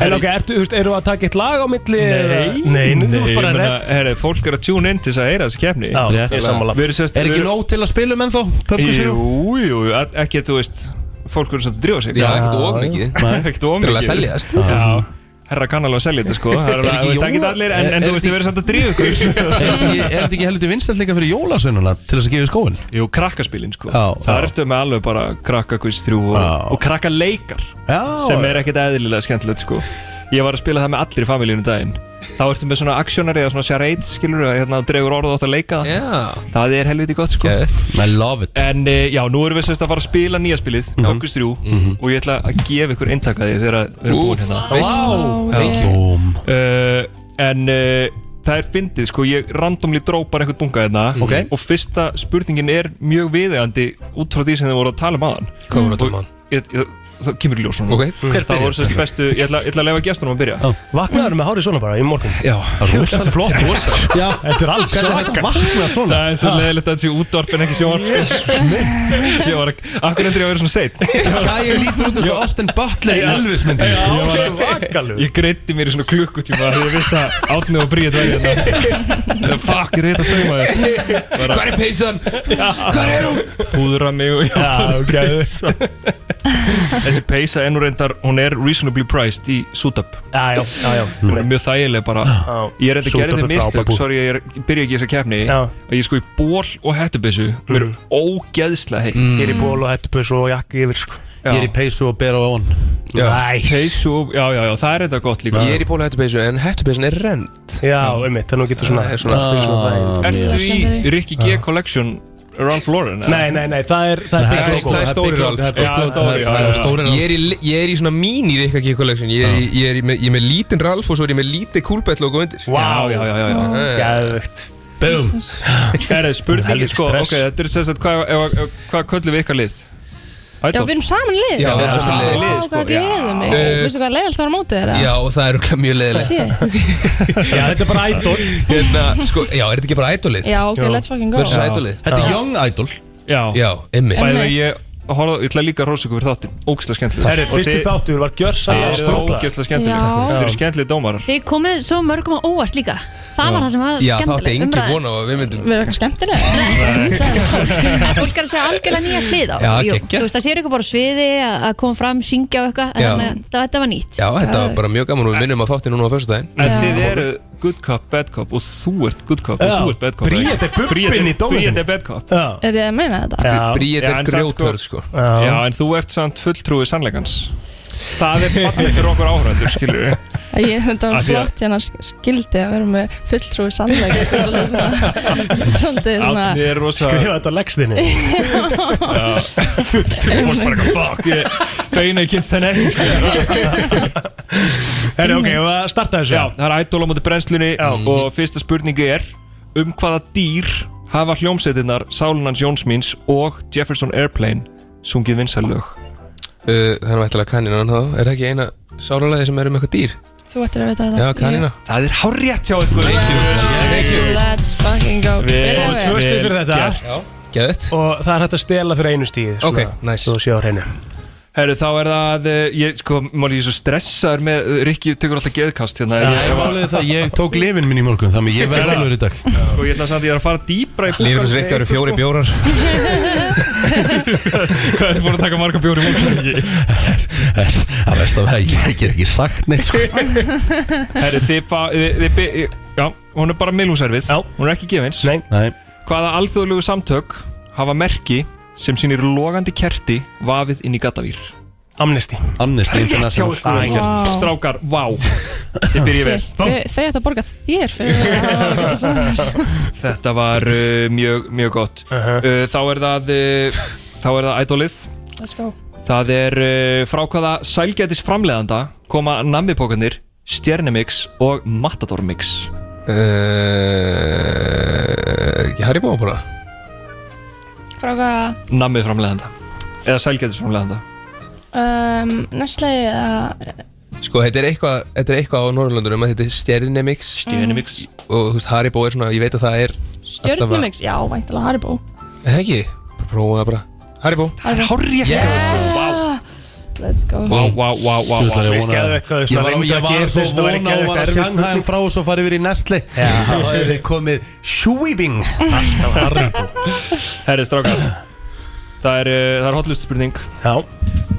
D: En ok, ertu, þú veist, erum við að taka eitt lag á milli? Nei Nei, nei, þú ert bara
L: meina,
D: redd
L: herri, fólk er að tjúna inn til þess að heyra þessi kefni
D: Já,
B: Rétt.
D: ég er sammála
L: Við erum sérst
B: Er ekki
L: við-
B: nóg til að spilum ennþá? Pöpku sér
L: Jú, jú, e- ekki, þú veist Fólk eru svolítið að drífa sig
J: Já, ekkert ofn ekki
L: Ekkert of
J: Það er alveg
L: mikið.
J: að seljast
L: Já, herra kann alveg að selja þetta sko Það er
B: Er
L: alveg,
B: ekki
L: þú veist, ekki
B: jóla-
L: allir En,
B: er-
L: en
B: er
L: þú veist,
B: ekki-
L: þið verður samt að drífa ykkur
B: Er þetta ekki- er þetta ekki heldur vinsælt líka fyrir jólasveinuna til þess að gefa í skóin?
L: Jú, krakkaspilin sko
B: Já,
L: Það
B: já.
L: ertu með alveg bara krakkakvist 3 og,
B: Já.
L: og krakkaleikar
B: Já
L: sem er ekkert eðlilega skemmtilegt sko Ég var að spila það með allir í familíunum daginn Þá ertu með svona actionari eða svona charades skilur að hérna dregur orð og átt að leika það
J: Já,
L: Það er helviti gott sko
J: geðvegt.
B: I love it Mhm.
L: En e, já, nú erum við sérst að fara að spila nýja spilið Kokkus 3 og ég ætla að gefa ykkur eintakaði þegar að við erum
J: Úff,
L: búin hérna
J: veist.
K: Ó, ég-
B: Búm
L: uh, En uh, það er fyndið sko, ég randomli drópar einhvern bunga hérna
B: Ok.
L: Og fyrsta spurningin er mjög viðegandi út frá því sem þið voru að tala um aðan
J: Hvað voru að tala um áðan?
L: Ég- ég- það kemur í ljós núna.
J: Ok.
L: Það
D: Hver byrjar?
L: voru sérst bestu, ég ætla, ég ætla að lefa gestunum að byrja
D: Vaknaður með hárið svona bara í morgun
L: Já
D: Þetta er flott
B: Já.
D: Þetta er alls
L: Hvernig er hægt að vakna svona? Það er svo
D: Ha.
L: leiðilegt að þetta sé útvarp en ekki sjónvarp Ég var ekki, akkur heldur ég að vera svona seitt
B: Gæi lítur út eins og Austin Butler í Elvis-myndinni,
L: Já,
B: sko.
L: svakalegur Ég greiddi mér í svona klukkutíma Þegar ég vissi að átni og bríðið væri hérna Fuck, ég er rétt að þau maður
J: Hvar er peysan?
L: Hvar er hún? Púðra mig og
D: Já, geðu.
L: peysa Þessi peysa ennur reyndar Hún er reasonably priced í suit-up
D: Já, já, já, já.
L: Hún er mjög þægileg bara Ég reyndar
D: Suit-up
L: gerði
D: er
L: þið mistök
D: frábær bú.
L: Sorry, ég er- ég byrja ekki þess að kefni
D: Já.
L: Að ég er sko í ból og hættubissu
J: Mm.
L: Mér er ógeðslega heitt
D: Ég er í ból og hættupus og jakki yfir sko
L: Já. Ég er í
B: peysu og bera á on
D: Næs.
L: Peysu, já, já, já, það er þetta gott líka
J: Ég er í bóla hættupeysu en hættupeysin er rend
D: Já, einmitt, þannig að getur svona
J: Það er svona- Ah,
D: svona-
L: Ertu í Ricky G Collection Ralph Lauren? eða?
D: Nei, nei, nei, það er Það er big logo
J: Það er stóri Ralf sko.
L: Big Logo, það er stóri, já, já.
J: Ég er í, ég er í svona mini Rikka G collection Ég er, í, ég, er í, með, ég er með lítinn Ralf og svo er ég með lítið Coolbet logo undir
D: Vá.
L: Já, já, já, já, já.
J: Eh.
D: Geðvögt
B: Boom
L: Herri, spurningin
D: Helvíti
L: sko,
D: stress.
L: ok, þetta er sérstætt hvað, ef- ef- hvað köllum við ykkar lið?
K: Já, við erum saman í lið
L: Já, við erum saman í lið,
K: Vá,
L: sko.
K: hvað gleðum mig
J: Eh,
K: Veistu hvað leiðalt það var á móti þeirra?
J: Já, og það er okkur mjög leðilegt
K: Shit
D: Já, þetta er bara idol
J: hérna, sko, Já, er þetta ekki bara idolið?
K: Já, ok, let's fucking go
J: Versus idolið
B: Þetta er young idol
L: Já,
J: Já, emmi
L: bæði ég horfði, ég ætla líka að rósa ykkur fyrir þáttin, ógæslega skemmtileg
D: Herri, fyrsti þáttur var
L: Það
D: gjörsamlega
L: er
D: strókla.
L: ógæslega skemmtileg,
C: Já.
L: það eru skemmtileg dómarar
C: Þið komið svo mörgum á óvart líka Það var það sem var
J: Já, það átti
C: skemmtileg
J: engin
C: umræðan.
J: von á að við myndum
K: Við erum eitthvað skemmtileg
C: En fólk er að segja algjörlega nýja hlið á
J: Já,
C: Jú,
J: geggjað.
C: Þú veist, það sér eitthvað bara á sviði að að koma fram, syngja og eitthvað en
J: Já.
C: þannig að það- Þetta var nýtt
J: Já, þetta var bara mjög gaman og við minnum á þáttin núna á fyrstudaginn
L: En þið eru good cop, bad cop og þú ert good cop og
D: Já.
L: þú ert bad cop
D: Bríet er bubbinn í dómnum.
L: Bríet er bad cop
D: Já.
K: Er ég að meina þetta?
D: Já.
J: Bríet
L: Já,
J: er
L: en samt sko-
J: grjóthörð, sko
D: Já.
L: Já, en þú ert samt fulltrúi sannleikans Það er fallið fyrir okkur áhrættur, skilju
K: Að Ég þetta
L: Af
K: var
L: því að-
K: flott hérna sk- skildi að vera með fulltrúi sannleik Svolítið svona Svolítið svona
L: Átni er rosa
D: Skrifa þetta á leggstinu
L: fullt og fórst bara eitthvað fuck ég feina ég kynst henni ekki sko.
D: Herri, ok, við að starta þessu
L: já, það er ædol á móti brennslunni
D: Já.
L: og fyrsta spurningi er um hvaða dýr hafa hljómsveitinnar Sálunans Jónsmíns og Jefferson Airplane sungið vinsælög
J: Uh, Þannig að ætla að kanina hann þá Er það ekki eina sáralagi sem er um eitthvað dýr?
K: Þú ættir að vita þetta
J: Já, kanina
L: það er hérna? hárétt hjá ykkur
J: Thank
K: Yeah,
J: you
K: Let's fucking go
L: Vel
K: Byrjum
D: Tvö
K: við.
D: stig fyrir þetta
J: Já, geðvett
D: Og það er hægt að stela fyrir einu stíð
J: Ok, nice.
D: Svo séu á hreinu
L: Herru, þá er það, eh, ég, sko, maður ég er svo stressaður með, eh, Rikki tekur alltaf geðkast hérna,
B: Já,
L: ja,
B: Ég var alveg það, ég tók lifin minn í morgun Þannig ég verði alveg í dag
L: og ég ætla samt að ég er að fara dýbra í
J: Lífið hans rikka eru fjóri bjórar
L: Hvað er þetta búin að taka marga bjóri múl?
B: Það veist að vera, ég get ekki sagt neitt sko.
L: Herri, þið fá, þið, þið, þið, já, hún er bara milhúservið
D: Já.
L: Hún er ekki gefins
D: Nei.
B: Nei.
L: Hvaða alþjóðlegu samtök hafa merki sem sýnir logandi kerti vafið inn í gatavír
D: Amnesty
B: Amnesty International
D: Það er
K: Vá.
L: Strákar, vá Þið byrjið vel
K: Shit, þau- Þau ættu að borga þér fyrir það
L: Þetta var uh, mjög, mjög gott uh
J: Uh-huh.
L: Þá er það, uh, þá er það ædolið
K: Let's go
L: Það er uh, frá hvaða sælgætis framleiðanda koma namibókanir, stjernimix og matadormix
J: Uh, Ekki Harry Bóma bara
K: Frá hvað
L: Namið framleiðanda Eða sælgætis framleiðanda
K: Um, Nestlé eða
J: Sko, þetta er eitthvað, þetta er eitthvað á Norrlandunum að Þetta er stjernimix
L: Stjernimix
J: Og þú veist, Harry Bó er svona, ég veit að það er
K: stjörnumix, já, væntalega Haribo
J: Eh, Ekki, bara prófa það bara Harry Bó
K: Haribo,
L: Hárjætt
K: yeah. let's go
L: Vá, vá, vá, vá,
B: Ég
L: vá
D: Veist geðveikt hvað þau
B: var,
D: svona
B: ég var,
D: reyndu
B: ég
D: að gera
B: var svo
D: þetta, það væri
B: vona og
D: geðveikt
B: var að
D: erfið
B: sjanga hann
D: spurning.
B: frá og svo farið við í Nestle þá hefði þið komið Shweebing
L: Herri, strákar Það er, uh, það er hotlust spurning
D: Já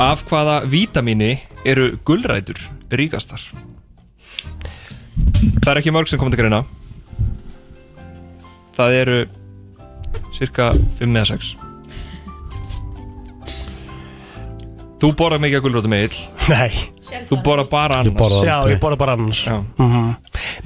L: Af hvaða vítamini eru gulrætur ríkastar? Það er ekki mörg sem kom til greina Það eru Cirka 5 eða 6 Þú borðar mikið að gulrótum eill
D: Nei
L: Þú borðar bara annars
B: borða-
D: Já,
B: Aldrei.
D: ég borða bara annars
L: Já.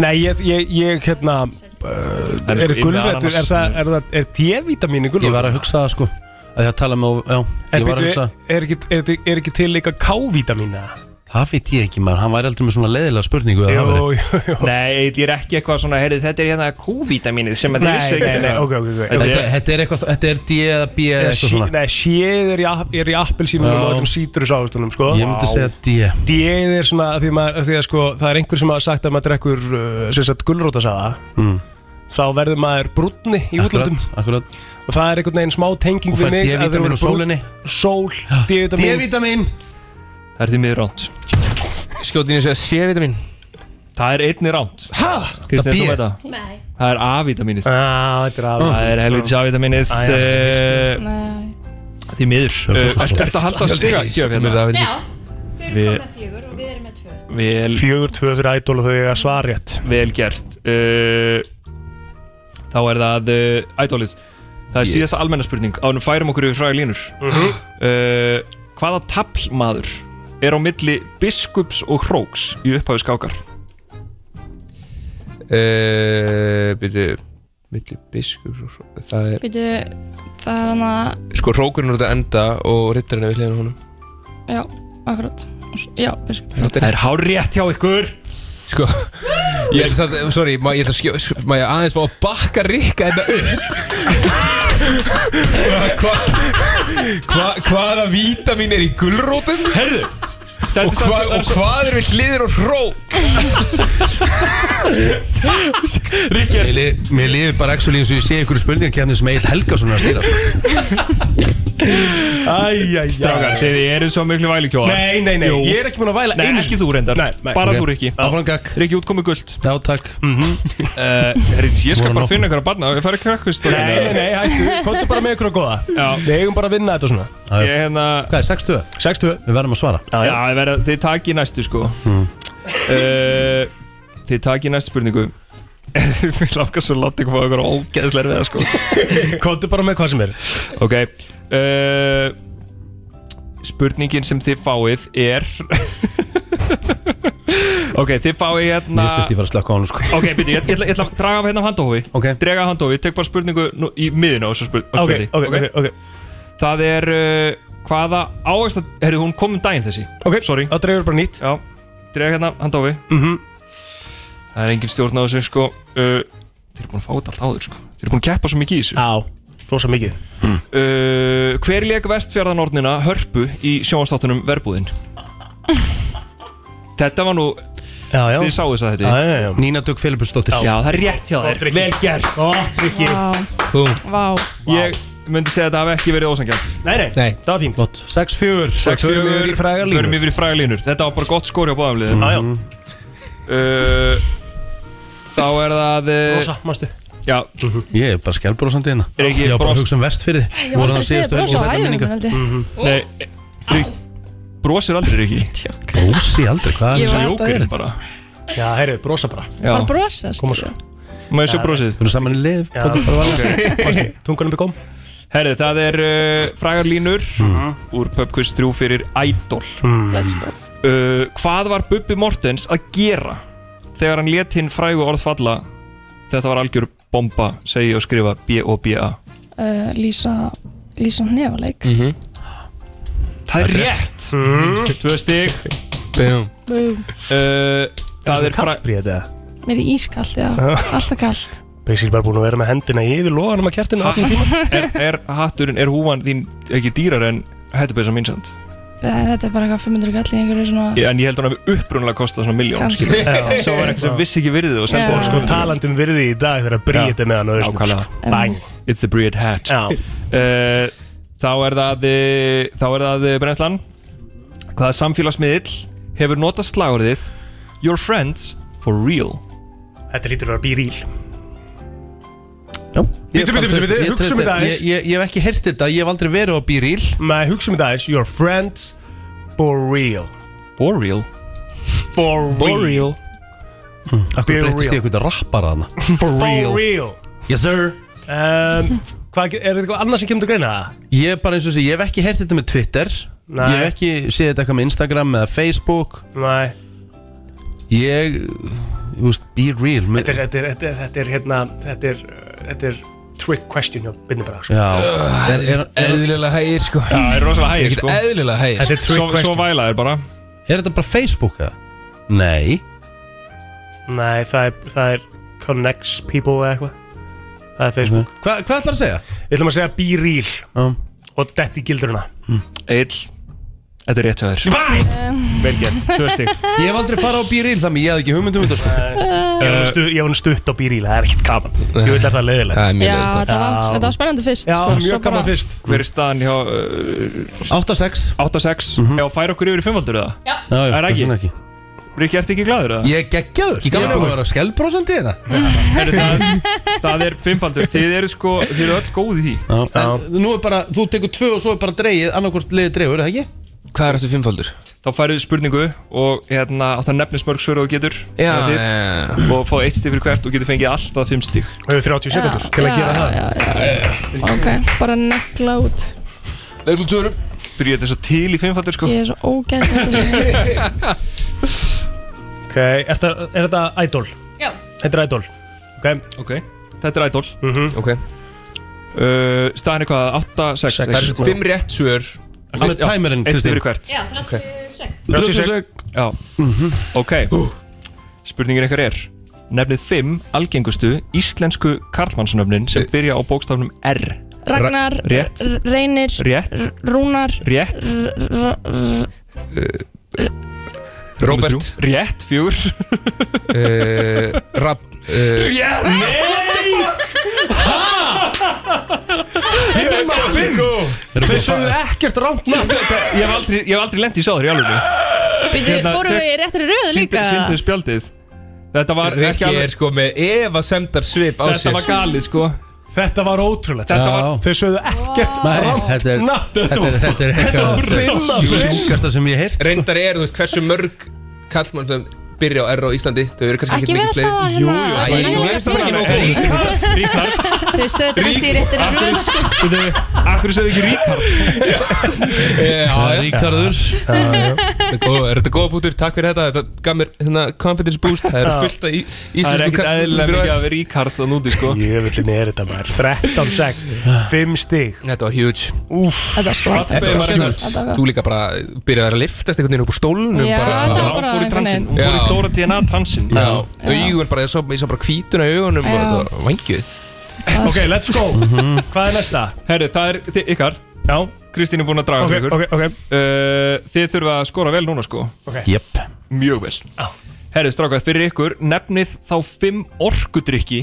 D: Nei, ég, ég, ég hérna uh,
L: er
D: Er
L: sko
D: gulrætur,
L: inn með
D: er það, er það, er D-vitamin í
B: Ég
D: gulrætur?
B: var að hugsa það sko að Ég var að tala með, já,
D: En
B: ég var að
D: byrju,
B: hugsa
D: er, ekki, er, er ekki til líka K-vítamín eða?
B: Það veit ég ekki maður, hann væri aldrei með svona leiðilega spurningu eða það væri.
D: jú, jú.
L: Nei, ég er ekki eitthvað svona, heyrðu, þetta er hérna Q-vítamínið sem að
D: Nei, nei, nei, ok, ok, ok.
B: Þetta er- þetta er eitthvað, þetta er D eða B eða eitthvað svona
D: Nei, séð er í, app- er í appelsínum
B: Já.
D: og öllum sítrus ávastunum sko.
B: Ég myndi
D: Vá.
B: segja D
D: D er svona af því, að maður, af því að sko, það er einhver sem hafa sagt að maður drekkur uh, sem sagt gullrótasafa
B: Mm.
D: þá verður maður brúnni í
B: Akkurat,
D: útlöndum
B: akkurat.
D: og það er einhvern veginn smá tenging
B: Og
D: við
B: fær
D: mig að þeir
B: D-vítamín
D: voru
B: úr sólinni. Ah,
D: brúnn- Sól, D-vitamin
B: D-vitamin
L: Það er því miður ránt
J: Skjótin ég segja C-vitamin
L: Það er einni ránt Hæ?
J: Það B?
L: Kristján, þú veit það?
C: Nei.
L: Það er A-vítamínið
D: Ah, þetta er A-vítamínið.
L: Það er helvitis A-vítamínið
D: Ah, já,
L: eh, Því miður
D: Já,
L: Eh,
D: gott að
L: Ertu ertu að halda að stiga? Gjöf hérna
C: Já, við
L: Við-
C: erum komið fjögur og við erum með tvö
L: Vel
D: Fjögur, tvö fyrir ædol og þau eiga svarjætt
L: Vel gert uh, Þá er það uh, Idolið Það er
D: Yes.
L: síðasta almenna spurning Ánum færum okkur yfir fræði línur
D: Mhm.
L: uh, Hvaða taplmaður er á milli biskups og hróks í upphafi skákar?
J: Eh, Byrju Milli biskur Það er
K: Býtu, það er hann að
J: Sko rókurinn er út að enda og rittarinn er við hliðina á honum
K: Já, akkurat Og s- Já, biskup
J: Það
L: er hár rétt hjá ykkur
J: Sko Ég ætla samt, sorry, má ég ætla að skjó sk- Má ég aðeins má að bakka rikka hérna þetta upp Hva, hva, Hvaða vítamin er í gulrótum?
L: Herðu
J: Og, hva, og hvað er við hliðin og hró?
L: Ríkjör
B: Mér lifir bara actually eins og ég sé ykkur spurningakefni sem Egil Helgason er að stýra sko.
D: Æjæjæ
L: Strákar, þið eru svo miklu vælikjóðar
D: Nei, nei, nei, ég er ekki búin að væla
L: Nei,
D: einu
L: ekki þú reyndar,
D: Nei, nei.
L: bara
D: Ok.
L: þú Rikki
B: Áfram gakk
L: Rikki útkomi guld
B: Já, takk
L: mm Ég skal
D: Voru
L: bara
D: nóg.
L: finna ykkur að barna, ég fær ekki krakkvist
D: Nei, nei, nei, hættu, komdu bara með ykkur að góða
L: Já.
D: Við eigum bara að vinna þetta svona
L: Ég hérna
B: Hvað er 60?
D: 60
B: Við verðum að svara
L: Já, það verða, þið takið næstu sko uh, Þið takið næstu spurningu Mér langar svo að láta ykkur fá ykkur ógeðslega við það sko
D: Komdu bara með hvað sem er
L: Ok uh, Spurningin sem þið fáið er Ok, þið fáið hérna
B: Mér stutti ég fara að slaka á hann sko.
L: Ok, byrju, ég, ég, ætla- ég ætla að draga af hérna af handófi
B: Ok.
L: Draga af handófi, ég tek bara spurningu nú, í miðinu á þessu spur, á
D: Ok,
L: spurningu
D: ok, ok, ok.
L: Það er uh, hvaða ávægsta Herri, hún kom um daginn þessi
D: Ok,
L: sorry
D: þá dregur bara nýtt
L: Já, drega hérna handófi
D: mm -hmm.
L: Það er engin stjórn á þessu sko uh, Þeir eru búin að fá þetta allt áður sko Þeir eru búin að keppa svo mikið í þessu
D: Já, rosa mikið
L: uh, Hver leik vestfjörðanordnina hörpu í sjónastáttunum verbúðin? þetta var nú
D: Já, já
L: Þið sáu þess að þetta
D: Já, já, já
B: Nína Dögg Filipusdóttir
L: Já, það er rétt hjá þér
D: Vel gert Ó, tryggi
J: Búm.
K: Vá
L: Ég myndi segja að þetta hafi ekki verið ósangjant
D: Nei, nei,
J: Nei.
D: það var fínt
B: 6-4
D: förum yfir í frægar línur. Mm-hmm.
L: Förum yfir í frægar línur Þetta var bara gott skóri á báðum liðum
D: Já, já,
L: uh, Þá er það uh,
D: rosa, mástu
L: Já,
B: Ég er bara skjálbrósandi hérna
L: Er ekki
B: Ég var bara að
L: bros-
B: hugsa um vestfyrði
K: Ég hef aldrei séð brosa á hæðinu minn held ég
D: Mhm.
B: Mm-hmm.
L: nei Rík, Brosir aldrei ekki
B: Brósi aldrei, hvað er
K: Ég var-
B: það sem þetta er?
L: Jókurinn bara
D: Já, heyrðu, brosa bara
L: Já,
K: Bara brosa sko.
D: Koma svo
L: má ég sjá brosið
B: Við erum saman í lið
D: Já.
B: Plótið bara varlega
D: Tungunum í góm
L: Herri, það er uh, frægar línur Úr Pubquiz 3 fyrir Idol
K: Let's go
L: uh, Hvað var Bubbi Mortens að gera Þegar hann let hinn frægu orð falla Þetta var algjör bomba Segji og skrifa B-O-B-A
K: Uh, Lýsa Lýsa nefaleik
L: Það er rétt Tvö stig
J: Bum
K: Bú.
L: uh, Það er fræ...
D: Kaffbríð þetta
K: Mér er ískalt, já Alltaf kalt
D: Beisil bara búin að vera með hendina yfir loganum að kertinu allan tíma
L: er, er hatturinn, er húfan þín ekki dýrar en hættupeysa minnsand
K: Það- Eh, Þetta er bara eitthvað 500 kall í einhverju svona
L: En ég held að hann hafi upprunalega kostað svona miljón
K: Kannski.
D: Já,
L: Svo var eitthvað sem vissi ekki virðið og seldi
K: Já.
L: það
D: Sko talandi um virði í dag þegar bríð þetta með hann og veist
L: Nákvæmlega.
D: Bang
L: It's a breed hat
D: Já
L: uh, Þá er það eh, Þá er það eh, brennslan Hvaða samfélagsmiðill hefur notað slagurðið Your friends for real
D: Þetta lítur að vera býríl
B: Já. Ég
D: Bíddu, bíddu,
B: bara
D: bíddu,
B: treysti- ég
D: hugsum
B: treysti-
D: þetta aðeins.
B: ég- ég- Ég hef ekki heyrt þetta, ég hef aldrei verið á bíríl
D: Nei, hugsa um þetta aðeins Your friends For real
L: For real
D: For real
B: Akkur
D: Be
B: breytist
D: Hmm. real.
B: ég eitthvað rappar að hana
D: For real
B: Yes sir
D: um, hvað, ge- Er þetta eitthvað annað sem kemur til greina það?
B: Ég er bara eins og þessi, ég hef ekki heyrt þetta með Twitter
D: Nei.
B: Ég hef ekki séð þetta eitthvað með Instagram eða Facebook
D: Nei
B: Ég, þú veist, be real
D: Þetta
B: með,
D: er, þetta er, þetta er, þetta er hérna Þetta er, uh, þetta er trick question hjá Binni Braga sko.
B: Já, er, er, er,
J: Eðlilega hægir sko
L: Það er rosalega
J: Ég
L: hægir
J: get
L: sko
J: eðlilega hægir sko.
D: Þetta er
L: Svo,
D: trick
L: svo
D: question
L: væla er bara
B: Er þetta bara Facebook eða? Nei
D: Nei, það er, það er Connects People eða eitthvað Það er Facebook
B: Hva, Hvað ætlar að segja?
D: Við ætlum að segja Be Real
B: um.
D: Og detti gilduruna
B: Mm.
L: Egil, þetta er rétt hjá þér Vel gert, tvö stig.
B: Ég hef aldrei farið á býrýl þannig ég hef ekki hugmyndum þetta sko.
D: Ég hef stu- ég hef hún stutt á Be Real, það er ekkert gaman Ég vil að það er leiðilegt
B: Það er
K: Já, þetta var, þetta var spennandi fyrst
D: Já,
K: sko, svo
D: mjög
K: bara-
D: gaman fyrst
L: Hver er staðan hjá uh,
B: 8-6
L: 8-6 mm Já, fær okkur yfir í fimmvaldur eða? Já
B: Mhm.
L: Það er
B: já, hvers
L: ekki
B: vegna ekki?
L: Ríkki, ertu ekki gladur eða?
B: Ég er geggjaður
L: Ég gaman
B: Ég er búin
L: að
B: að vera skellprósent í þetta
L: Heyrðu, það, það er fimmfaldur Þið eru sko, þið eru öll góð í því
B: En nú er bara, þú tekur tvö og svo er bara dreigið annarkvort liðið dreigur, er það ekki?
L: Hvað er eftir fimmfaldur? Þá færðu spurningu og hérna átt að nefnist mörg svör og getur
J: Já,
L: eða þið,
J: já,
L: og fá eitt stig fyrir hvert og getur fengið alltaf fimm stig
D: Við höfum 30 sekundur til að
K: já,
D: gera það
K: já, já. Ok, bara negla út
J: Leglum tjórum
L: Byrja þetta svo til í fimmfaldur sko
K: Ég er svo ógæð
D: Ok, er þetta- er þetta Idol?
K: Já.
D: Þetta er Idol Ok,
L: Ok, þetta er idol
B: Mhm.
J: Ok
L: uh, Staðan er hvað? 8, 6
J: Það er fimm rétt svör
B: Ertu með timerinn,
L: Eitt stig
B: Kristín?
L: fyrir hvert
M: Já, 36
L: Já,
B: Mhm.
L: ok Spurningin ykkar er Nefnið fimm algengustu íslensku karlmannsnöfnin
J: Eh.
L: sem byrja á bókstafnum R
K: Ragnar,
L: Rétt
K: R- Reynir
L: Rétt.
K: R- Rúnar
L: Rétt. Eh,
K: R- R- R-
L: Númer þrjú. Rétt, fjúr
J: Eh, Rapp
L: Rétt
G: Fimm af fimm
L: Þau sögðu ekkert rámt Ég hef aldrei, ég hef aldrei lent í sáður í alveg
K: Býtu,
L: Hérna,
K: fórum
L: tek-
K: við í réttri röðu líka?
L: Sýndu spjaldið Þetta var ekki
J: Rikki
L: alveg
J: er sko með Eva semdar svip á sér
L: Þetta var galið sko
D: Þetta var ótrúlegt
L: Þetta
B: Já.
L: var
D: Þau sögðu ekkert um
B: Nei, þetta er,
D: Nafn,
B: þetta er, þetta er eitthvað
D: rinna
B: Þetta er sjúkasta sem ég sko. heirt
J: Reyndar er, þú veist, hversu mörg kallmann sem byrja á R á Íslandi Þau eru kannski
K: Ekki
J: ekki
K: vera
J: mikið
K: alltaf
J: fleiri
K: að
J: Jú,
K: hérna-
J: jú,
K: að
J: æ,
K: hérna-
J: ég er bara ekki nóg góð
L: Ríkard Ríkard
C: Þau sögðu þetta í réttir röð sko.
L: Akkur sögðu ekki Ríkard
J: Já, já.
B: Ríkarður
J: Þetta er góð- er þetta góða bútur, takk fyrir þetta Þetta gaf mér hérna, confidence boost Það eru
D: Já.
J: fullt af í-
L: Það er
J: íslensku
L: ekkert eðlilega mikið af Ríkard það núti sko
D: Jöfullinni er þetta maður 13, 6, 5 stig
J: Þetta var huge
K: Þetta er svart
L: Þetta var
J: Þetta var- Þú líka bara byrjaði að liftast einhvern veginn upp úr stólnum
K: Já,
J: bara,
K: þetta
L: Já,
K: var
L: Hún
K: bara
L: fór í
K: einhvern veginn.
L: transin Hún fór í
J: Já.
L: Dóra DNA transin
J: Já, augun bara, ég sá, ég sá bara hvítuna í augunum og
K: Já.
J: þetta var vangjuð
D: Ok, let's go
J: Mhm.
D: Hvað er næsta?
L: Herri, það er þi- ykkar
D: Já,
L: Kristín er búin að draga
D: ok,
L: fyrir ykkur
D: ok, ok
L: Uh, Þið þurfa að skora vel núna sko
B: Jep
L: Mjög vel Herri strákað, fyrir ykkur nefnið þá fimm orkudrykki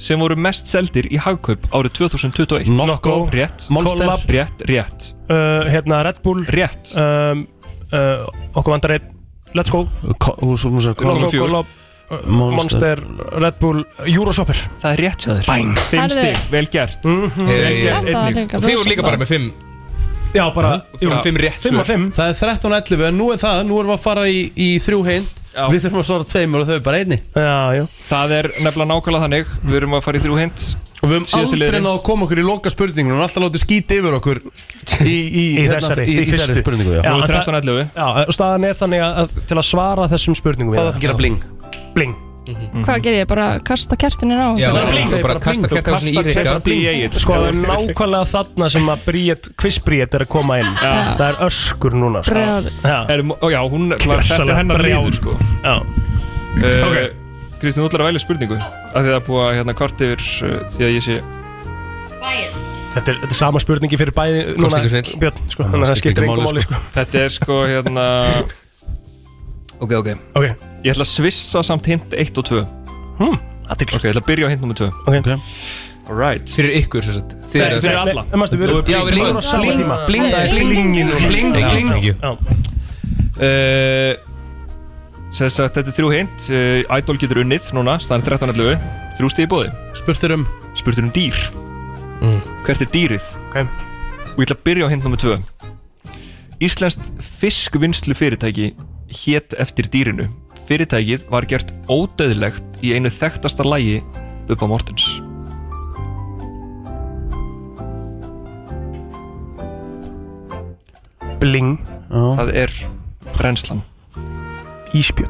L: sem voru mest seldir í hagkaup árið 2021
B: Nokko
L: Rétt,
B: Monster.
L: Kollab. rétt, rétt,
D: uh, Hérna, Red Bull
L: rétt
D: um, uh, Okkur vandar einn Let's go
B: Kollab
L: Kolab fjögur.
D: Golab
B: Monster.
D: Monster, Red Bull Eurosopper
L: Það er rétt sæður Bæn Fimm
K: Herðu.
L: stig, vel gert
D: Mhm,
L: Vel
J: Hey,
L: gert,
K: Þetta var
L: einnig
K: líka
J: Og þið voru líka bara með fimm
D: Já, bara jú,
L: bara
J: Fimm rétt
D: 5
J: svör.
D: af 5
B: Það er 13.11 en nú er það, nú erum við að fara í, í þrjú heind
L: Já.
B: Við þurfum að svara tveimur og þau er bara einni
D: Já, já
L: Það er nefnilega nákvæmlega þannig Við erum að fara í þrjú hint
B: Og við höfum
L: Síðasti
B: aldrei
L: liðurinn.
B: náð að koma okkur í loka spurningunum Hún er alltaf látið skíti yfir okkur Í, í,
D: Í
B: hérna-
D: þessari,
B: í,
D: í
B: í þessari
D: fyrstu.
B: spurningu já.
D: Já.
L: Nú er
D: en
L: 13.11
D: Já, og staðan er þannig að, að til að svara þessum spurningum
B: Það þarf að gera bling
D: Bling
L: Mhm.
K: Hvað ger ég? Bara kasta kertinin á?
J: Já,
B: Það er
J: svo
B: blink.
J: bara kasta
L: Þú
J: kært á
L: kastar
J: í Rikka
L: kertafli í Egil
D: Sko, það er nákvæmlega þarna sem að bríet, kvissbríet er að koma inn
L: Já.
D: Það er öskur núna sko.
K: Brjáður
D: Já,
L: Erum, ó, já, hún, klar, þetta
D: Gjörsamlega
L: er hennar
D: brjáluð.
L: liður sko
D: já
L: uh,
D: Ok.
L: Kristín, þú ætlar að velja spurningu Af því það er búið að hérna kvart yfir uh, Því að ég sé
M: Biased
D: Þetta er, þetta er sama spurningi fyrir bæði núna
J: ekki snill.
D: Björn, sko, þannig að það skiptir engum máli sko.
L: Þetta er sko hérna Ok, ok
D: Ok,
L: Ég ætla að svissa samt hint 1 og 2
D: aðtikl
L: Ok, ég ætla að byrja á hint nummer 2
D: Ok.
B: Ok.
L: Alright
J: Fyrir ykkur sem sagt Þið
L: Nei,
J: eru
L: fyrir alla.
D: Mástu, við erum
J: Já, við erum
D: búin
J: bara-
D: á sama
J: Bling,
D: tíma
B: bling,
D: Það er
B: bling,
D: blingi núna
B: bling,
D: Já.
B: bling.
J: Thank you.
D: Já.
L: uh, Sess að þetta er þrjú hint uh, Idol getur unnið núna Staðan er 13 allu Þrjú stíði bóði
B: Spurt þér um
L: Spurtur um dýr Hvert er dýrið?
D: Ok.
L: Og ég ætla að byrja á hint nummer 2 Íslenskt fiskvinnslu fyrirtæki Hét eftir dýrinu Fyrirtækið var gert ódöðlegt Í einu þekktasta lægi Bubba Mortens
D: Bling,
L: Það er brennslan
D: ísbjörn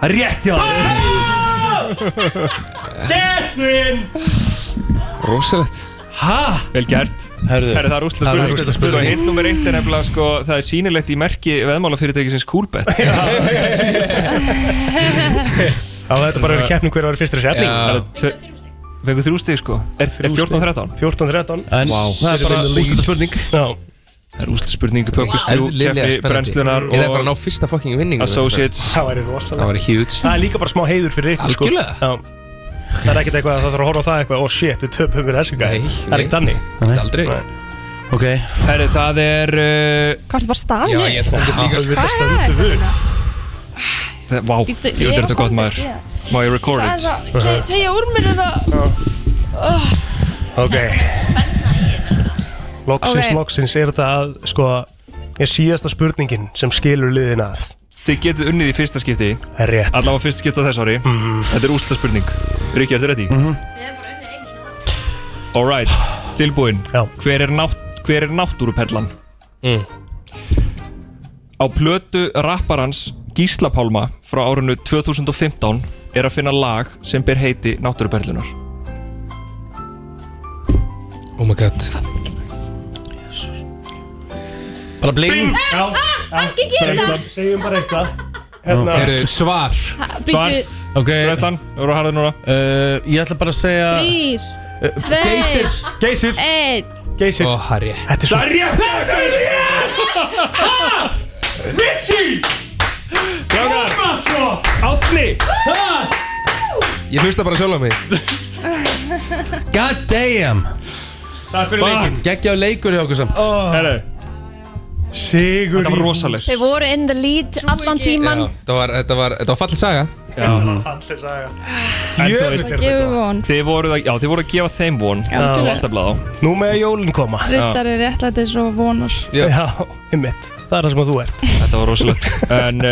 L: Það er rétt hjá það
D: sko. Gettin
J: Rósalegt
D: Hæ?
L: Vel gert
B: Herðu,
L: Herðu það er úrslit
B: það er
L: spurning
B: úrslitaspurning.
L: Sko, Hinn nummer eitt er nefnilega sko Það er sýnilegt í merki veðmálafyrirtækisins Coolbet
D: Já, þetta bara verið keppning hver að vera fyrstur í
L: Já Fengur þrjú stig sko Er, er 14-13?
D: 14-13
B: En það er bara úrslita spurning
D: Já
L: Það er úrslit spurning Pökkus þrjú
J: Eðlilega
L: keppi
J: spennandi.
L: brennslunar
J: Ég er að fara að ná fyrsta fucking vinningu.
L: Associates
D: Það væri rosalega
J: Það væri huge.
D: Það er líka bara smá heiður fyrir ykkur sko.
J: Algjörlega.
D: Já. Það er ekkert eitthvað að það þarf að horfa á það eitthvað Oh shit, við töpum við þessu gæði Það er
J: nei.
D: ekkert annir
J: Aldrei
B: Ok
L: Herri það er uh,
K: Hvað er þetta bara staðið?
L: Já, ég ætla að standa upp líka, sko.
K: Hvað er þetta?
L: það, Vá,
K: Ég-
L: ég
K: ég-
L: veit
K: ég-
L: þetta gott maður
K: ég-
L: Má ég record
K: Það er
L: it?
K: svo, te- tegja úr mér hérna oh,
D: Ok Loksins,
K: Ok.
D: loksins er þetta að sko er síðasta spurningin sem skilur liðin að
L: Þið getið unnið í fyrsta skipti
D: Rétt Mhm.
L: Allavega fyrsta skipti á þess ári Þetta er úrslit spurning Rikki, ertu rétt í? Mm Alright, tilbúin hver er, nátt, hver er náttúruperlan? Mm. Á plötu rapparans Gísla Pálma frá árinu 2015 er að finna lag sem ber heiti Náttúruperlunar
J: Oh my god
B: Bara bling
D: Já,
G: Ekki gera
D: Brennslan,
G: það.
D: Segjum bara eitthvað
B: Hérna-
L: Heyrðu, Svar
G: bíddu.
B: Ok
L: Brennslan, eru harður núna
B: uh, Ég ætla bara að segja
G: Þrýr, tveir,
B: Geysir.
D: Geysir
G: einn
D: Geysir
J: Ó, það er rétt
D: Þetta er svo
G: Þetta er rétt! Ha! Ritchie!
D: Strákar Átni
J: Ég hlusta bara sjálf á mig
B: God damn
D: Takk fyrir leikinn.
B: Gekkja á leikur hjá okkur samt
D: Herru Sigur
L: Þetta var rosalegt
C: Þeir voru in the lead allan tíman
J: Já, þetta var, þetta var, þetta var fallið saga
L: Já.
D: Allir saga
L: En þú
D: Jöfull
L: veist-
D: er þetta gott.
L: Þið voruð að, já, þið voruð að gefa þeim von
K: Já. Algjörlega.
D: Nú með að jólinn koma
K: Rittari réttlætis og vonar
D: Já, já einmitt Það er það sem að þú ert
L: Þetta var rosalegt En uh,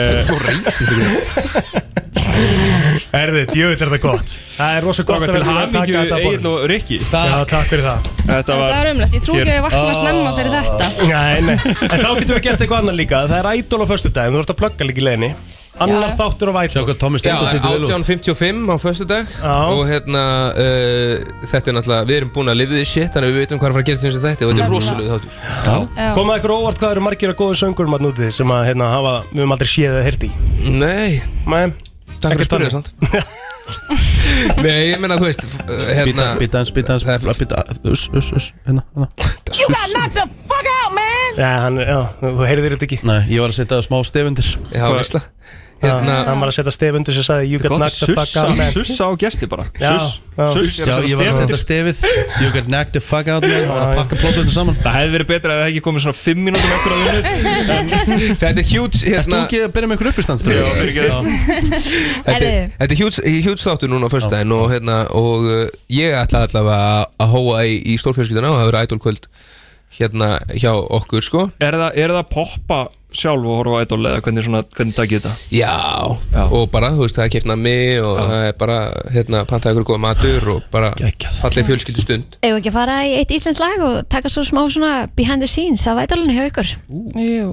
D: Erðið, jöfull er þetta gott Það er rosalega
L: Strákar
D: gott
L: til
D: vera búin að taka
L: hamingju
D: þetta að
L: Egil
D: borðinu.
L: og Rikki
D: Já, takk fyrir það
L: Þetta
K: Það var Ah. umlegt, ég trú ekki að ég vakna snemma fyrir þetta
D: Nei, nei, en þá getum við gert eitthvað annað líka Það er ædol á föstu daginn, þú ert að plugga líka í leiðinni Annar þáttur á væl Sjá
B: hvað Tommy
J: Já, það er 18.55 á föstu dag Og hérna, uh, þetta er náttúrulega Við erum búin að lifa því shit Þannig að við veitum hvað er að fara að gerast í þessu þætti Og þetta er rosalega þáttur
D: Já. Komað ykkur óvart hvað eru margir að góðum söngurum að nútið sem að hérna, hafa, við höfum aldrei séð eða hirti
J: Nei
D: Nei
J: Takk fyrir að
D: Ekkert
J: spyrja
D: annað.
J: samt Nei, ég meina, þú veist f-
B: Eh,
J: uh, hérna,
B: Býta hans, býta hans Býta hans Us, us, us Hérna, hérna
G: You got knocked the fuck out, man!
D: Já, hann, já, þú heyrðir þetta ekki
B: Nei, ég var að setja smá stefundir
J: Já,
D: Hvað-
J: veistla
D: hérna, Hann var að setja stef undir sem sagði You
L: Þetta er
D: got
L: gott
D: knocked the
L: að
D: fuck out
L: sussa,
D: man
L: sussa á gesti bara
D: Já,
L: Suss,
D: já.
L: suss
B: Já, ég var að setja stefið You got knocked the fuck out man Það var að pakka plótuðinu saman
L: Það hefði verið betra að það hefði ekki komið svona 5 mínútum eftir að unnið
J: Þetta er huge
B: Ertu
J: hérna,
B: ekki að byrja með ykkur uppistand?
J: Já, fyrir ekki það. Þetta er-
C: Herðu.
J: þetta er huge, huge þáttur núna á föstu daginn Og, hérna, og uh, ég ætla allavega að- að hóa í, í stórfjörskiptuna Og það verður ædolkvöld hérna hjá okkur sko
L: er, það, er það að poppa sjálf og horfa á idol eða hvernig, svona, hvernig takið þetta?
J: Já, og bara, þú veist, það er kefna mig og það er bara, hérna, pantaði ykkur góða matur og bara fallið fjölskyldu stund
C: Eigum við ekki að fara í eitt íslensk lag og taka svo smá svona behind the scenes á vætalunni hjá ykkur
K: Jú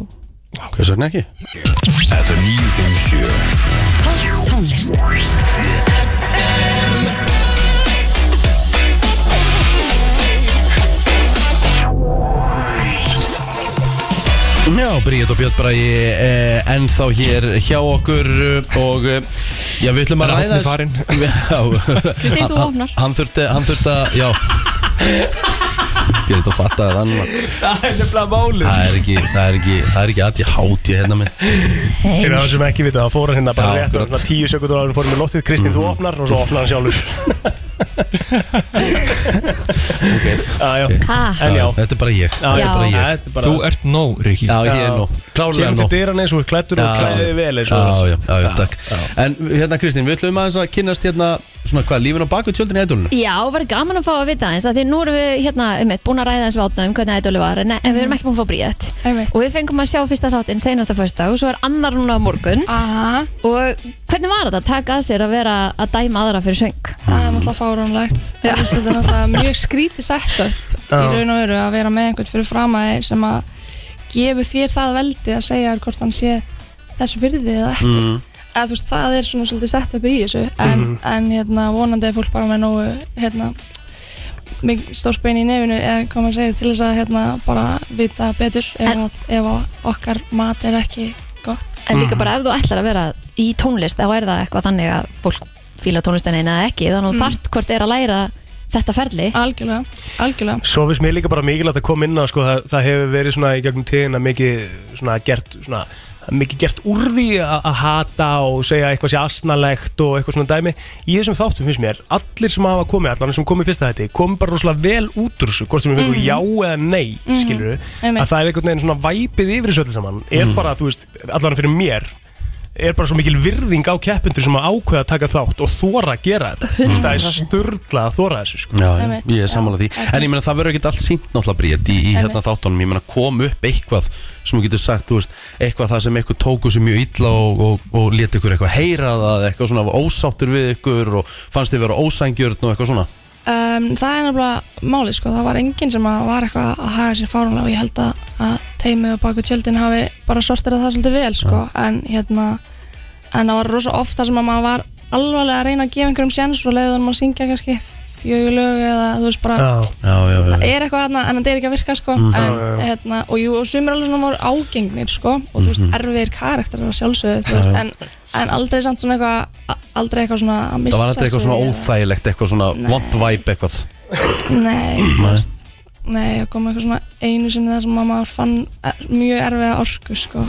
B: Hvað sagði ekki?
A: FM 957
G: Tónlist
B: Já, Bríðið og Björn Bræði eh, ennþá hér hjá okkur eh, og eh, já, við ætlum að
L: Er
B: ræða
L: Árni farinn?
B: Já,
C: Kristín, þú
B: Hann-
C: opnar.
B: Hann þurfti, hann þurfti að, já Ég er þetta að fatta það annað
L: Það er nefnilega málið
B: Það er ekki, það er ekki, það er ekki aðti háti hérna minn
D: Fyrir það sem ekki vita, það fór hann hérna bara
B: Já,
D: rétt
B: akkurat.
D: Þannig að tíu sekundur áður fórum við loftið Kristín, þú opnar og svo opnar hann sjálfur Já, já
C: Ha,
D: En já,
B: Þetta er bara ég
D: Já,
B: Þetta er
C: já.
B: bara ég
D: þetta er bara
L: Þú ert nóg, Riki
B: Já, ég er nú, klálega
D: Kemur
B: nú
D: til dyrann eins og við klættur og klæðið vel eins og
B: Já,
D: það
B: já, já, já, takk En hérna Kristín, við ætlum aðeins að kynnast hérna Svona hvað, lífin á baku tjöldin í ædolinu?
C: Já, verður gaman að fá að vita eins að því nú erum við hérna um eitt búin að ræða eins vatna um hvernig ædoli var en, en við
K: Mhm.
C: erum ekki búin að fá bríðat og við fengum að sjá fyrsta þáttinn seinasta fyrsta og svo er annar núna á morgun
K: Aha,
C: og hvernig var þetta að taka að sér að vera að dæma aðra fyrir söng?
K: það er náttúrulega fáránlegt Þú veist, Þetta er náttúrulega mjög skrítið sett upp í
C: Já.
K: raun og veru að vera með einhvern fyrir fram að þeir sem að gefur þér það veldi að segja þér hvort hann sé þessu virði eða ekki
G: Mm.
K: eða þú veist, það er svona svolítið sett upp í þessu en,
G: Mhm.
K: en hérna, vonandi er fólk bara með nógu hérna, mig stórspein í nefinu eða hvað maður segir til þess að hérna bara vita betur ef, að, ef að okkar mat er ekki gott
G: Mhm.
C: En líka bara ef þú ætlar að vera í tónlist þá er það eitthvað þannig að fólk fíla tónlistina eina eða ekki þannig að þú
K: Mm.
C: þarft hvort er að læra þetta ferli
K: Algjörlega, algjörlega
D: Svo finnst mér líka bara mikilvægt að koma inn á sko, það, það hefur verið svona í gegnum tíðina mikið svona gert svona, mikið gert úr því að að hata og segja eitthvað sé asnalegt og eitthvað svona dæmi í þessum þáttum finnst mér allir sem hafa komið, allan sem komið fyrsta þetta komið bara rosalega vel út úr þessu hvort sem við fengum
L: Mhm.
D: já eða nei,
L: Mhm.
D: skilur við
L: Einmitt.
D: að það er einhvern veginn svona væpið yfir þessu öllu saman er
L: Mhm.
D: bara, þú veist, allan fyrir mér er bara svo mikil virðing á keppendur sem að ákveða að taka þátt og þóra að gera þetta Þú veist, það er
B: 100%.
D: störla að þóra þessu sko.
B: Já, já, ég er sammála því En ég meina það verður ekkert allt sínt náttúrulega bríð í, í hérna þáttunum, ég meina kom upp eitthvað sem þú getur sagt, þú veist, eitthvað það sem eitthvað tóku sem mjög illa og, og, og lét ykkur eitthvað heyra það, eitthvað svona var ósáttur við ykkur og fannst þið vera ósængjörn og eitthvað svona
K: um, Það er nefnilega máli sko, það var enginn sem að var eitthvað að haga sér fárunlega og ég held að, að teimið og baku tjöldin hafi bara sortir það svolítið vel sko, en hérna en það var rosa ofta sem að maður var alvarlega að reyna að gefa einhverjum sjens og leiði þannig að syngja kannski fjögulög eða þú veist bara
B: já, já, já,
K: það
B: já.
K: er eitthvað þarna en það er ekki að virka sko.
B: Mhm.
K: en,
B: Já, já, já.
K: Hérna, og, jú, og sumir alveg svona voru ágengnir sko, og þú veist,
B: Mhm.
K: erfiðir karakterar að sjálfsögðu, þú
B: Já,
K: veist,
B: já.
K: en, en aldrei samt svona eitthvað aldrei eitthvað svona að missa
B: Það var þetta eitthvað svona
K: sig eða-
B: óþægilegt, eitthvað svona vond væp eitthvað
K: Nei,
B: Nei.
K: nei, það kom eitthvað svona einu sinni það sem að maður fann er, mjög erfiða orku sko.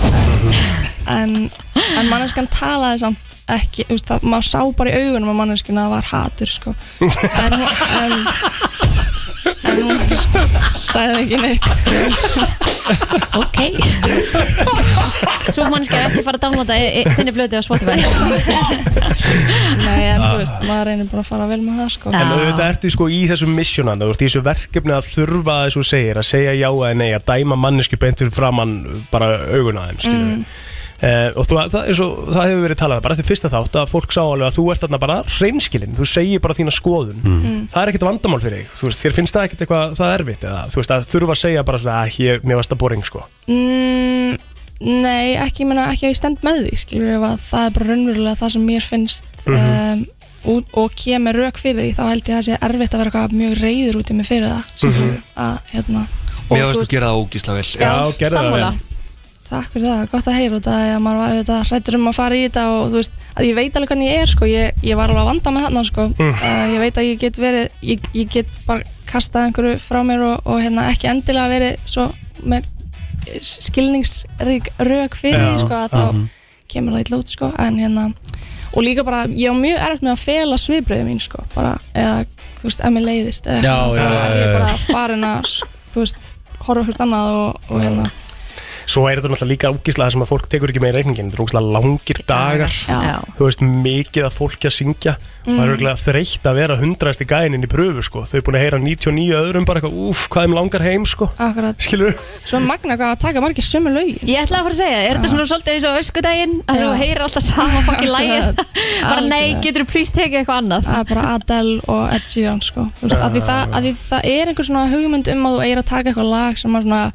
K: en, en manneskan talaði samt ekki, þú veist, það, maður sá bara í augunum að manneskinu að það var hatur sko. en, en, en hún sagði ekki neitt
C: Ok Svo mannskja ekki fara að downloada e- e- þinni blötu á Spotify
K: Nei, en þú
D: Ah.
K: veist, maður reynir bara að fara vel með það sko.
C: Ah.
D: En auðvitað ertu sko í þessum missionan Þú ert í þessu verkefni að þurfa þess og segir Að segja já eða nei Að dæma mannesku beintur framann bara auguna á þeim skilur við.
K: Mm.
D: Eh, og þú, það, er svo, það hefur verið talað um, bara eftir fyrsta þátt að fólk sá alveg að þú ert þarna bara reynskilinn, þú segir bara þína skoðun
L: Mm.
D: það er ekkert vandamál fyrir þig þú veist, þér finnst það ekkert eitthvað það erfitt eða þú veist að þurfa að segja bara svona að ég, mér varst að boring sko
K: Mm, nei, ekki, ég meina, ekki að ég stend með því skilur við að það er bara raunverulega það sem mér finnst
D: Mhm.
K: um, út, og kemur rauk fyrir því þá held ég að það sé erfitt að vera eitthvað mjög reyður út í mig fyrir það skilur
D: Mhm.
K: við að hérna
L: Mhm.
K: og þú
L: Mér varst
K: veist,
L: að gera það ógísla vel
K: Takk fyrir það, gott að heyra út að að maður var auðvitað hrættur um að fara í þetta og þú veist að ég veit alveg hvernig ég er sko, ég, ég var alveg að vanda með þarna sko,
L: Mm.
K: uh, ég veit að ég get verið, ég, ég get bara kastað einhverju frá mér og, og hérna ekki endilega verið svo með skilningsrík rök fyrir
L: Já,
K: því sko að þá
L: mhm.
K: kemur það illa út sko, en hérna og líka bara, ég var mjög erfitt með að fela sviðbröðu mín sko, bara, eða þú veist, ef mér leiðist eða
B: Já,
K: eitthvað,
B: já,
K: þá var
B: já,
K: ég
B: já.
K: bara farin að þú veist, horfa hvort annað og, og hérna
D: Mm. Svo er þetta náttúrulega líka ágíslega sem að fólk tekur ekki með í reikningin Þetta er ógíslega langir dagar
K: Já.
D: Þú veist, mikið að fólki að syngja og það
K: Mm.
D: er auðvitað þreytt að vera hundraðist í gæðininn í pröfu sko. Þau er búin að heyra 99 öðrum bara eitthvað, úf, hvað þeim langar heim sko.
K: Akkurat
D: Skilur
K: Svo magna hvað að taka margir sömu lögin
C: Ég ætla að fara að segja, er þetta svona svolítið eins og öskudaginn að þú
K: Já.
C: heyrir alltaf sama fokkin lægið bara nei, getur þú plís tekið eitthvað annað
K: Það er bara Adele og Ed Sheeran sko. Þú veist,
C: Já,
K: að, því það, að því það er einhver svona hugmynd um að þú eigir að taka eitthvað lag sem að svona,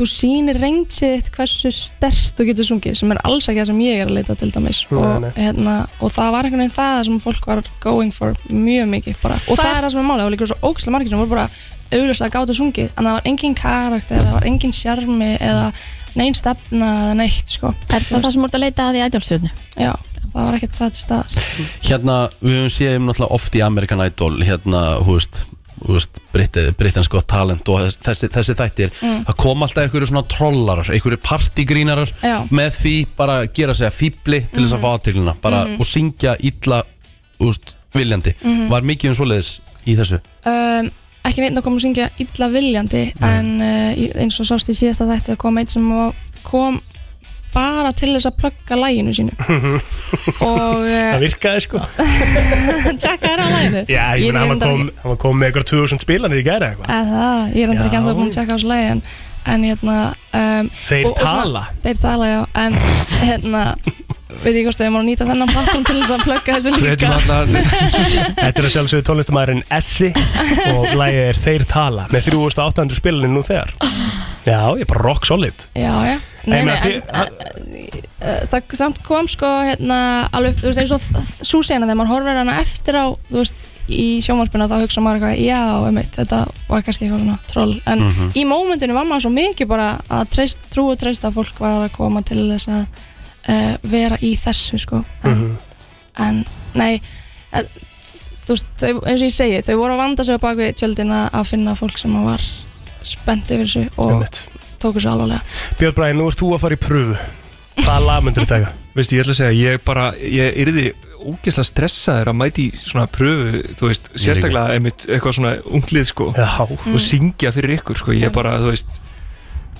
K: þú sýnir reyndsið hversu sterkt þú getur sungið sem er alls ekki það sem ég er að leita til dæmis
L: Nei,
K: og,
L: nei.
K: Hérna, og það var einhvern veginn það sem fólk var going for mjög mikið bara. og það, er það sem er málið, það var líka svo ógæslega margir sem voru bara augljóslega gátt að sungið en það var engin karakter, það var engin sjarmi eða nein stefna eða neitt sko.
C: Er það það sem voru að leita að í ædjálfstjörnu?
K: Já, það var ekkert það til staðar
B: Hérna, við höfum séð um náttúrulega oft í American Idol hérna, hú veist, hú veist Brittans gott talent og þess- þessi, þessi þættir
K: Mm.
B: það kom alltaf einhverju svona trollarar einhverju partigrínarar
K: Já.
B: með því bara að gera sig að fýbli til þess að fá aðteglina bara
K: Mhm.
B: og syngja illa þú veist, viljandi,
K: Mhm.
B: var mikið um svoleiðis í þessu
K: um, ekki neitt að koma að syngja illa viljandi en uh, í- eins og sást í síðasta þætti það kom einn sem var- kom bara til þess að plugga læginu sínu og
D: Það
K: uh,
D: virkaði sko
K: tjekka þér á læginu
D: Já, ég
K: er
D: meina, hann var
K: reyndar
D: kom,
K: ekki-
D: hann var kom með eitthvað 2000 spilanir í gæra eitthvað
K: Að það, ég er endur ekki
D: Já.
K: andur búin að tjekka á þessu lægi en, en hérna um,
D: Þeir
K: svona-
D: tala.
K: þeir tala, já, en hérna veit ég hvort að ég má nýta þennan plattform til þess að plugga þessu líka
D: Þetta er að sjálfsögðu tónlistamæðurinn Essi og lægið er Þeir tala með 3800 spilanir nú þegar Já, ég er bara rock solid
K: Já, já,
D: Nei,
K: nei,
D: ég meina,
K: nei,
D: þið-
K: en, en, uh, það samt kom sko hérna alveg, upp, þú veist, eins og svo sena þegar maður horfir hana eftir á, þú veist, í sjónvarpinu þá hugsa maður eitthvað, já, einmitt, þetta var kannski eitthvað svona troll, en
N: Mhm.
L: Mm-hmm.
K: í mómentinu var maður svo mikið bara að treyst, trú og treyst að fólk var að koma til þess að uh, vera í þessu sko en nei eh, þú veist, þau, eins og ég segi þau voru að vanda sig á bakvið tjöldina að finna fólk sem var spennt yfir þessu og
D: Einmitt.
K: tóku svo alvarlega
D: Björn Bræði, nú ert þú að fara í pröfu Hvaða lag myndur þú taka?
L: Veistu, ég ætla að segja, ég bara, ég yrði ógeðslega stressaður að mæti svona pröfu, þú veist, sérstaklega einmitt eitthvað svona unglið, sko
D: Já.
L: og syngja fyrir ykkur, sko, ég bara, þú veist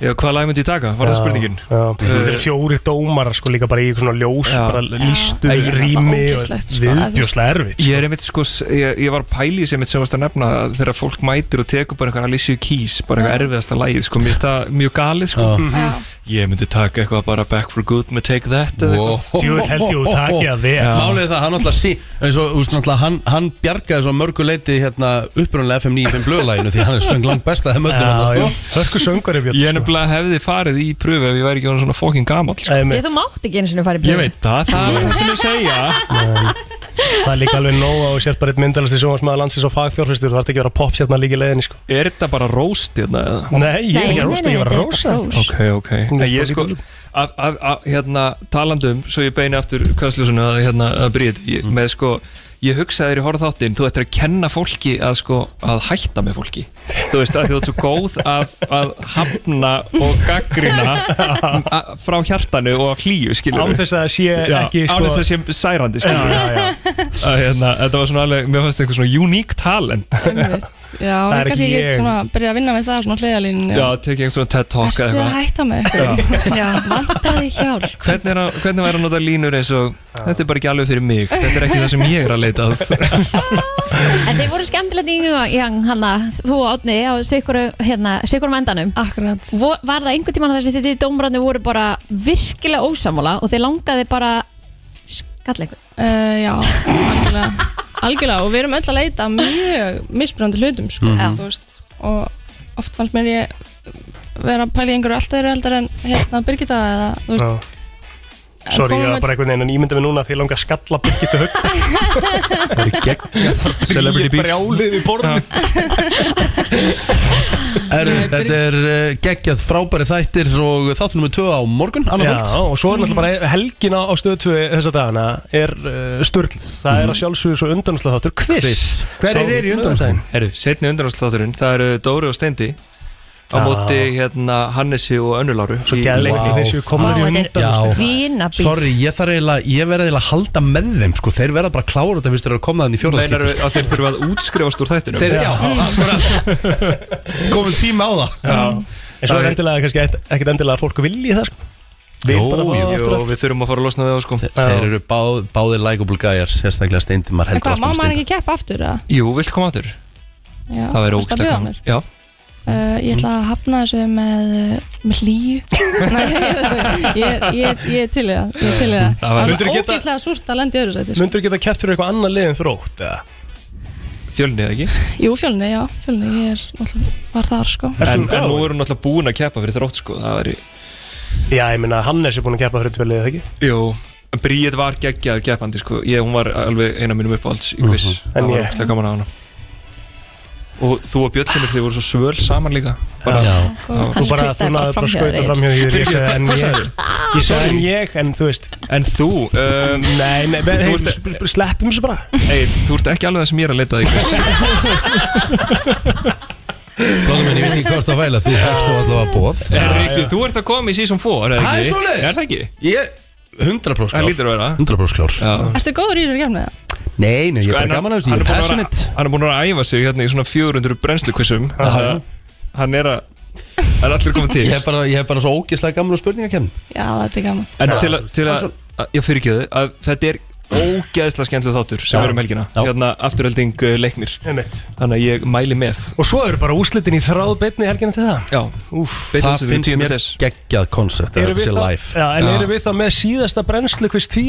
L: já, hvaða lag myndi ég taka, var það
D: Já,
L: spurningin Eh,
D: já. Þú veist, Þetta er fjórir dómar sko líka bara í eitthvað svona ljós
L: Já.
D: bara lístu
L: Nei, ég er
D: rými
L: náttúrulega
D: og
L: ógeðslegt, sko, að þú
D: viðbjóslega
L: veist-
D: erfitt
L: Ég er einmitt sko, s- ég, ég var pælið sem einmitt sem varst að nefna að þegar fólk mætir og tekur bara eitthvað Alicia Keys, bara eitthvað erfiðasta lagið sko, mér finnst það mjög galið sko
D: Já.
L: Ég myndi taka eitthvað bara Back for Good með Take That eða eitthvað.
B: Djúvill
L: Já.
B: Málið er það, hann alltaf sí eins og, þú veist, náttúrulega, hann, hann bjargaði svo mörgu leiti hérna upprunlega FM 95 blöðlæginu því hann er söng langt best að þeim öllum hann sko.
D: Hörku söngari
L: Ég er nefnilega hefði farið í pröfu ef ég væri ekki orðinn svona fokkin gamall sko.
C: Ég, þú mátt ekki eins og fara í
L: Ég
C: bröð
L: veit það, það er það sem ég segja
D: Það er líka alveg nóg og sér bara eitt myndalasti sjónvarsmaður landsins og fagfjórfistur þú þarf ekki að vera popstjarnar líka í leiðinni sko
L: Er þetta bara róst hérna eða?
D: Nei, ég er ekki að Nei, rósta, nei, ég var að þetta er rósa. bara hrós.
L: Ok, ok En ég sko, að, að, að, hérna, talandi um svo ég beini aftur Kvössljósunu að, hérna, að bríð ég,
D: Mm.
L: með sko, ég hugsaði þér í horf þáttin þú ættir að kenna fólki að sko að hætta með fólki þú veist að þú ert svo góð að, að hafna og gaggrina a- frá hjartanu og af hlýju skilur
D: Án þess að það sé ekki, sko-
L: Án þess að sé særandi skilur
D: Já, já,
L: Að, hérna, þetta var svona alveg, mér fannst eitthvað svona uník talent
K: já,
L: Það er
K: ég kannski
L: ekki
K: get
L: ég.
K: svona byrja að vinna með það svona hliðalínu
L: Já, tekið einhvern svona TED Talk
K: Ertu að hætta með ykkur? Já, vantaði hjálp
L: Hvernig, er að, hvernig væri að nota línur eins og Þetta er bara ekki alveg fyrir mig Þetta er ekki það sem ég er að leita að
C: En þeir voru skemmtilegt í gang hana, þú og Átni á sikuru, hérna, sikurum endanum
K: Akkurat
C: Var það einhvern tímann þar sem þið dómrarnir voru bara virkilega ósamála og þeir langaði bara skall einhvern
K: uh,
C: Eh,
K: Já, algjörlega Algjörlega og við erum öll að leita að mjög mismunandi hlutum sko,
C: Mhm.
K: þú veist og oft fannst mér ég vera að pæla í einhverju alltaf eru heldur en hérna Birgitta eða þú veist
D: já. Sorry,
K: komum
D: ég var
K: öll-
D: bara einhvern veginn en ímynda mig núna að þið langar að skalla Birgitta Högg Það
L: er geggjað
D: Celebrity beef Brjálið við borðið
B: er, Þetta er eh, geggjað frábæri þættir og þáttunum við tvö á morgun annað
D: Já,
B: kvöld.
D: og svo er náttúrulega bara helgin á, á stöðu 2 þessa dagana er uh, störl Það
B: Mhm.
D: er að sjálfsögðu svo undanúslega þáttur quiz
B: Hverjir
D: Sá-
B: eru í undanúrslitin?
L: Herru, setni undanúrsláturinn Það eru Dóri og Steindi Á
D: Já.
L: móti hérna Hannesi og Önnuláru Svo
D: geðveikt að þeir séu komnir í Vá, þetta er
B: Já.
C: Vínabíl
B: Sorry, ég þarf eiginlega, ég verði eiginlega að halda með þeim sko, þeir verða bara að klára þetta fyrst þeir eru að koma þann í sko.
L: Meinar
B: fjórðarskipti
L: að þeir þurfa að útskrifast úr þættinu
B: Þeir, já,
D: Mm.
B: komin tíma á það
L: Já.
D: En svo er endilega kannski eitt- ekkert endilega að fólk vilji það sko. Við
B: Jú,
D: bara
B: jú,
D: bara aftur allt.
L: Við þurfum að fara að losna við það sko
B: Þeir eru báð, báðir likeable gæjar Sérstaklega steindi, maður
K: En
B: heldur
K: hvað, má
B: alltaf um
K: maður
B: steindi
K: ekki keppa aftur eða?
L: Jú, vilt koma áttur?
K: Já,
L: Það væri
K: varstu að
L: ógstlega
K: bjóða
L: gaman Mhm.
K: mér?
L: Já
K: Uh, ég ætla að hafna þessu með, uh, með hlýju Nei, ég, er að segja, ég, ég, ég er til í það Ég er til í það
D: Það
K: Það
D: var- Myndirðu
K: er
D: geta-
K: ógeðslega súrt að lenda í öðru sæti sko.
D: Myndur geta kæft fyrir eitthvað annað lið en þrótt eða?
L: Fjölni eða ekki?
K: Jú, fjölni, já, fjölni, ég er náttúrulega var þar sko
L: En, en nú erum náttúrulega búin að keppa fyrir þrótt sko Það væri
D: Já, ég meina Hannes er búin að keppa fyrir tvelið, ekki?
L: Jú, Bríð var geggjaður keppandi sko. ég, hún var alveg eina mínum uppáhalds í quiz
D: Mhm. En
L: það var
D: ég-
L: ógstlega gaman að hana og þú og Björn Hlimir þið voru svo svöl saman líka bara,
D: Já.
L: Það var-
D: Þú bara, þú náður bara að skauta framhjá því Ég
L: Fyrirgefðu,
D: sagði en
L: Hvað
D: ég
L: sagðir?
D: Ég sagði en ég, en þú veist
L: En þú um,
D: Nei, nei,
L: þú
D: hey,
L: ert-
D: sp- sp- sleppum þessu bara
L: Egil, þú ert ekki alveg það sem ég er að leita að í quiz
B: Blóðum en ég veit ekki hvað ertu að væla Þú fækst þú allavega bóð
L: En Ríkki, þú ert að koma í season 4 er
B: Það er
L: ekki?
B: svoleiðis.
L: Er það ekki?
B: Ég, 100 klár
L: Það lítur að vera
B: 100 klár
K: Ertu góður í þessu kemni það?
B: Nei, nei, ég er bara
L: En
B: gaman af þessu
L: Sko, hann er búinn að
B: Ég er
L: vera-
B: passionate
L: Hann er búin að æfa sig hérna í svona 400 brennsluquizum Hann er að Það er allir komið til
B: Ég hef bara, ég hef bara svo ógeðslega gaman á spurningakemn
K: Já, þetta er gaman
L: En til, a, til að, að ég fyrirgjöðu að þetta er ógeðslega skemmtileg þáttur sem
D: Já.
L: er um helgina, hérna afturölding uh, leiknir
D: Einmitt.
L: þannig að ég mæli með
D: Og svo eru bara úslitin í þráð beinni helgina til það
L: Já, Beinni
B: Það
L: útsending
B: finnst
L: 10.
B: mér
L: des.
B: geggjað koncept að Þetta
D: Eru við
B: sé
D: það-
B: live
D: Já, en eru við þá með síðasta brennslu quiz 2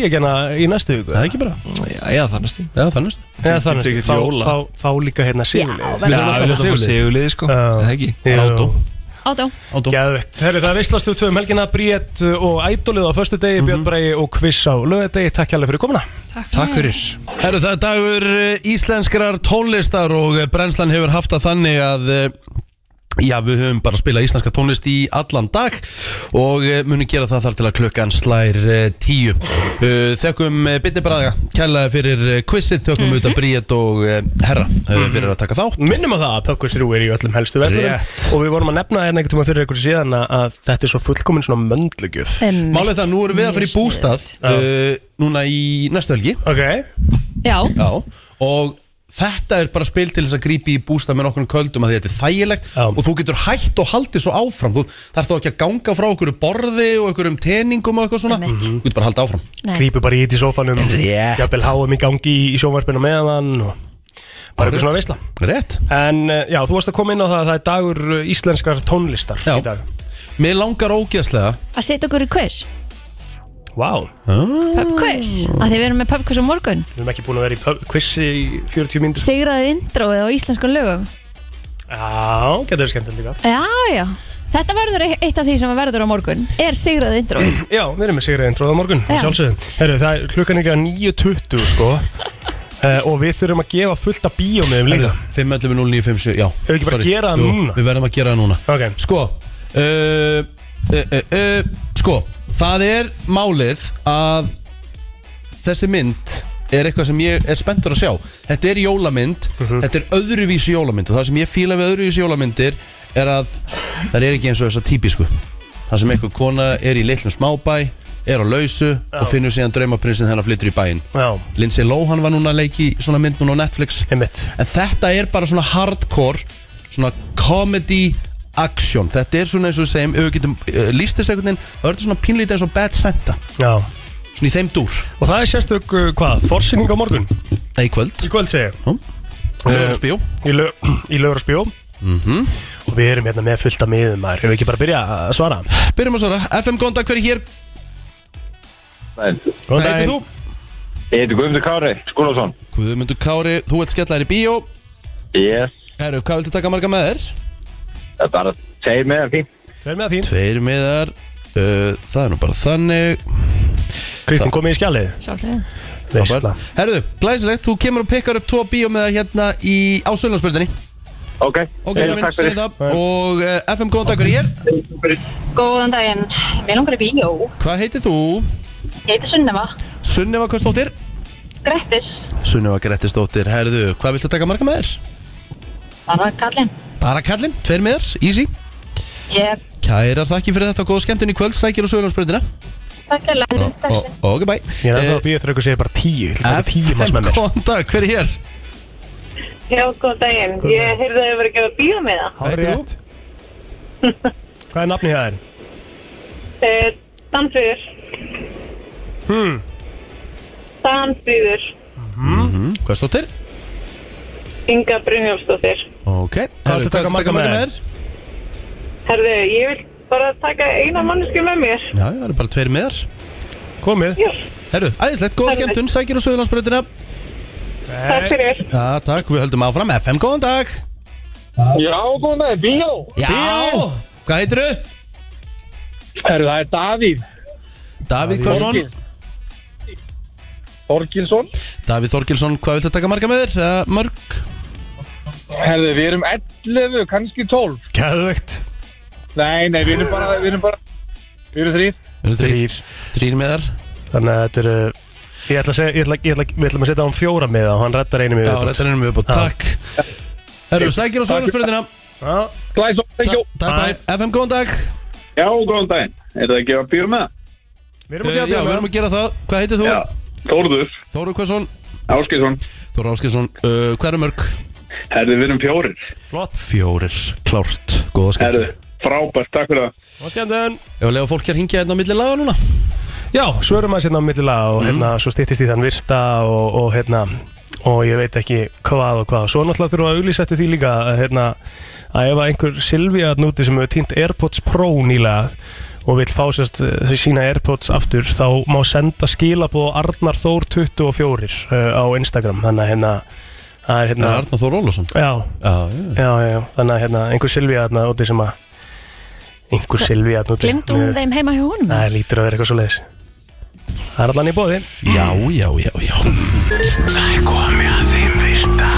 D: í næstu viku?
B: Það er ekki bara
L: Já, já þannig stíl
B: Já, þannig
D: Já, þannig
L: Tekið
D: að
L: til
D: fá,
L: jóla.
D: fá, fá líka hérna sigurlið
L: Við erum alltaf að fá sigurlið sko, það ekki
D: Jú.
L: Rátó
C: Átó
D: Gæðvett, herri það er veistlastu tvö um helgina Bríett og Ædolið á föstu degi Björn Bregi og Kviss á lögadegi Takk hérlega fyrir komuna
K: Takk,
B: Herru, það er dagur eh, íslenskrar tónlistar og eh, brennslan hefur haft það þannig að eh, Já, við höfum bara að spila íslenska tónlist í allan dag og eh, munum gera það þar til að klukkan slær eh, tíu. Eh, Þökkum eh, Bitni Braga, kærlega fyrir eh, quizið, þökkum mm -hmm. auðvitað Bríett og eh, Herra eh, fyrir að taka þátt.
D: Minnum á það að Pökkus 3 er í öllum helstu verðlunum Og við vorum að nefna hérna einhvern tíma fyrir ykkur síðan að- að þetta er svo fullkomin svona möndlugjöf
C: Einmitt.
B: Málið er það, nú erum við að fara í bústað uh, núna í næstu helgi.
D: Ok.
C: Já,
B: Já, og þetta er bara spil til þess að grípi í bústað með nokkurnu köldum að þetta er þægilegt og þú getur hætt og haldið svo áfram þú þarf þá ekki að ganga frá okkur borði og okkur um teningum og eitthvað svona Mhm.
C: Einmitt.
B: þú getur bara haldið áfram
C: Nei.
D: Grípur bara í þetta í sofanum
B: Rétt.
D: Jafnvel háum í gangi í sjónvarpinu meðan og bara eitthvað svona veisla
B: Rétt
D: En eh, já, þú varst að koma inn á það að það er dagur eh, íslenskar tónlistar já. í dag
B: Mér langar ógeðslega
C: að setja okkur í quiz
D: Vá
C: Pub quiz, að þið verðum með pub quiz á morgun
D: Við erum ekki búin að vera í pub- quizi í 40 mínútur
C: Sigraðið introið á íslenskum lögum
D: Já, getur við skemmtilegt líka
C: Já, já Þetta verður eitt af því sem verður á morgun Er sigraðið introið
D: Já, við erum með Sigriðin tróða morgun
C: Já.
D: Sjálfsögðum Herru, það er klukkan ykkur 9.20 sko uh, Og við þurfum að gefa fullt af bíómiðum líka
B: 5.11.09.57, já Hefur
D: ekki bara að gera það núna?
B: Við verðum að gera það núna
D: okay.
B: Sko uh, uh, uh, uh, Sko, það er málið að þessi mynd er eitthvað sem ég er spenntur að sjá Þetta er jólamynd,
D: Mhm.
B: þetta er öðruvísi jólamynd og það sem ég fíla við öðruvísi jólamyndir er að það er ekki eins og þessa típisku Það sem eitthvað kona er í litlum smábæ er á lausu og finnur síðan draumaprinsin hennar flyttur í bæinn
D: Já.
B: Lindsay Lohan var núna að leiki í svona mynd núna á Netflix
D: Einmitt.
B: En þetta er bara svona hardcore Svona comedy action Þetta er svona eins og við segjum Ef við getum uh, líst þess einhvern veginn Það verður svona pínlítið eins og Bad Santa
D: Já
B: Svona í þeim dúr
D: Og það er sérstök, uh, hvað, forsýning á morgun?
B: Nei, í kvöld
D: Í kvöld segi ég Uh,
B: Í Laugarásbíó.
D: Í, lög, í lögurspjó -hmm. Og við erum hérna með fullt af miðum maður Hefur ekki bara að byrja að svara?
B: Byrjum að svara FM Gonda, hver er hér?
D: Góðan
B: Hvað heitir
D: daginn.
B: þú? Ég heiti Guðmundur Kári Skúlason Guðmundur Kári, þú ert skellar í bíó Yes Herru, hvað viltu taka marga með þér? Það er bara tveir meðar fín
D: Tveir meðar fín
B: Tveir meðar uh, Það er nú bara þannig
D: Kristín, komið í skjalið
C: Sjálfsögðu
D: Veistla.
B: Herðu, glæsilegt, þú kemur og pikkar upp tvo bíómiða hérna í ásölunarspöldinni Ok, ok,
H: Heyrðu,
B: minn,
H: takk fyrir.
B: segðu það Og uh, FM, góðan dag, hver er hér?
H: Góðan daginn, mér langar í bíó.
B: Hvað heitir þú?
H: Ég heiti Sunneva,
B: Sunneva Kostóttir
H: Grettis,
B: Sunneva Grettistóttir, herðu, hvað viltu taka marga með þér?
H: það var kallinn.
B: Bara kallinn, tveir með þér, easy
H: Ég
B: Kærar þakki fyrir þetta og góða skemmtinn í kvöld, sækir og sögurnarspröndina
H: takk að læra.
B: Ok, bye Eh,
D: Ég er ennþá að býja eftir að ykkur segir bara tíu Ég ætla að taka tíu manns
B: FM,
D: með mér
B: góðan dag, hver er hér?
N: Já, góðan daginn.
D: Góðan
N: Ég heyrði að ég verið að gefa bíó með það.
D: Hvað er þú? Hvað er nafnið það er?
N: Eh, Danfríður.
D: Hmm.
N: Danfríður.
B: Mm
D: Mhm.
B: -hmm. Hvað stóttir?
N: Inga Brynjólfsdóttir.
B: Ok, herðu,
D: ertu að taka
B: viltu
D: marga með
B: þér?
N: Herðu, ég vil bara taka eina mannesku með mér.
B: Já, það eru bara tveir með þér
D: Komið
B: Herru, æðislegt, góða
N: Takk.
B: skemmtun, sækir og sögurnarspröndina
N: Takk fyrir.
B: Já, takk, við höldum áfram FM, góðan dag
O: Já, góðan daginn, bíó
B: Já, hvað heitir þau?
O: Herru, það er Davíð
B: Davíð Hversson
O: Þorgilsson
B: Davíð Þorgilsson, hvað viltu taka marga með þér? Eða Mörg?
O: Herru, við erum 11, kannski 12
D: Gæðvegt
O: Nei, nei, við erum bara, við erum bara Við erum þrýr
B: Við erum þrýr Þrýr með þar
D: Þannig að þetta eru Ég ætla að segja Ég ætla, ég ætla, ég ætla að setja á hann fjóra með það Hann rettar einu með
B: Já, rettar einu með viðbót. Takk Herru, sækir og sögurnarspröndina
O: Glæs og
B: Takk, bæ, FM, góðan dag
P: Já, góðan daginn. Er það að gefa bíó með það?
D: Við
B: erum að gera, Eh, já, við erum að gera það Hvað heitir þú?
P: Þórður.
B: Þóru Hversson
P: Áskilsson.
B: Þóra Áskilsson, uh, hvað eru mörg?
P: Herði, við erum fjórir.
D: Flott.
B: Fjórir, klárt, góða skemmtun
P: Herði, frábært, takk fyrir það.
D: Góðan
B: Ef að lega fólk hér hingja hérna á milli laga núna Mhm.
D: Já, svörum aðeins hérna á millilega og hérna svo styttist í þann virta og, og hérna og ég veit ekki hvað og hvað svo náttúrulega þurfum við að auglýsa eftir því líka að, hérna, að ef að einhver Silvía þarna úti sem hefur týnt Airpods Pro nýlega og vill fá sérst eh, þau sína Airpods aftur þá má senda skilaboð á Arnar Þór 24 uh, á Instagram þannig að hérna Það er hérna
B: Er Arnar Þór Ólafsson?
D: Já,
B: já, já,
D: já, já. Þannig að hérna, einhver Silvía þarna úti sem að einhver Silvi að núti
C: Glimdu hún þeim heima hjá honum?
D: Það lítur að vera eitthvað svo leiðis Það er allan í bóði
B: Já, já, já, já
A: Það er komið að þeim virta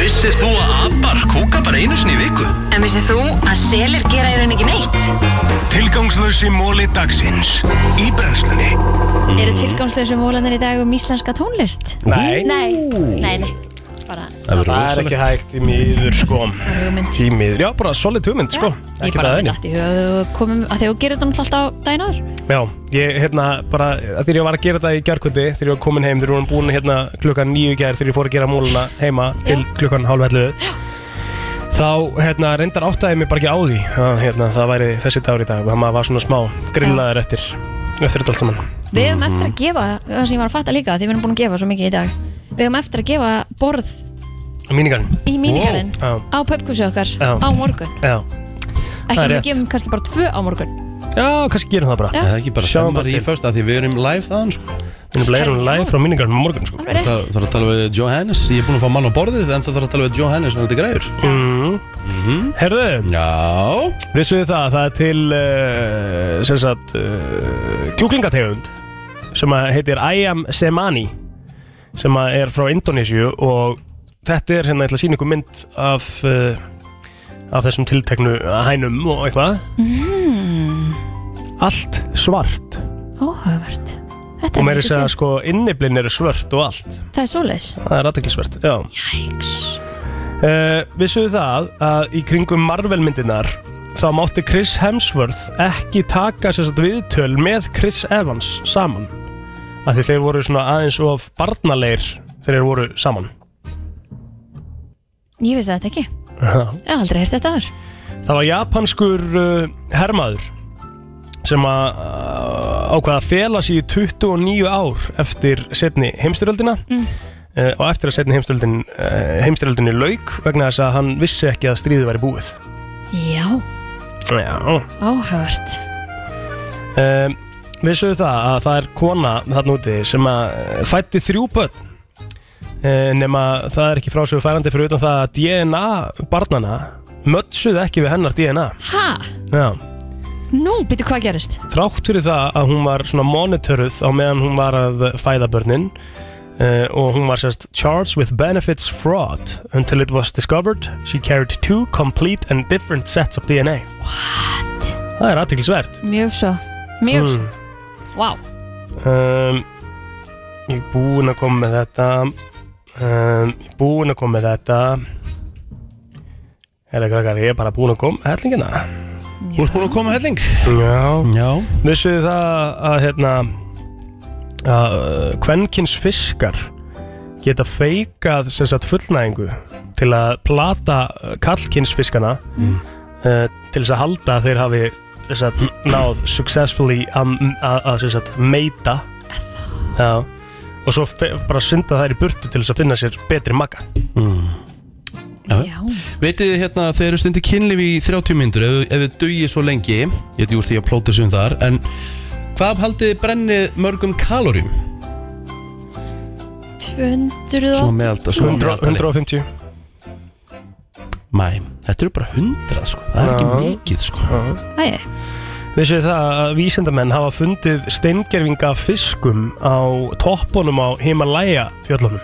A: Vissir þú að abar kúka bara einu sinni í viku?
Q: En vissið þú að selir gera í raun ekki neitt?
A: Tilgangslösi móli dagsins Í brennslunni
C: Eru tilgangslösu mólanir í dag um íslenska tónlist?
D: Nei.
C: Nei, nei, nei. Bara,
D: Það er ekki hægt í miður sko
C: er hugmynd.
D: Í miður, já bara solid hugmynd sko
C: ég
D: Ekki
C: bara
D: það
C: með
D: henni
C: dætt í hug að þú komum að því þú gerir þetta náttúrulega alltaf á daginn áður
D: Já, ég hérna bara að Þegar ég var að gera þetta í gærkvöldi Þegar ég var komin heim Þegar ég var búin hérna klukkan nýju gær Þegar ég fór að gera múluna heima Til klukkan hálf ellu Þá hérna reyndar áttaði mig bara ekki á því að, hérna, Það væri þessi dagur í dag Það maður var svona smá grillaður eftir Eftir þetta allt saman
C: Við höfum eftir að gefa, það sem ég var að fatta líka því við erum búin að gefa svo mikið í dag Við höfum eftir að gefa borð
D: Mínigarinn
C: í mínigarinn
D: Wow.
C: á pubkvössu okkar
D: Já.
C: á morgun
D: Já,
C: Ekki
D: Það er
C: við
D: rétt.
C: gefum kannski bara tvö á morgun
D: Já, kannski gerum það bara
C: Já.
B: Það er ekki bara
D: Sjáum
B: Sjáum bara í fösta Því við erum live þaðan sko
D: Við erum live frá mínigarinn á morgun sko
C: Alveg rétt.
B: Það þarf að tala við Johannes Ég er búin að fá mann á borðið En það þarf að tala við Johannes Þannig að þetta græður
D: mm.
B: Mhm.
D: Herðu
B: Já
D: Vissuðu það að það er til uh, sem sagt uh, kjúklingategund sem að heitir Ayam Semani sem að er frá Indonésiu og þetta er hérna, ég ætla að sína ykkur mynd af uh, af þessum tilteknu hænum og eitthvað
C: mm,
D: allt svart
C: Óhugavert Þetta
D: og
C: er
D: meira
C: ekki
D: þess að
C: séð.
D: sko inniblinn eru svört og allt
C: Það er svoleiðis
D: það er aðteklisvert, já
C: Jæks
D: Uh, vissuðu það að í kringum Marvel-myndinar þá mátti Chris Hemsworth ekki taka sérst viðtöl með Chris Evans saman af því þeir voru svona aðeins of barnaleir þegar þeir voru saman
C: Ég vissi þetta ekki
D: Það
C: Ég hef aldrei heyrst þetta aður
D: var japanskur uh, hermaður sem að uh, ákvaða að fela sig í 29 ár eftir setni heimstyröldina
C: Mm.
D: uh, og eftir að setni heimstyröldin, uh, heimstyröldinni lauk vegna þess að hann vissi ekki að stríðið væri búið
C: Já,
D: Já
C: áhugavert
D: um, Vissuðu það að það er kona þarna úti sem að fætti þrjú börn uh, nema það er ekki frásögu færandi fyrir utan það að DNA barnana mötsuðu ekki við hennar DNA
C: Ha,
D: Já,
C: nú býtu hvað gerist
D: þrátt fyrir það að hún var svona monitoruð á meðan hún var að fæða börnin uh, og hún var sérst charged with benefits fraud until it was discovered she carried two complete and different sets of DNA What? Það er aðtiklisvert
C: Mjög svo, mjög
D: Hmm.
C: svo Vá,
D: um, Ég er búinn að koma með þetta um, Ég er búinn að koma með þetta Herra krakkar, ég er bara búinn að koma með hellingina
B: Þú ert búin að koma helling
D: Já,
B: Já.
D: Vissuðu það að hérna að uh, kvenkins fiskar geta feikað sem sagt fullnæðingu til að plata kallkins fiskana
B: Mm.
D: uh, til þess að halda að þeir hafi sem sagt, náð successfully að að, sem sagt, meita Já. og svo fe- bara synda þær í burtu til þess að finna sér betri maga
B: mm.
C: Já.
B: Veitir þið hérna þeir eru stundir kynlíf í 30 myndur ef, ef þið dugir svo lengi ég veit ég úr því að plóta sig um þar en hvað haldið þið brennið mörgum kalórium?
C: 200
B: Svo meðaltal- sko. svo
D: 100
B: meðaltali.
D: 150
B: Mæ, þetta eru bara 100 sko það er
D: Já.
B: ekki mikið sko
C: Æ,
D: Vissu það að vísindamenn hafa fundið steingervinga af fiskum á toppunum á Himalaya fjöllunum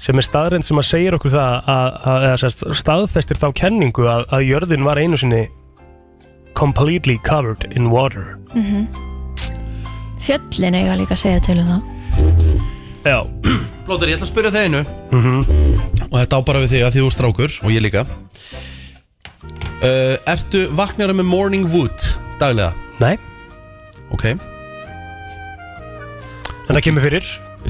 D: sem er staðrind sem að segir okkur það að, að, að sest, staðfestir þá kenningu að, að jörðin var einu sinni completely covered in water
C: mm Mhm. Fjöllin eiga líka að segja til um það
D: Já
B: Blóður, ég ætla að spyrja það einu Mhm. og þetta á bara við þig að því þú er strákur og ég líka uh, Ertu vaknara með morning wood daglega?
D: Nei
B: Ok
D: En það kemur fyrir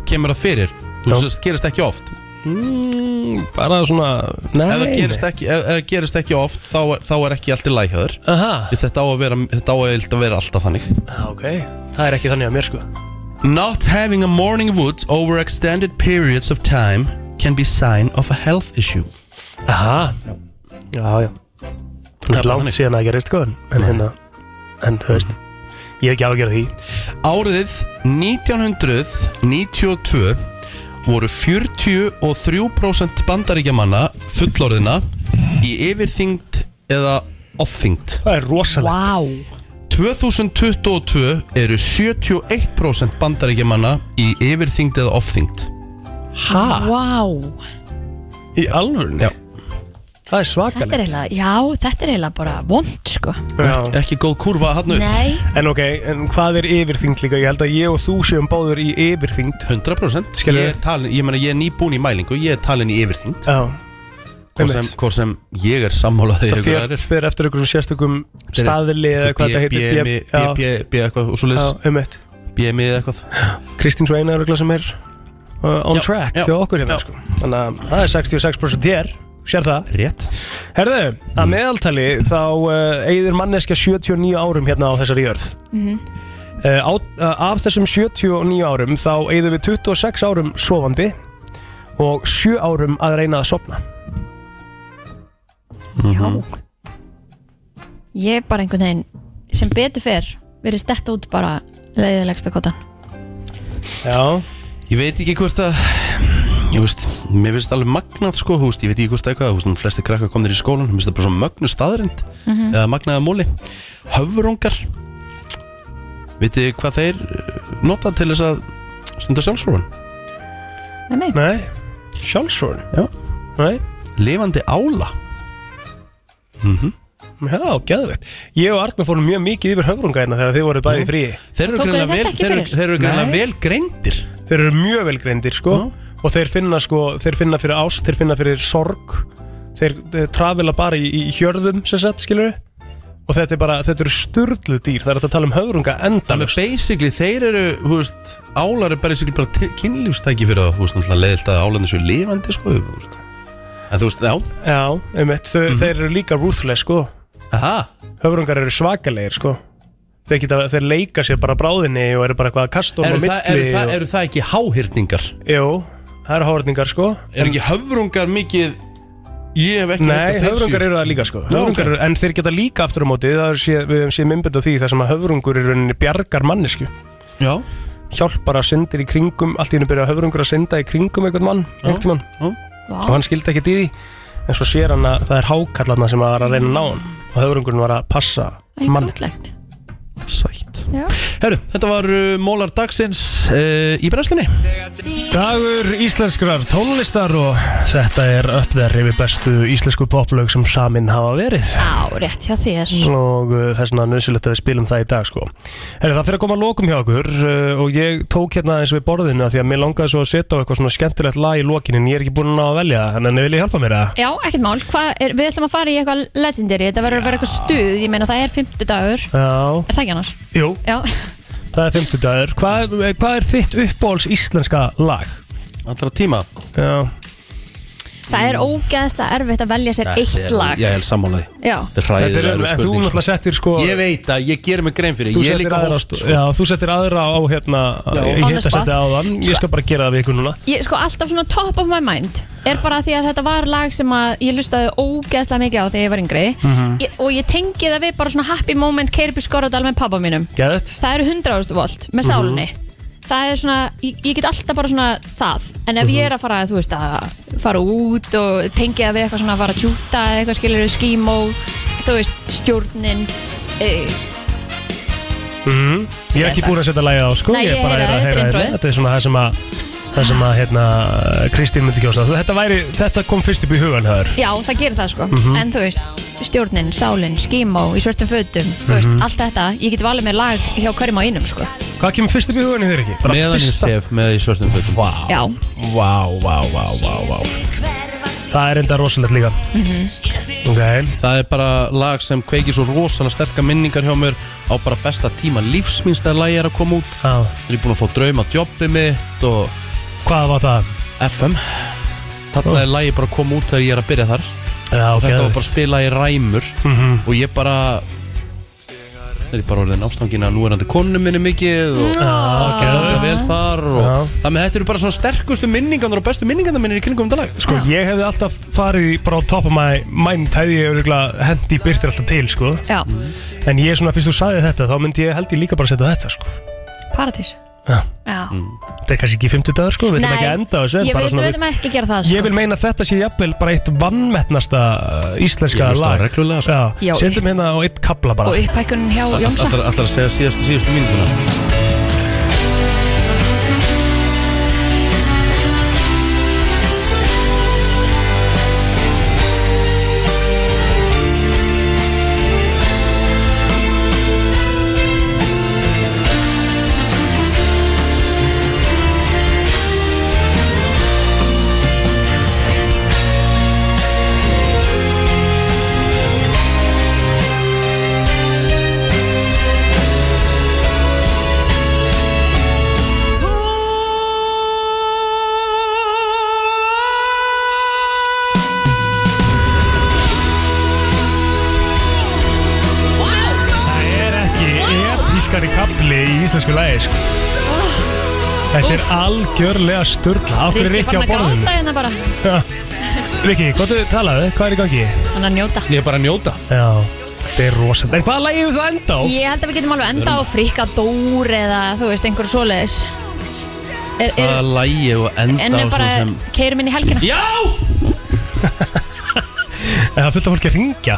B: Kemur það fyrir? Þú sérst gerist ekki oft
D: mm, Bara svona,
B: Ef það
D: nei,
B: gerist,
D: nei.
B: ekki- ef- ef það gerist ekki oft þá, er- þá er ekki allt í lægjöður
D: Aha.
B: Þetta á að vera, þetta á að eilt að vera alltaf þannig
D: Ok, það er ekki þannig að mér sko
B: Not having a morning wood over extended periods of time can be sign of a health issue
D: Aha Já, já Það er langt síðan að gerist sko en, en hérna En þú veist Ég hef ekki á að gera því
B: Árið 1992 voru 43% bandaríkjamanna fullorðina í yfirþyngd eða ofþyngd
D: Það er rosalegt
C: wow.
B: 2022 eru 71% bandaríkjamanna í yfirþyngd eða ofþyngd
D: Ha?
C: Wow.
D: Í alvörn?
B: Já
D: Það er
C: Þetta er eiginlega, já, þetta er eiginlega bara vond sko
D: Ekki,
B: ekki góð kurva hann
C: upp. Nei.
D: En ok, en hvað er yfirþyngd líka? Ég held að ég og þú séum báður í yfirþyngd
B: 100% ég er, talin, ég, mena, ég er nýbúin í mælingu, ég er talin í yfirþyngd
D: Já
B: Hvort sem, hvort sem ég er sammálað
D: Það fer, fer eftir einhverjum sérstökum staðli eða hvað þetta heitir
B: BMI,
D: já.
B: BB, eitthvað og svo
D: Já, einmitt.
B: BMI eða eitthvað
D: Kristín svo eina örugla sem er uh, on
B: Já,
D: track
B: já,
D: hjá okkur hérna
B: já.
D: sko. Þannig að það er 66% hér Sér það
B: Rétt Mm.
D: Herðu, að meðaltali þá uh, eigður manneskja 79 árum hérna á þessari jörð
G: Mm.
Q: Mm-hmm.
D: uh, á, uh, Af þessum 79 árum þá eigðum við 26 árum sofandi og 7 árum að reyna að sopna
Q: Mm-hmm.
C: Já Ég er bara einhvern veginn sem betur fer verið stett út bara leiðilegsta kottan
D: Já
B: Ég veit ekki hvort að Ég veist, mér finnst alveg magnað sko, þú veist, ég veit ekki hvort eitthvað, þú veist, flesti krakkar komnir í skólan, mér finnst það bara svo mögnu staðrind,
G: Mm.
C: Mhm.
B: eða magnaða múli, höfrungar, vitið þið hvað þeir eh, nota til þess að stunda sjálfsfróðan?
C: Nei,
D: Nei, sjálfsfróðan?
B: Já.
D: Nei.
B: Lifandi ála. Mhm.
D: Já, geðvegt Ég og Arnar fórum mjög mikið yfir höfrunga hérna þegar þið voru bæði í fríi
B: Þeir eru Tókuð þið greinilega þetta vel- ekki þeir eru- fyrir? þeir eru greinilega
D: Nei.
B: vel greindir
D: Þeir eru mjög vel greindir sko Og þeir finna sko, þeir finna fyrir ást, þeir finna fyrir sorg Þeir, þeir travila bara í, í hjörðum sem sagt, skilur Og þetta er bara, þetta eru sturlu dýr Það er hægt að tala um höfrunga
B: Þannig
D: endalust
B: að basically þeir eru, þú veist, álar eru basically bara til- kynlífstæki fyrir það, þú veist, náttúrulega leiðilt að álarnir séu lifandi sko, þú veist, en þú veist, já,
D: Já, einmitt, þau, þeir eru líka ruthless sko
B: Mhm. Aha.
D: Höfrungar eru svakalegir sko Þeir, geta, þeir leika sér bara bráðinni og eru bara eitthvað að kasta honum á
B: eru
D: milli
B: það, eru, það,
D: og-
B: eru það ekki háhyrningar?
D: Jú, það eru háhyrningar sko
B: Er ekki höfrungar mikið Ég hef ekki
D: Nei, höfrungar eru það líka sko
B: Já, ok.
D: höfrungar, eru, En þeir geta líka aftur á móti það sé, Við hefum séð myndbönd á því þar sem að höfrungur í rauninni bjargar mannesku
B: Já
D: Hjálpar að syndir í kringum Allt í hennu byrja höfrungur að synda í kringum einhvern mann Einhvern mann
B: já.
D: Og hann skildi ekki í því En svo sér hann að það er hákallarna sem var að reyna að ná hann Og höfrungurinn var að passa mann
C: Ægrótlegt
B: Sætt
C: Já
B: Herru, þetta var uh, Mólar dagsins uh, í brennslunni
D: Dagur íslenskrar tónlistar og þetta er upp þær yfir bestu íslensku poplaug sem samin hafa verið
C: Á, rétt hjá þér
D: og uh, það er svona nöðsilegt að við spilum það í dag sko. Heri, það fyrir að koma að lokum hjá okkur uh, og ég tók hérna eins við borðinu af því að mér langaði svo að setja á eitthvað svona skemmtilegt lag í lokin en ég er ekki búin að ná að velja þannig að vil ég hjálpa mér að
C: Já, ekkert mál, Hva, er, við ætlum að fara í eitthvað legendary, þetta verður að vera eitthvað stuð, ég meina það er fimmtudagur,
D: Já,
C: er það ekki annars?
D: jú,
C: Já,
D: það er fimmtudagur Hvað hva er þitt uppbóls íslenska lag?
B: Allra tíma
D: Já,
C: það er ógeðslega erfitt að velja sér eitt lag.
B: Ég er sammálaði
C: Já.
B: Þetta er hræðilega
D: En þú
B: spurning
D: náttúrulega settir sko
B: Ég veit að ég gerir mig grein fyrir
D: Þú
B: Ég er
D: settir
B: líka sko.
D: aðra
B: hóst
D: á- Já, þú settir aðra á hérna
C: On
B: Já.
D: Ég
C: the
D: hitt að
C: spot.
D: setja á þann Ég skal bara gera það við ykkur núna
C: Ég, sko, alltaf svona top of my mind er bara því að þetta var lag sem að ég lustaði ógeðslega mikið á þegar ég var yngri
D: Mhm.
C: ég, og ég tengi það við bara svona happy moment Keirby Skorodal með pabba mínum.
D: Geðvett
C: Það eru 100.000 volt með sálinni. Það er svona, ég, ég get alltaf bara svona það, en ef ég er að fara, þú veist, að fara út og tengi það við eitthvað svona að fara að tjúta eða eitthvað skilur við skímó, þú veist, stjórnin, e,
D: mm. Ég er ekki búin að setja lagið á sko
C: Nei, ég
D: Ég bara
C: heyra-
D: er
C: ég
D: að
C: heyra
D: heyra
C: introið.
D: hérna Þetta er svona það sem að Það sem að hérna Kristín myndi kjósa Þú- Þetta, væri, þetta kom fyrst upp í hugan höður
C: já, það gerir það sko,
D: Mhm.
C: en þú veist, stjórnin, sálin, skímó, í svörtum fötum, þú veist,
D: Mhm.
C: allt þetta, ég get valið mér lag hjá hverjum á einum sko.
D: Hvað kemur fyrst upp í hugan í þeir ekki?
B: Meðan ég sef með í svörtum fötum
D: Vá,
C: Já.
D: vá, vá, vá, vá, vá Það er enda rosalegt líka
C: Mhm.
D: okay.
B: Það er bara lag sem kveikir svo rosalega sterkar minningar hjá mér á bara besta tíma lífsminns þegar lagi er að koma út
D: ah.
B: Það er búin að fá drauma jobbið mitt og
D: Hvað var það?
B: FM Þarna er lagi bara að koma út þegar ég er að byrja þar
D: Já,
B: og þetta
D: geðveikt.
B: var bara að spila í ræmur
D: Mhm.
B: og ég bara það er ég bara orðin ástangin að nú er hann til konu minni mikið og allt er vel þar og það með þetta eru bara svona sterkustu minningarnar og bestu minningarnar minni í kringum þetta lag
D: Sko, ég hefði alltaf farið í- bara á top of my mind hefði ég örugglega hendi byrtir alltaf til, sko
C: Já,
D: En ég svona, fyrst þú sagði þetta, þá myndi ég held ég líka bara að setja þetta, sko Mm.
C: paradís. Já.
D: Þetta er kannski ekki 50 dagar sko, við ætlum ekki að enda á þessu en
C: Ég
D: bara
C: veit, við
D: svona við-
C: veitum ekki að gera það sko.
D: Ég vil meina að þetta sé jafnvel bara eitt vannmettnasta íslenska
B: Ég hlusta á
D: lag
B: reglulega, sko.
D: Já,
C: Já,
D: Setjum hérna á eitt kabla bara
C: Og upphækkunin hjá Jónsa
B: Allar allar að segja síðastu síðastu mínutuna
D: Það er ekki episkari kabli í íslensku lagi sko.
G: Ah.
D: Þetta er algjörlega sturla Af hverju er ekki á
C: Rikki fann að
D: borðinu
C: gráta hérna bara
D: Já. Rikki, hvað þú talaðu? Hvað er í gangi?
C: Hann er að njóta
B: Ég er bara að njóta
D: Já, þetta er rosalega En hvaða lagi hefur það enda á?
C: Ég held að við getum alveg enda á frikadór eða þú veist, einhverju svoleiðis er, er,
B: Hvaða lægi og enda á
C: Ennum
B: svo
C: bara
B: sem
C: keirum inn í helgina
B: Já!
D: En það er fullt af fólki að ringja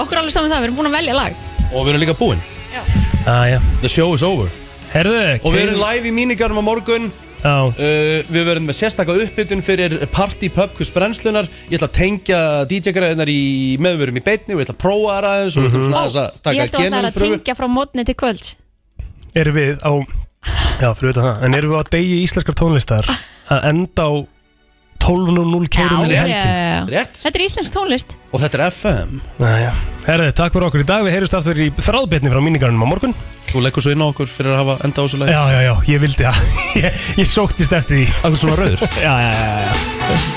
C: Okkur er alveg saman það, við erum búin að velja lag
B: Og við erum líka búin
D: Aja.
B: The show is over
D: Herðu
B: Og við erum live í mínigarnum á morgun
D: Uh,
B: við verðum með sérstaka uppbytun fyrir Party Pub Quiz brennslunar Ég ætla að tengja DJ-græðinar í meðverum í beinni og ég ætla að prófa þær aðeins og við ætlum svona aðeins að
C: Mm-hmm. Ég
B: taka
C: held að það er að
B: genelpröfu
C: tengja frá mótni til kvöld
D: Erum við á Já, fyrir utan það En erum við á degi íslenskar tónlistar Að enda á 12.00 keirum inn í helgi
B: Rétt
C: Þetta er íslensk tónlist
B: Og þetta er FM
D: Næja, herðu, takk fyrir okkur í dag Við heyrjumst aftur í þráðbyrni frá mínigarunum á morgun
B: Þú leggur svo inn á okkur fyrir að hafa enda á þessu lagi
D: Já, já, já, ég vildi það Ég, ég sóktist eftir því
B: Akkur svona rauður
D: Já, já, já, já